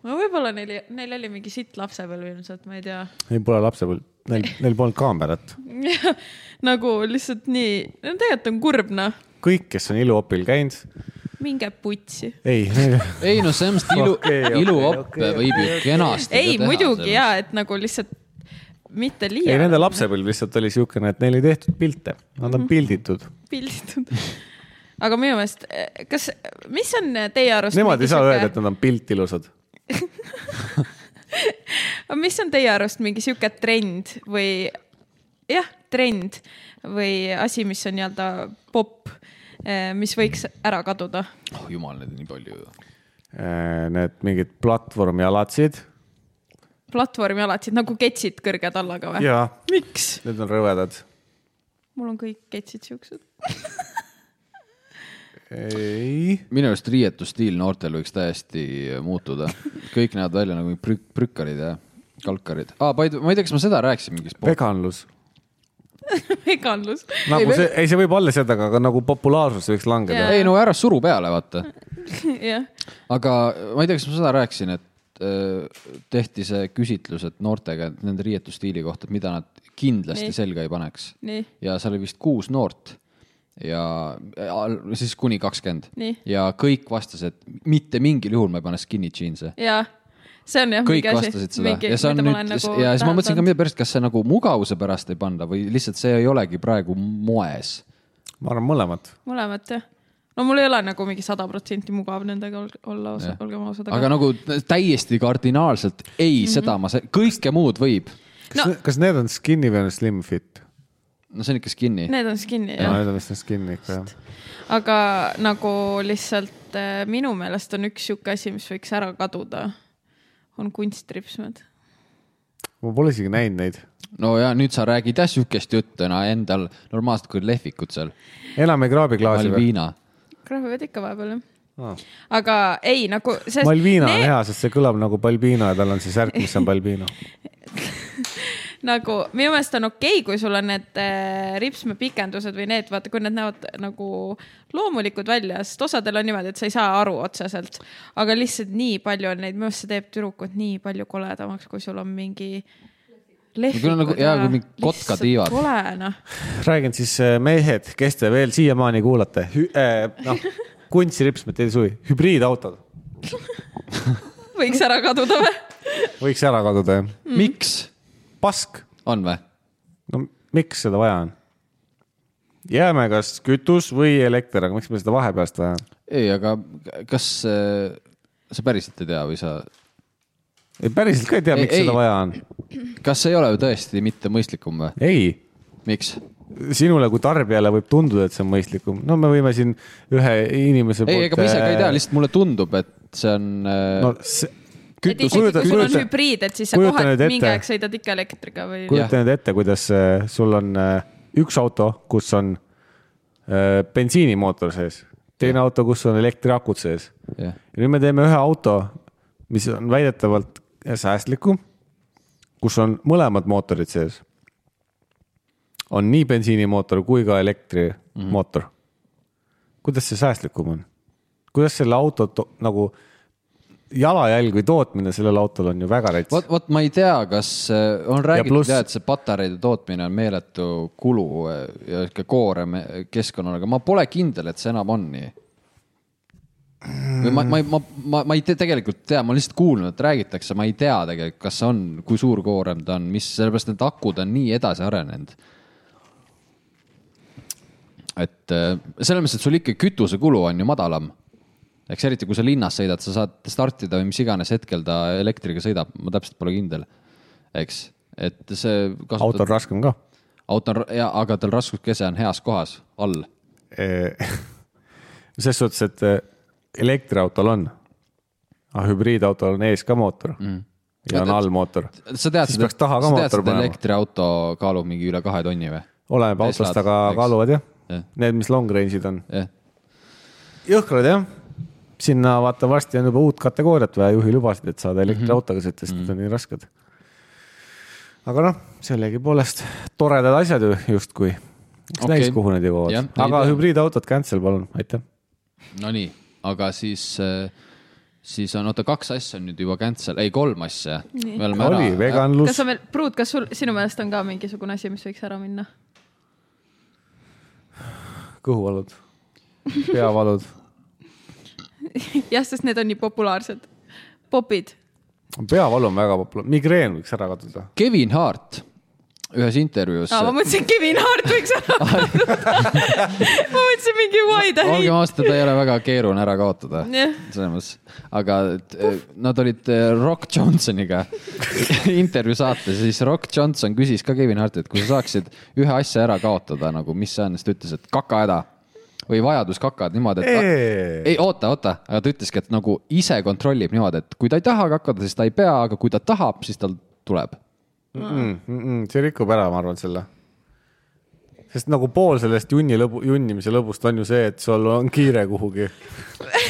[SPEAKER 1] no võib-olla neil , neil oli mingi sitt lapsepõlv ilmselt , ma ei tea
[SPEAKER 3] Neil pole lapsepõlv , neil , neil polnud kaamerat .
[SPEAKER 1] [laughs] nagu lihtsalt nii , no tegelikult on kurb noh ,
[SPEAKER 3] kõik , kes on iluopil käinud ,
[SPEAKER 1] minge putsi .
[SPEAKER 3] ei , neil ,
[SPEAKER 2] ei no see on vist ilu
[SPEAKER 3] [laughs]
[SPEAKER 2] okay, ,
[SPEAKER 3] Okei, okei,
[SPEAKER 2] iluoppe okay,
[SPEAKER 3] okei,
[SPEAKER 2] okay, võib ju kenasti
[SPEAKER 1] ei , muidugi . ja et nagu lihtsalt mitte
[SPEAKER 3] ei
[SPEAKER 1] liialt
[SPEAKER 3] nende lapsepõlv lihtsalt oli siukene , et neil ei tehtud pilte , nad
[SPEAKER 1] Mhm.
[SPEAKER 3] on pilditud .
[SPEAKER 1] pilditud . aga minu meelest , kas , mis on teie arust ?
[SPEAKER 3] Nemad ei saa öelda , et nad on piltilusad .
[SPEAKER 1] et . mis on teie arust mingi sihuke trend või jah , trend või asi , mis on nii-öelda popp , mis võiks ära kaduda ?
[SPEAKER 2] oh jumal , neid on nii palju ju .
[SPEAKER 3] Äh, Need mingid platvormialatsid .
[SPEAKER 1] platvormialatsid nagu ketsid kõrge tallaga või ?
[SPEAKER 3] jaa ,
[SPEAKER 1] miks ?
[SPEAKER 3] need on rõvedad .
[SPEAKER 1] mul on kõik ketsid siuksed . [laughs]
[SPEAKER 3] ei ,
[SPEAKER 2] minu arust riietusstiil noortel võiks täiesti muutuda . kõik näevad välja nagu mingid prük- , prükkarid ja kalkarid ah, . ma ei tea , kas ma seda rääkisin mingis .
[SPEAKER 3] veganlus .
[SPEAKER 1] veganlus .
[SPEAKER 3] nagu see , ei , see võib alles jääda , aga nagu populaarsus võiks langeda
[SPEAKER 1] Jaa. .
[SPEAKER 2] ei no ära suru peale , vaata .
[SPEAKER 1] [laughs] jah ,
[SPEAKER 2] aga ma ei tea , kas ma seda rääkisin , et öö, tehti see küsitlus , et noortega et nende riietusstiili kohta , et mida nad kindlasti
[SPEAKER 1] Nii.
[SPEAKER 2] selga ei paneks .
[SPEAKER 1] nii ,
[SPEAKER 2] ja seal oli vist kuus noort ja ja siis kuni kakskümmend
[SPEAKER 1] Nii.
[SPEAKER 2] ja kõik vastas , et mitte mingil juhul ma ei pane skinny jeans'e .
[SPEAKER 1] jaa . see on jah .
[SPEAKER 2] kõik vastasid seda mingi, ja see on nüüd nagu ja siis ma mõtlesin ka , mida pärast , kas see nagu mugavuse pärast ei panda või lihtsalt see ei olegi praegu moes .
[SPEAKER 3] ma arvan , mõlemat .
[SPEAKER 1] mõlemat jah . no mul ei ole nagu mingi sada protsenti mugav nendega ol- olla , olgem ausad .
[SPEAKER 2] aga nagu täiesti kardinaalselt ei mm , -hmm. seda ma , kõike muud võib .
[SPEAKER 3] kas
[SPEAKER 1] No-
[SPEAKER 3] no. , kas need on skinny või on slim fit ?
[SPEAKER 2] no see on ikka skinny .
[SPEAKER 1] Need on skinny
[SPEAKER 3] no
[SPEAKER 1] jah ,
[SPEAKER 3] need on vist need skinny ikka jah .
[SPEAKER 1] aga nagu lihtsalt äh, minu meelest on üks sihuke asi , mis võiks ära kaduda , on kunstripsmed .
[SPEAKER 3] ma pole isegi näinud neid .
[SPEAKER 2] no ja nüüd sa räägid jah sihukest juttu , no endal normaalselt kui lehvikud seal .
[SPEAKER 3] enam ei kraabi klaasi või ?
[SPEAKER 2] Malvina .
[SPEAKER 1] krahvivad ikka vahepeal jah ,
[SPEAKER 3] Ah.
[SPEAKER 1] aga ei nagu .
[SPEAKER 3] Malvina on hea , sest see kõlab nagu Balbino ja tal on see särk , mis on Balbino .
[SPEAKER 1] nagu minu meelest on okei okay, , kui sul on need äh, ripsmepikendused või need , vaata , kui need näevad nagu loomulikud välja , sest osadel on niimoodi , et sa ei saa aru otseselt . aga lihtsalt nii palju on neid , minu meelest see teeb tüdrukud nii palju koledamaks , kui sul on mingi .
[SPEAKER 2] küll on nagu- jaa, kui mingi kotkad viivad.
[SPEAKER 1] kole noh ,
[SPEAKER 3] räägin siis äh, mehed , kes te veel siiamaani kuulate , äh, noh , kunstirips , mitte ei suvi , hübriidautod
[SPEAKER 1] võiks ära
[SPEAKER 2] [laughs]
[SPEAKER 1] kaduda või ?
[SPEAKER 3] võiks ära kaduda jah .
[SPEAKER 2] miks ?
[SPEAKER 3] pask ,
[SPEAKER 2] on või ?
[SPEAKER 3] no miks seda vaja on ? jääme kas kütus või elekter , aga miks meil seda vahepealst vaja on ?
[SPEAKER 2] ei , aga kas äh, sa päriselt ei tea või sa ,
[SPEAKER 3] ei , päriselt ka ei tea ,
[SPEAKER 2] Ei,
[SPEAKER 3] miks
[SPEAKER 2] ei.
[SPEAKER 3] ei, seda vaja on .
[SPEAKER 2] kas see ei ole ju tõesti mitte mõistlikum või ?
[SPEAKER 3] ei ,
[SPEAKER 2] miks ?
[SPEAKER 3] sinule kui tarbijale võib tunduda , et see on mõistlikum , no me võime siin ühe inimese äh,
[SPEAKER 2] ei , ega ma ise ka ei tea , lihtsalt mulle tundub , et see on äh, no,
[SPEAKER 3] no see ,
[SPEAKER 1] et
[SPEAKER 3] Kütus-
[SPEAKER 1] isegi
[SPEAKER 3] kujuta-
[SPEAKER 1] kui sul on
[SPEAKER 3] kujuta-
[SPEAKER 1] hübriid , et siis sa
[SPEAKER 3] kujuta
[SPEAKER 1] kohe
[SPEAKER 3] nüüd ette.
[SPEAKER 1] mingi aeg sõidad ikka elektriga või
[SPEAKER 2] Kuj-
[SPEAKER 1] Kui... ?
[SPEAKER 3] kujuta nüüd ette , kuidas äh, sul on äh, üks auto , kus on äh, bensiinimootor sees , teine auto , kus on elektriakud sees
[SPEAKER 2] jah ,
[SPEAKER 3] ja nüüd me teeme ühe auto , mis on väidetavalt säästlikum , kus on mõlemad mootorid sees . on nii bensiinimootor kui ka elektrimootor mm . -hmm. kuidas see säästlikum on ? kuidas selle auto to- nagu jalajälg või tootmine sellel autol on ju väga rets .
[SPEAKER 2] vot , vot ma ei tea , kas äh, on räägitud
[SPEAKER 3] pluss-
[SPEAKER 2] pluss... jah , et see patareide tootmine on meeletu kulu äh, ja sihuke koorem äh, keskkonnale , aga ma pole kindel , et see enam on nii . või ma , ma , ma , ma , ma ei tea , tegelikult tea , ma olen lihtsalt kuulnud , et räägitakse , ma ei tea tegelikult , kas see on , kui suur koorem ta on , mis , sellepärast need akud on nii edasi arenenud . et äh, selles mõttes , et sul ikka kütusekulu on ju madalam . eks eriti , kui sa linnas sõidad , sa saad startida või mis iganes hetkel ta elektriga sõidab , ma täpselt pole kindel . eks , et see
[SPEAKER 3] auto on
[SPEAKER 2] kasutad ,
[SPEAKER 3] raskem ka .
[SPEAKER 2] auto on , jaa , aga tal raskuskese on heas kohas , all .
[SPEAKER 3] Äh, [laughs] selles suhtes , et eh, elektriautol on , aga hübriidautol on ees ka mootor mm. ja on all mootor
[SPEAKER 2] sa tead
[SPEAKER 3] Siis peaks taha ka
[SPEAKER 2] sa tead
[SPEAKER 3] mootor
[SPEAKER 2] seda
[SPEAKER 3] panema.
[SPEAKER 2] elektriauto kaalub mingi üle kahe tonni või ?
[SPEAKER 3] oleneb
[SPEAKER 2] Teslad,
[SPEAKER 3] autost , aga
[SPEAKER 2] eks.
[SPEAKER 3] kaaluvad jah
[SPEAKER 2] Jah.
[SPEAKER 3] ja. , need , mis long range'id on .
[SPEAKER 2] jah ,
[SPEAKER 3] jõhkrad jah , sinna vaata varsti on juba uut kategooriat vaja , juhilubasid , et
[SPEAKER 2] Mhm.
[SPEAKER 3] saada elektriautoga sõita , sest need on nii rasked . aga noh , sellegipoolest toredad asjad ju justkui .
[SPEAKER 2] Okei.
[SPEAKER 3] eks okay. näis , kuhu need
[SPEAKER 2] Jah,
[SPEAKER 3] jõuavad ,
[SPEAKER 2] ei
[SPEAKER 3] aga
[SPEAKER 2] tea.
[SPEAKER 3] hübriidautod cancel palun , aitäh .
[SPEAKER 2] nonii , aga siis , siis on , oota , kaks asja on nüüd juba cancel , ei kolm asja .
[SPEAKER 3] oli .
[SPEAKER 1] kas
[SPEAKER 3] veganlus
[SPEAKER 1] sa , veel , Pruut , kas sul , sinu meelest on ka mingisugune asi , mis võiks ära minna ? [laughs]
[SPEAKER 3] kõhuvalud , peavalud ,
[SPEAKER 1] jah , sest need on nii populaarsed . popid .
[SPEAKER 3] peavalu on väga populaarne , migreen võiks ära kaduda .
[SPEAKER 2] Kevin Hart ühes intervjuus
[SPEAKER 1] aa , ma mõtlesin , Kevin Hart võiks
[SPEAKER 3] [laughs]
[SPEAKER 1] ära kaotada . ma mõtlesin mingi why the
[SPEAKER 2] olgem
[SPEAKER 1] hate .
[SPEAKER 2] ausad , teda ei ole väga keeruline ära kaotada
[SPEAKER 1] Jah.
[SPEAKER 2] selles mõttes , aga et, eh, nad olid eh, Rock Johnsoniga [laughs] intervjuu saates , siis Rock Johnson küsis ka Kevin Hartilt , kui sa saaksid ühe asja ära kaotada , nagu mis see on , siis ta ütles , et kakahäda või vajadus kakad niimoodi ,
[SPEAKER 3] Ei.
[SPEAKER 2] et ei oota , oota , aga ta ütleski , et nagu ise kontrollib niimoodi , et kui ta ei taha kakada , siis ta ei pea , aga kui ta tahab , siis tal tuleb .
[SPEAKER 3] Mm, see rikub ära , ma arvan , selle . sest nagu pool sellest junni lõbu ,
[SPEAKER 2] [laughs]
[SPEAKER 3] junnimise lõbust on ju see , et sul on kiire kuhugi .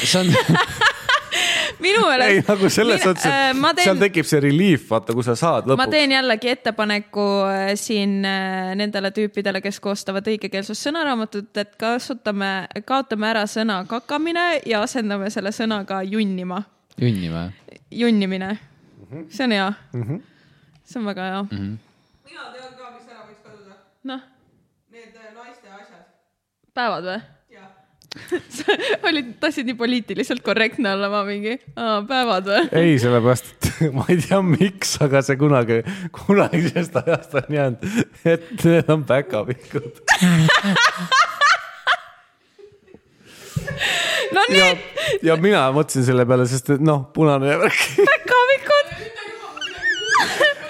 [SPEAKER 2] see on ,
[SPEAKER 1] minu meelest .
[SPEAKER 3] ei nagu selles mõttes , et
[SPEAKER 1] äh, ma
[SPEAKER 3] seal
[SPEAKER 1] teen ,
[SPEAKER 3] tekib see relief , vaata , kui sa saad
[SPEAKER 1] ma
[SPEAKER 3] lõpuks .
[SPEAKER 1] teen jällegi ettepaneku äh, siin äh, nendele tüüpidele , kes koostavad õigekeelsust sõnaraamatut , et kasutame , kaotame ära sõna kakamine ja asendame selle sõnaga junnima ,
[SPEAKER 2] junni või ?
[SPEAKER 1] junnimine . see on hea . see on väga hea .
[SPEAKER 3] Mhm.
[SPEAKER 4] mina tean ka , mis ära võiks kaduda .
[SPEAKER 1] noh ,
[SPEAKER 4] Need äh, naiste asjad .
[SPEAKER 1] päevad või ? [laughs]
[SPEAKER 4] jah .
[SPEAKER 1] sa olid , tahtsid nii poliitiliselt korrektne olla , ma mingi , päevad või ?
[SPEAKER 3] ei , sellepärast , et [laughs] ma ei tea , miks , aga see kunagi , kunagisest ajast on jäänud , et need on päkapikud .
[SPEAKER 1] no
[SPEAKER 3] ja
[SPEAKER 1] nii ,,
[SPEAKER 3] ja mina mõtlesin selle peale , sest et noh , punane värk .
[SPEAKER 1] päkavikud .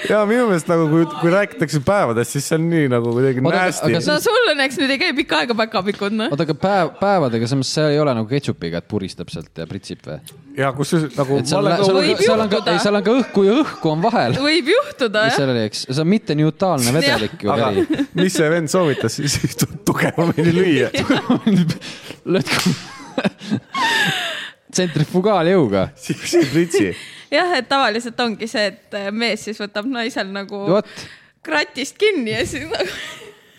[SPEAKER 3] ja minu meelest nagu , kui , kui räägitakse päevadest , siis see on nii nagu kuidagi
[SPEAKER 2] Oota, aga-
[SPEAKER 3] nasty
[SPEAKER 2] aga .
[SPEAKER 1] no sul õnneks nüüd ei käi pikka aega päkavikud , noh .
[SPEAKER 2] oota , aga päev , päevadega samas see ei ole nagu ketšupiga , et puristab sealt ja pritsib või ?
[SPEAKER 3] ja kus see nagu .
[SPEAKER 2] et seal on , seal on
[SPEAKER 1] Võib ,
[SPEAKER 2] seal on ka ,
[SPEAKER 1] juhtuda.
[SPEAKER 2] ei , seal on ka õhku ja õhku on vahel .
[SPEAKER 1] võib juhtuda ,
[SPEAKER 2] mis
[SPEAKER 1] jah .
[SPEAKER 2] seal oli , eks , see on mitteneutraalne vedelik ju
[SPEAKER 3] aga
[SPEAKER 2] käri .
[SPEAKER 3] [laughs] mis see vend soovitas , siis tuleb tugevamini lüüa . [laughs]
[SPEAKER 2] lööd [laughs] tsentrifugaaljõuga .
[SPEAKER 3] siis ei pritsi .
[SPEAKER 1] jah , et tavaliselt ongi see , et äh, mees siis võtab naisel nagu
[SPEAKER 2] vot ,
[SPEAKER 1] kratist kinni ja siis nagu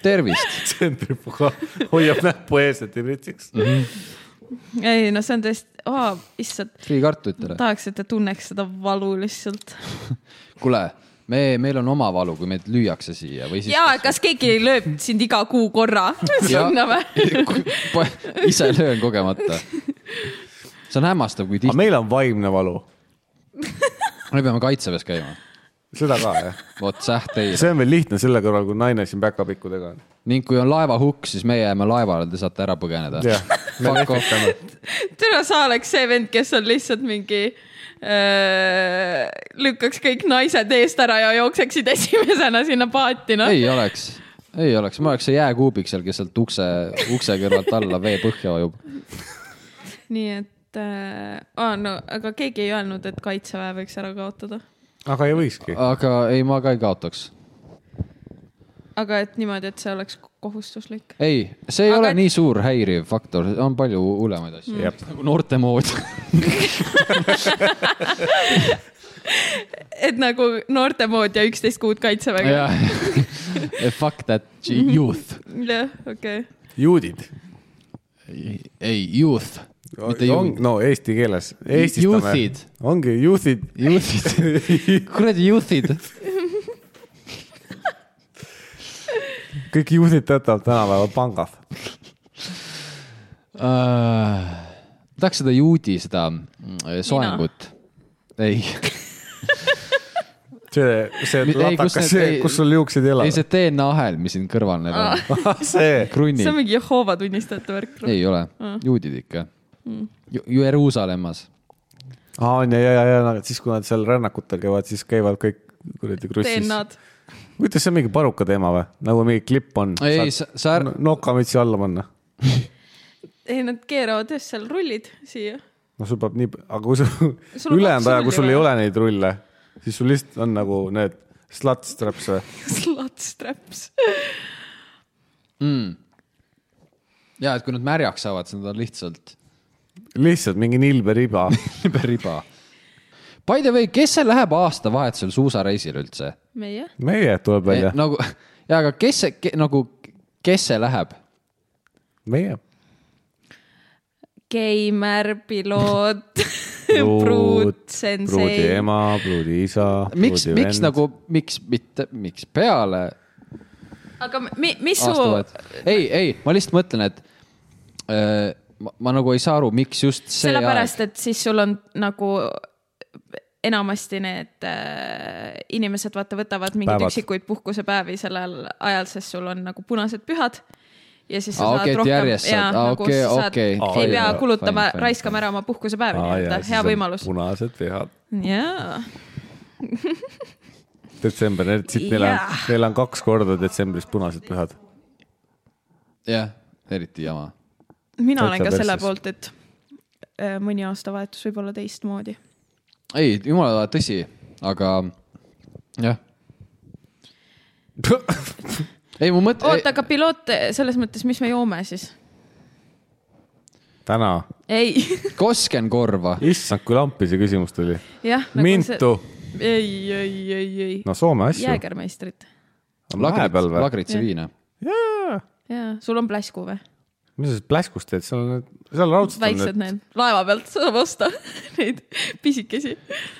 [SPEAKER 2] tervist .
[SPEAKER 3] tsentrifugaal hoiab näppu ees , et ei pritsiks .
[SPEAKER 2] Mhm.
[SPEAKER 1] ei no see on tõesti oh, , issand ,
[SPEAKER 2] Freeh' kartulitele .
[SPEAKER 1] tahaks , et ta tunneks seda valu lihtsalt .
[SPEAKER 2] kuule , me , meil on oma valu , kui meid lüüakse siia või siis .
[SPEAKER 1] ja kas keegi lööb sind iga kuu korra [laughs] sinna või ?
[SPEAKER 2] [laughs] ise löön kogemata . see on hämmastav , kui
[SPEAKER 3] aga
[SPEAKER 2] tihti ,
[SPEAKER 3] meil on vaimne valu ,
[SPEAKER 2] me peame kaitseväes käima .
[SPEAKER 3] seda ka jah .
[SPEAKER 2] vot säht teile .
[SPEAKER 3] see on veel lihtne selle kõrval , kui naine siin päkapikkudega on .
[SPEAKER 2] ning kui on laevahukk , siis meie jääme laevale , te saate ära põgeneda .
[SPEAKER 3] jah , me
[SPEAKER 2] Fuck off.
[SPEAKER 3] lehvitame .
[SPEAKER 1] tere , sa oleks see vend , kes on lihtsalt mingi öö, lükkaks kõik naised eest ära ja jookseksid esimesena sinna paati , noh .
[SPEAKER 2] ei oleks , ei oleks , ma oleks see jääkuubik seal , kes sealt ukse , ukse kõrvalt alla vee põhja vajub .
[SPEAKER 1] nii et äh, , aa no aga keegi ei öelnud , et kaitseväe võiks ära kaotada ,
[SPEAKER 3] aga ei võikski .
[SPEAKER 2] aga ei , ma ka ei kaotaks .
[SPEAKER 1] aga et niimoodi , et see oleks kohustuslik .
[SPEAKER 2] ei , see ei
[SPEAKER 1] Aga
[SPEAKER 2] aga... ole
[SPEAKER 1] et-
[SPEAKER 2] nii suur häiriv faktor , on palju hullemaid asju
[SPEAKER 3] Jep.
[SPEAKER 2] mm. . nagu noorte mood .
[SPEAKER 1] et nagu noorte mood ja üksteist kuud kaitseväega .
[SPEAKER 2] [laughs] Fuck that youth .
[SPEAKER 1] jah , okei .
[SPEAKER 3] juudid .
[SPEAKER 2] ei , youth . mitte
[SPEAKER 3] on ,
[SPEAKER 2] youth .
[SPEAKER 3] no eesti keeles , eestistame
[SPEAKER 2] Youthid. .
[SPEAKER 3] ongi juudid .
[SPEAKER 2] Youth'id , [laughs] kuradi youth'id .
[SPEAKER 3] [laughs] kõik juudid töötavad tänapäeval pangas .
[SPEAKER 2] uh, . tahaks seda juudi , seda mm, soengut . ei ,
[SPEAKER 3] see , see
[SPEAKER 2] Ei, kus need-
[SPEAKER 3] latakas , see
[SPEAKER 2] ei- ,
[SPEAKER 3] kus sul juuksed ei
[SPEAKER 2] ei
[SPEAKER 3] elanud
[SPEAKER 2] see . DNA ahel , mis siin kõrval neil on ,
[SPEAKER 3] [laughs] see ,
[SPEAKER 2] krunni
[SPEAKER 1] Ah. see on . mingi Jehoova tunnistajate värk . noh.
[SPEAKER 2] ei ole ,
[SPEAKER 1] Ah.
[SPEAKER 2] juudid ikka .
[SPEAKER 1] Mm.
[SPEAKER 2] Jeruusalemmas ,
[SPEAKER 3] on ja , ja , ja , ja nad- siis , kui nad seal rännakutel käivad , siis käivad kõik kuradi krussis .
[SPEAKER 1] DNA-d .
[SPEAKER 3] kuidas see on mingi paruka teema või ? nagu mingi klipp on .
[SPEAKER 2] Ei, sa- sa ära-
[SPEAKER 3] nokamütsi alla panna .
[SPEAKER 1] ei , nad keeravad just seal rullid siia . [laughs]
[SPEAKER 3] no sul peab nii , aga kui sul
[SPEAKER 1] on
[SPEAKER 3] ülejäänud
[SPEAKER 1] kaks
[SPEAKER 3] aja , kui
[SPEAKER 1] rulli
[SPEAKER 3] sul ei
[SPEAKER 1] või?
[SPEAKER 3] ole neid rulle , siis sul lihtsalt on nagu need slut straps või ?
[SPEAKER 1] Slutstraps .
[SPEAKER 2] ja et kui nad märjaks saavad , siis nad on lihtsalt
[SPEAKER 3] lihtsalt mingi nilbe riba .
[SPEAKER 2] [laughs] riba . By the way , kes see läheb aastavahetusel suusareisile üldse ?
[SPEAKER 1] meie ?
[SPEAKER 3] meie tuleb välja ,
[SPEAKER 2] nagu , ja aga kes see ke, , nagu , kes see läheb ?
[SPEAKER 3] meie .
[SPEAKER 1] Geimer , piloot , pruut ,
[SPEAKER 3] pruut , pruudi
[SPEAKER 1] sensei .
[SPEAKER 3] ema , pruudi isa .
[SPEAKER 2] miks , miks ? nagu , miks mitte , miks peale
[SPEAKER 1] aga mi, mis su ,
[SPEAKER 2] aastavahetusel ? ei , ei , ma lihtsalt mõtlen , et öö, ma, ma nagu ei saa aru , miks just see aeg
[SPEAKER 1] sellepärast , et siis sul on nagu enamasti need äh, inimesed vaata võtavad mingeid
[SPEAKER 3] Päevad.
[SPEAKER 1] Päevad. üksikuid puhkusepäevi sellel ajal , sest sul on nagu punased pühad . ja siis sa
[SPEAKER 2] Aa,
[SPEAKER 1] saad
[SPEAKER 2] okei, et
[SPEAKER 1] rohkem ,
[SPEAKER 2] järjest saad. Aa, okei, okei.
[SPEAKER 1] ei
[SPEAKER 2] Fine,
[SPEAKER 1] pea
[SPEAKER 2] fine,
[SPEAKER 1] kulutama
[SPEAKER 2] fine. ,
[SPEAKER 1] raiskama ära oma puhkusepäevi nii-öelda , hea võimalus .
[SPEAKER 3] punased pühad .
[SPEAKER 1] jaa ,
[SPEAKER 3] detsember , siit neil on
[SPEAKER 1] Jaa. ,
[SPEAKER 3] neil on kaks korda detsembris punased pühad . [laughs]
[SPEAKER 2] jah , eriti jama .
[SPEAKER 1] mina
[SPEAKER 3] Täitsa
[SPEAKER 1] olen ka selle
[SPEAKER 3] perses.
[SPEAKER 1] poolt , et äh, mõni aastavahetus võib olla teistmoodi .
[SPEAKER 2] ei , jumala tõsi , aga jah . ei , ma mõtlen ,
[SPEAKER 1] oota , aga piloot , selles mõttes , mis me joome siis ?
[SPEAKER 3] täna ,
[SPEAKER 1] ei , [laughs]
[SPEAKER 2] kosken korva .
[SPEAKER 3] issand , kui lampi see küsimus tuli .
[SPEAKER 1] jah .
[SPEAKER 3] mintu ,
[SPEAKER 1] ei , ei , ei , ei no, ,
[SPEAKER 3] no Soome asju .
[SPEAKER 1] jäägermeistrit .
[SPEAKER 3] vahepeal või ?
[SPEAKER 2] lagritsa viina .
[SPEAKER 1] jaa , sul on pläsku või ?
[SPEAKER 3] mis sa siis pläskust teed , seal on , seal raudselt
[SPEAKER 1] väiksed
[SPEAKER 3] on need .
[SPEAKER 1] need , laeva pealt saab osta [laughs] neid pisikesi .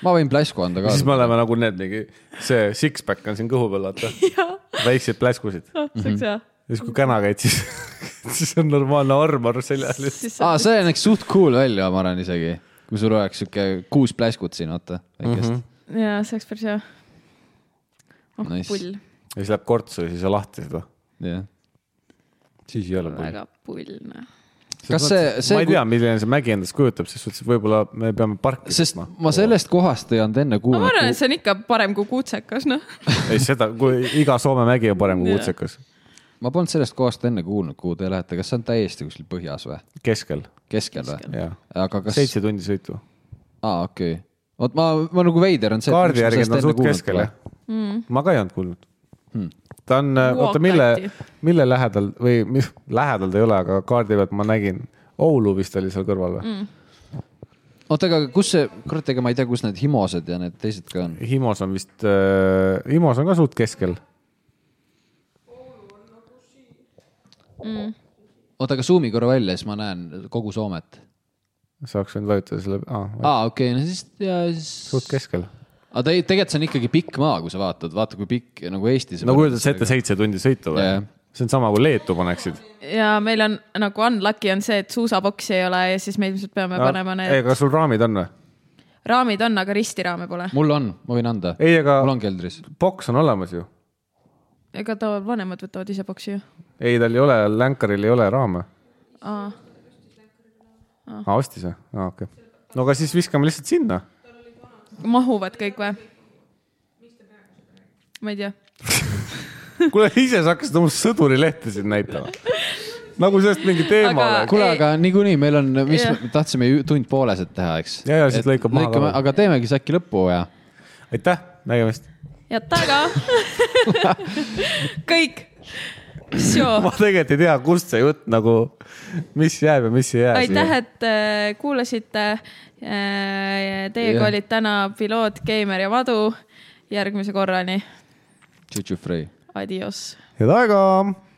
[SPEAKER 2] ma võin pläsku anda ka
[SPEAKER 3] siis . me oleme nagu need mingi , see six-pack on siin kõhu peal ,
[SPEAKER 1] [laughs]
[SPEAKER 3] vaata ,
[SPEAKER 1] jaa ,
[SPEAKER 3] väiksed pläskusid .
[SPEAKER 1] Ah,
[SPEAKER 3] Mhm.
[SPEAKER 1] see oleks hea .
[SPEAKER 3] ja siis , kui käna käid , siis , [laughs] siis on normaalne armor seljas .
[SPEAKER 1] siis
[SPEAKER 2] aa ,
[SPEAKER 1] saab ,
[SPEAKER 2] see näeks suht cool välja , ma arvan isegi , kui sul oleks sihuke kuus pläskut siin , vaata , väikest mm .
[SPEAKER 3] Mhm.
[SPEAKER 2] -hmm.
[SPEAKER 1] jaa , see oleks päris hea . oh
[SPEAKER 2] Nice.
[SPEAKER 1] nice. , pull ,
[SPEAKER 3] ja siis läheb kortsu ja siis on lahti seda .
[SPEAKER 2] Yeah.
[SPEAKER 3] siis ei ole pull .
[SPEAKER 1] väga pull , noh .
[SPEAKER 2] kas see ,
[SPEAKER 3] ma
[SPEAKER 2] see
[SPEAKER 3] ei , tea , milline see mägi endast kujutab , ses suhtes et võib-olla me peame parki
[SPEAKER 2] sest ma . sellest kohast ei olnud enne
[SPEAKER 1] ma
[SPEAKER 2] kuulnud
[SPEAKER 1] arvan , et . see on ikka parem kui kuutsekas , noh .
[SPEAKER 3] ei seda , kui iga Soome mägi on parem kui
[SPEAKER 1] Jaa.
[SPEAKER 3] kutsekas ,
[SPEAKER 2] ma polnud sellest kohast enne kuulnud , kuhu te lähete , kas see on täiesti kuskil põhjas või ,
[SPEAKER 3] keskel ,
[SPEAKER 2] keskel või ?
[SPEAKER 3] jah .
[SPEAKER 2] aga kas ,
[SPEAKER 3] seitse tundi sõitu .
[SPEAKER 2] aa okei okay. , vot ma , ma nagu veider on see .
[SPEAKER 3] kaardi järgi ta on suht keskel , jah .
[SPEAKER 2] Mm.
[SPEAKER 3] ma ka ei olnud kuulnud hmm. . ta on , oota , mille , mille lähedal või mis, lähedal ta ei ole , aga kaardi pealt ma nägin , Oulu vist oli seal kõrval või mm. ?
[SPEAKER 2] oota , aga kus see , kurat , ega ma ei tea , kus need Himosed ja need teised ka on .
[SPEAKER 3] Himos on vist äh, , Himos on ka suht keskel .
[SPEAKER 2] oota , aga suumi korra välja , siis ma näen kogu Soomet .
[SPEAKER 3] sa oleks võinud vajutada selle ah, ,
[SPEAKER 2] aa okei okay, , no siis , ja siis
[SPEAKER 3] suht . keskel .
[SPEAKER 2] aga ta ei , tegelikult see on ikkagi pikk maa , kui sa vaatad , vaata kui pikk nagu Eestis .
[SPEAKER 3] no kujutad sa ette seitse tundi sõitu või
[SPEAKER 2] Jah.
[SPEAKER 3] yeah. ? see on sama , kui Leetu paneksid .
[SPEAKER 1] ja meil on nagu unlucky on see , et suusaboksi ei ole ja siis me ilmselt peame no, panema need
[SPEAKER 3] Ah, ei ,
[SPEAKER 1] ega...
[SPEAKER 3] aga sul raamid on või ?
[SPEAKER 1] raamid on , aga ristiraame pole .
[SPEAKER 2] mul on , ma võin anda .
[SPEAKER 3] ei , aga
[SPEAKER 2] mul on keldris .
[SPEAKER 3] boks on olemas ju .
[SPEAKER 1] ega ta vanemad võtavad ise boksi ju .
[SPEAKER 3] ei , tal ei ole , länkaril ei ole raame .
[SPEAKER 1] aa , Ah.
[SPEAKER 3] aa , ostis või ? aa , okei okay. . no aga siis viskame lihtsalt sinna .
[SPEAKER 1] mahuvad kõik või ? ma ei tea ,
[SPEAKER 3] kuule , ise sa hakkasid oma sõdurilehte siin näitama . nagu sellest mingi teema
[SPEAKER 1] Aga-
[SPEAKER 3] oleks .
[SPEAKER 2] kuule ,
[SPEAKER 1] Ei-
[SPEAKER 2] aga niikuinii meil on , mis
[SPEAKER 1] Jah.
[SPEAKER 2] me tahtsime ju tund poolesed teha , eks .
[SPEAKER 3] Ja, ja, siis lõikab maha ka.
[SPEAKER 2] aga teemegi siis äkki lõpuoja .
[SPEAKER 3] aitäh , nägemist .
[SPEAKER 1] head taga . kõik .
[SPEAKER 3] ma tegelikult ei tea , kust see jutt nagu , mis jääb ja mis ei jää .
[SPEAKER 1] aitäh , et äh, kuulasite . Teiega
[SPEAKER 2] Jah.
[SPEAKER 1] olid täna piloot , Keimer ja Madu . järgmise korrani ,
[SPEAKER 2] Tšutšu Frey .
[SPEAKER 1] adios
[SPEAKER 3] head aega .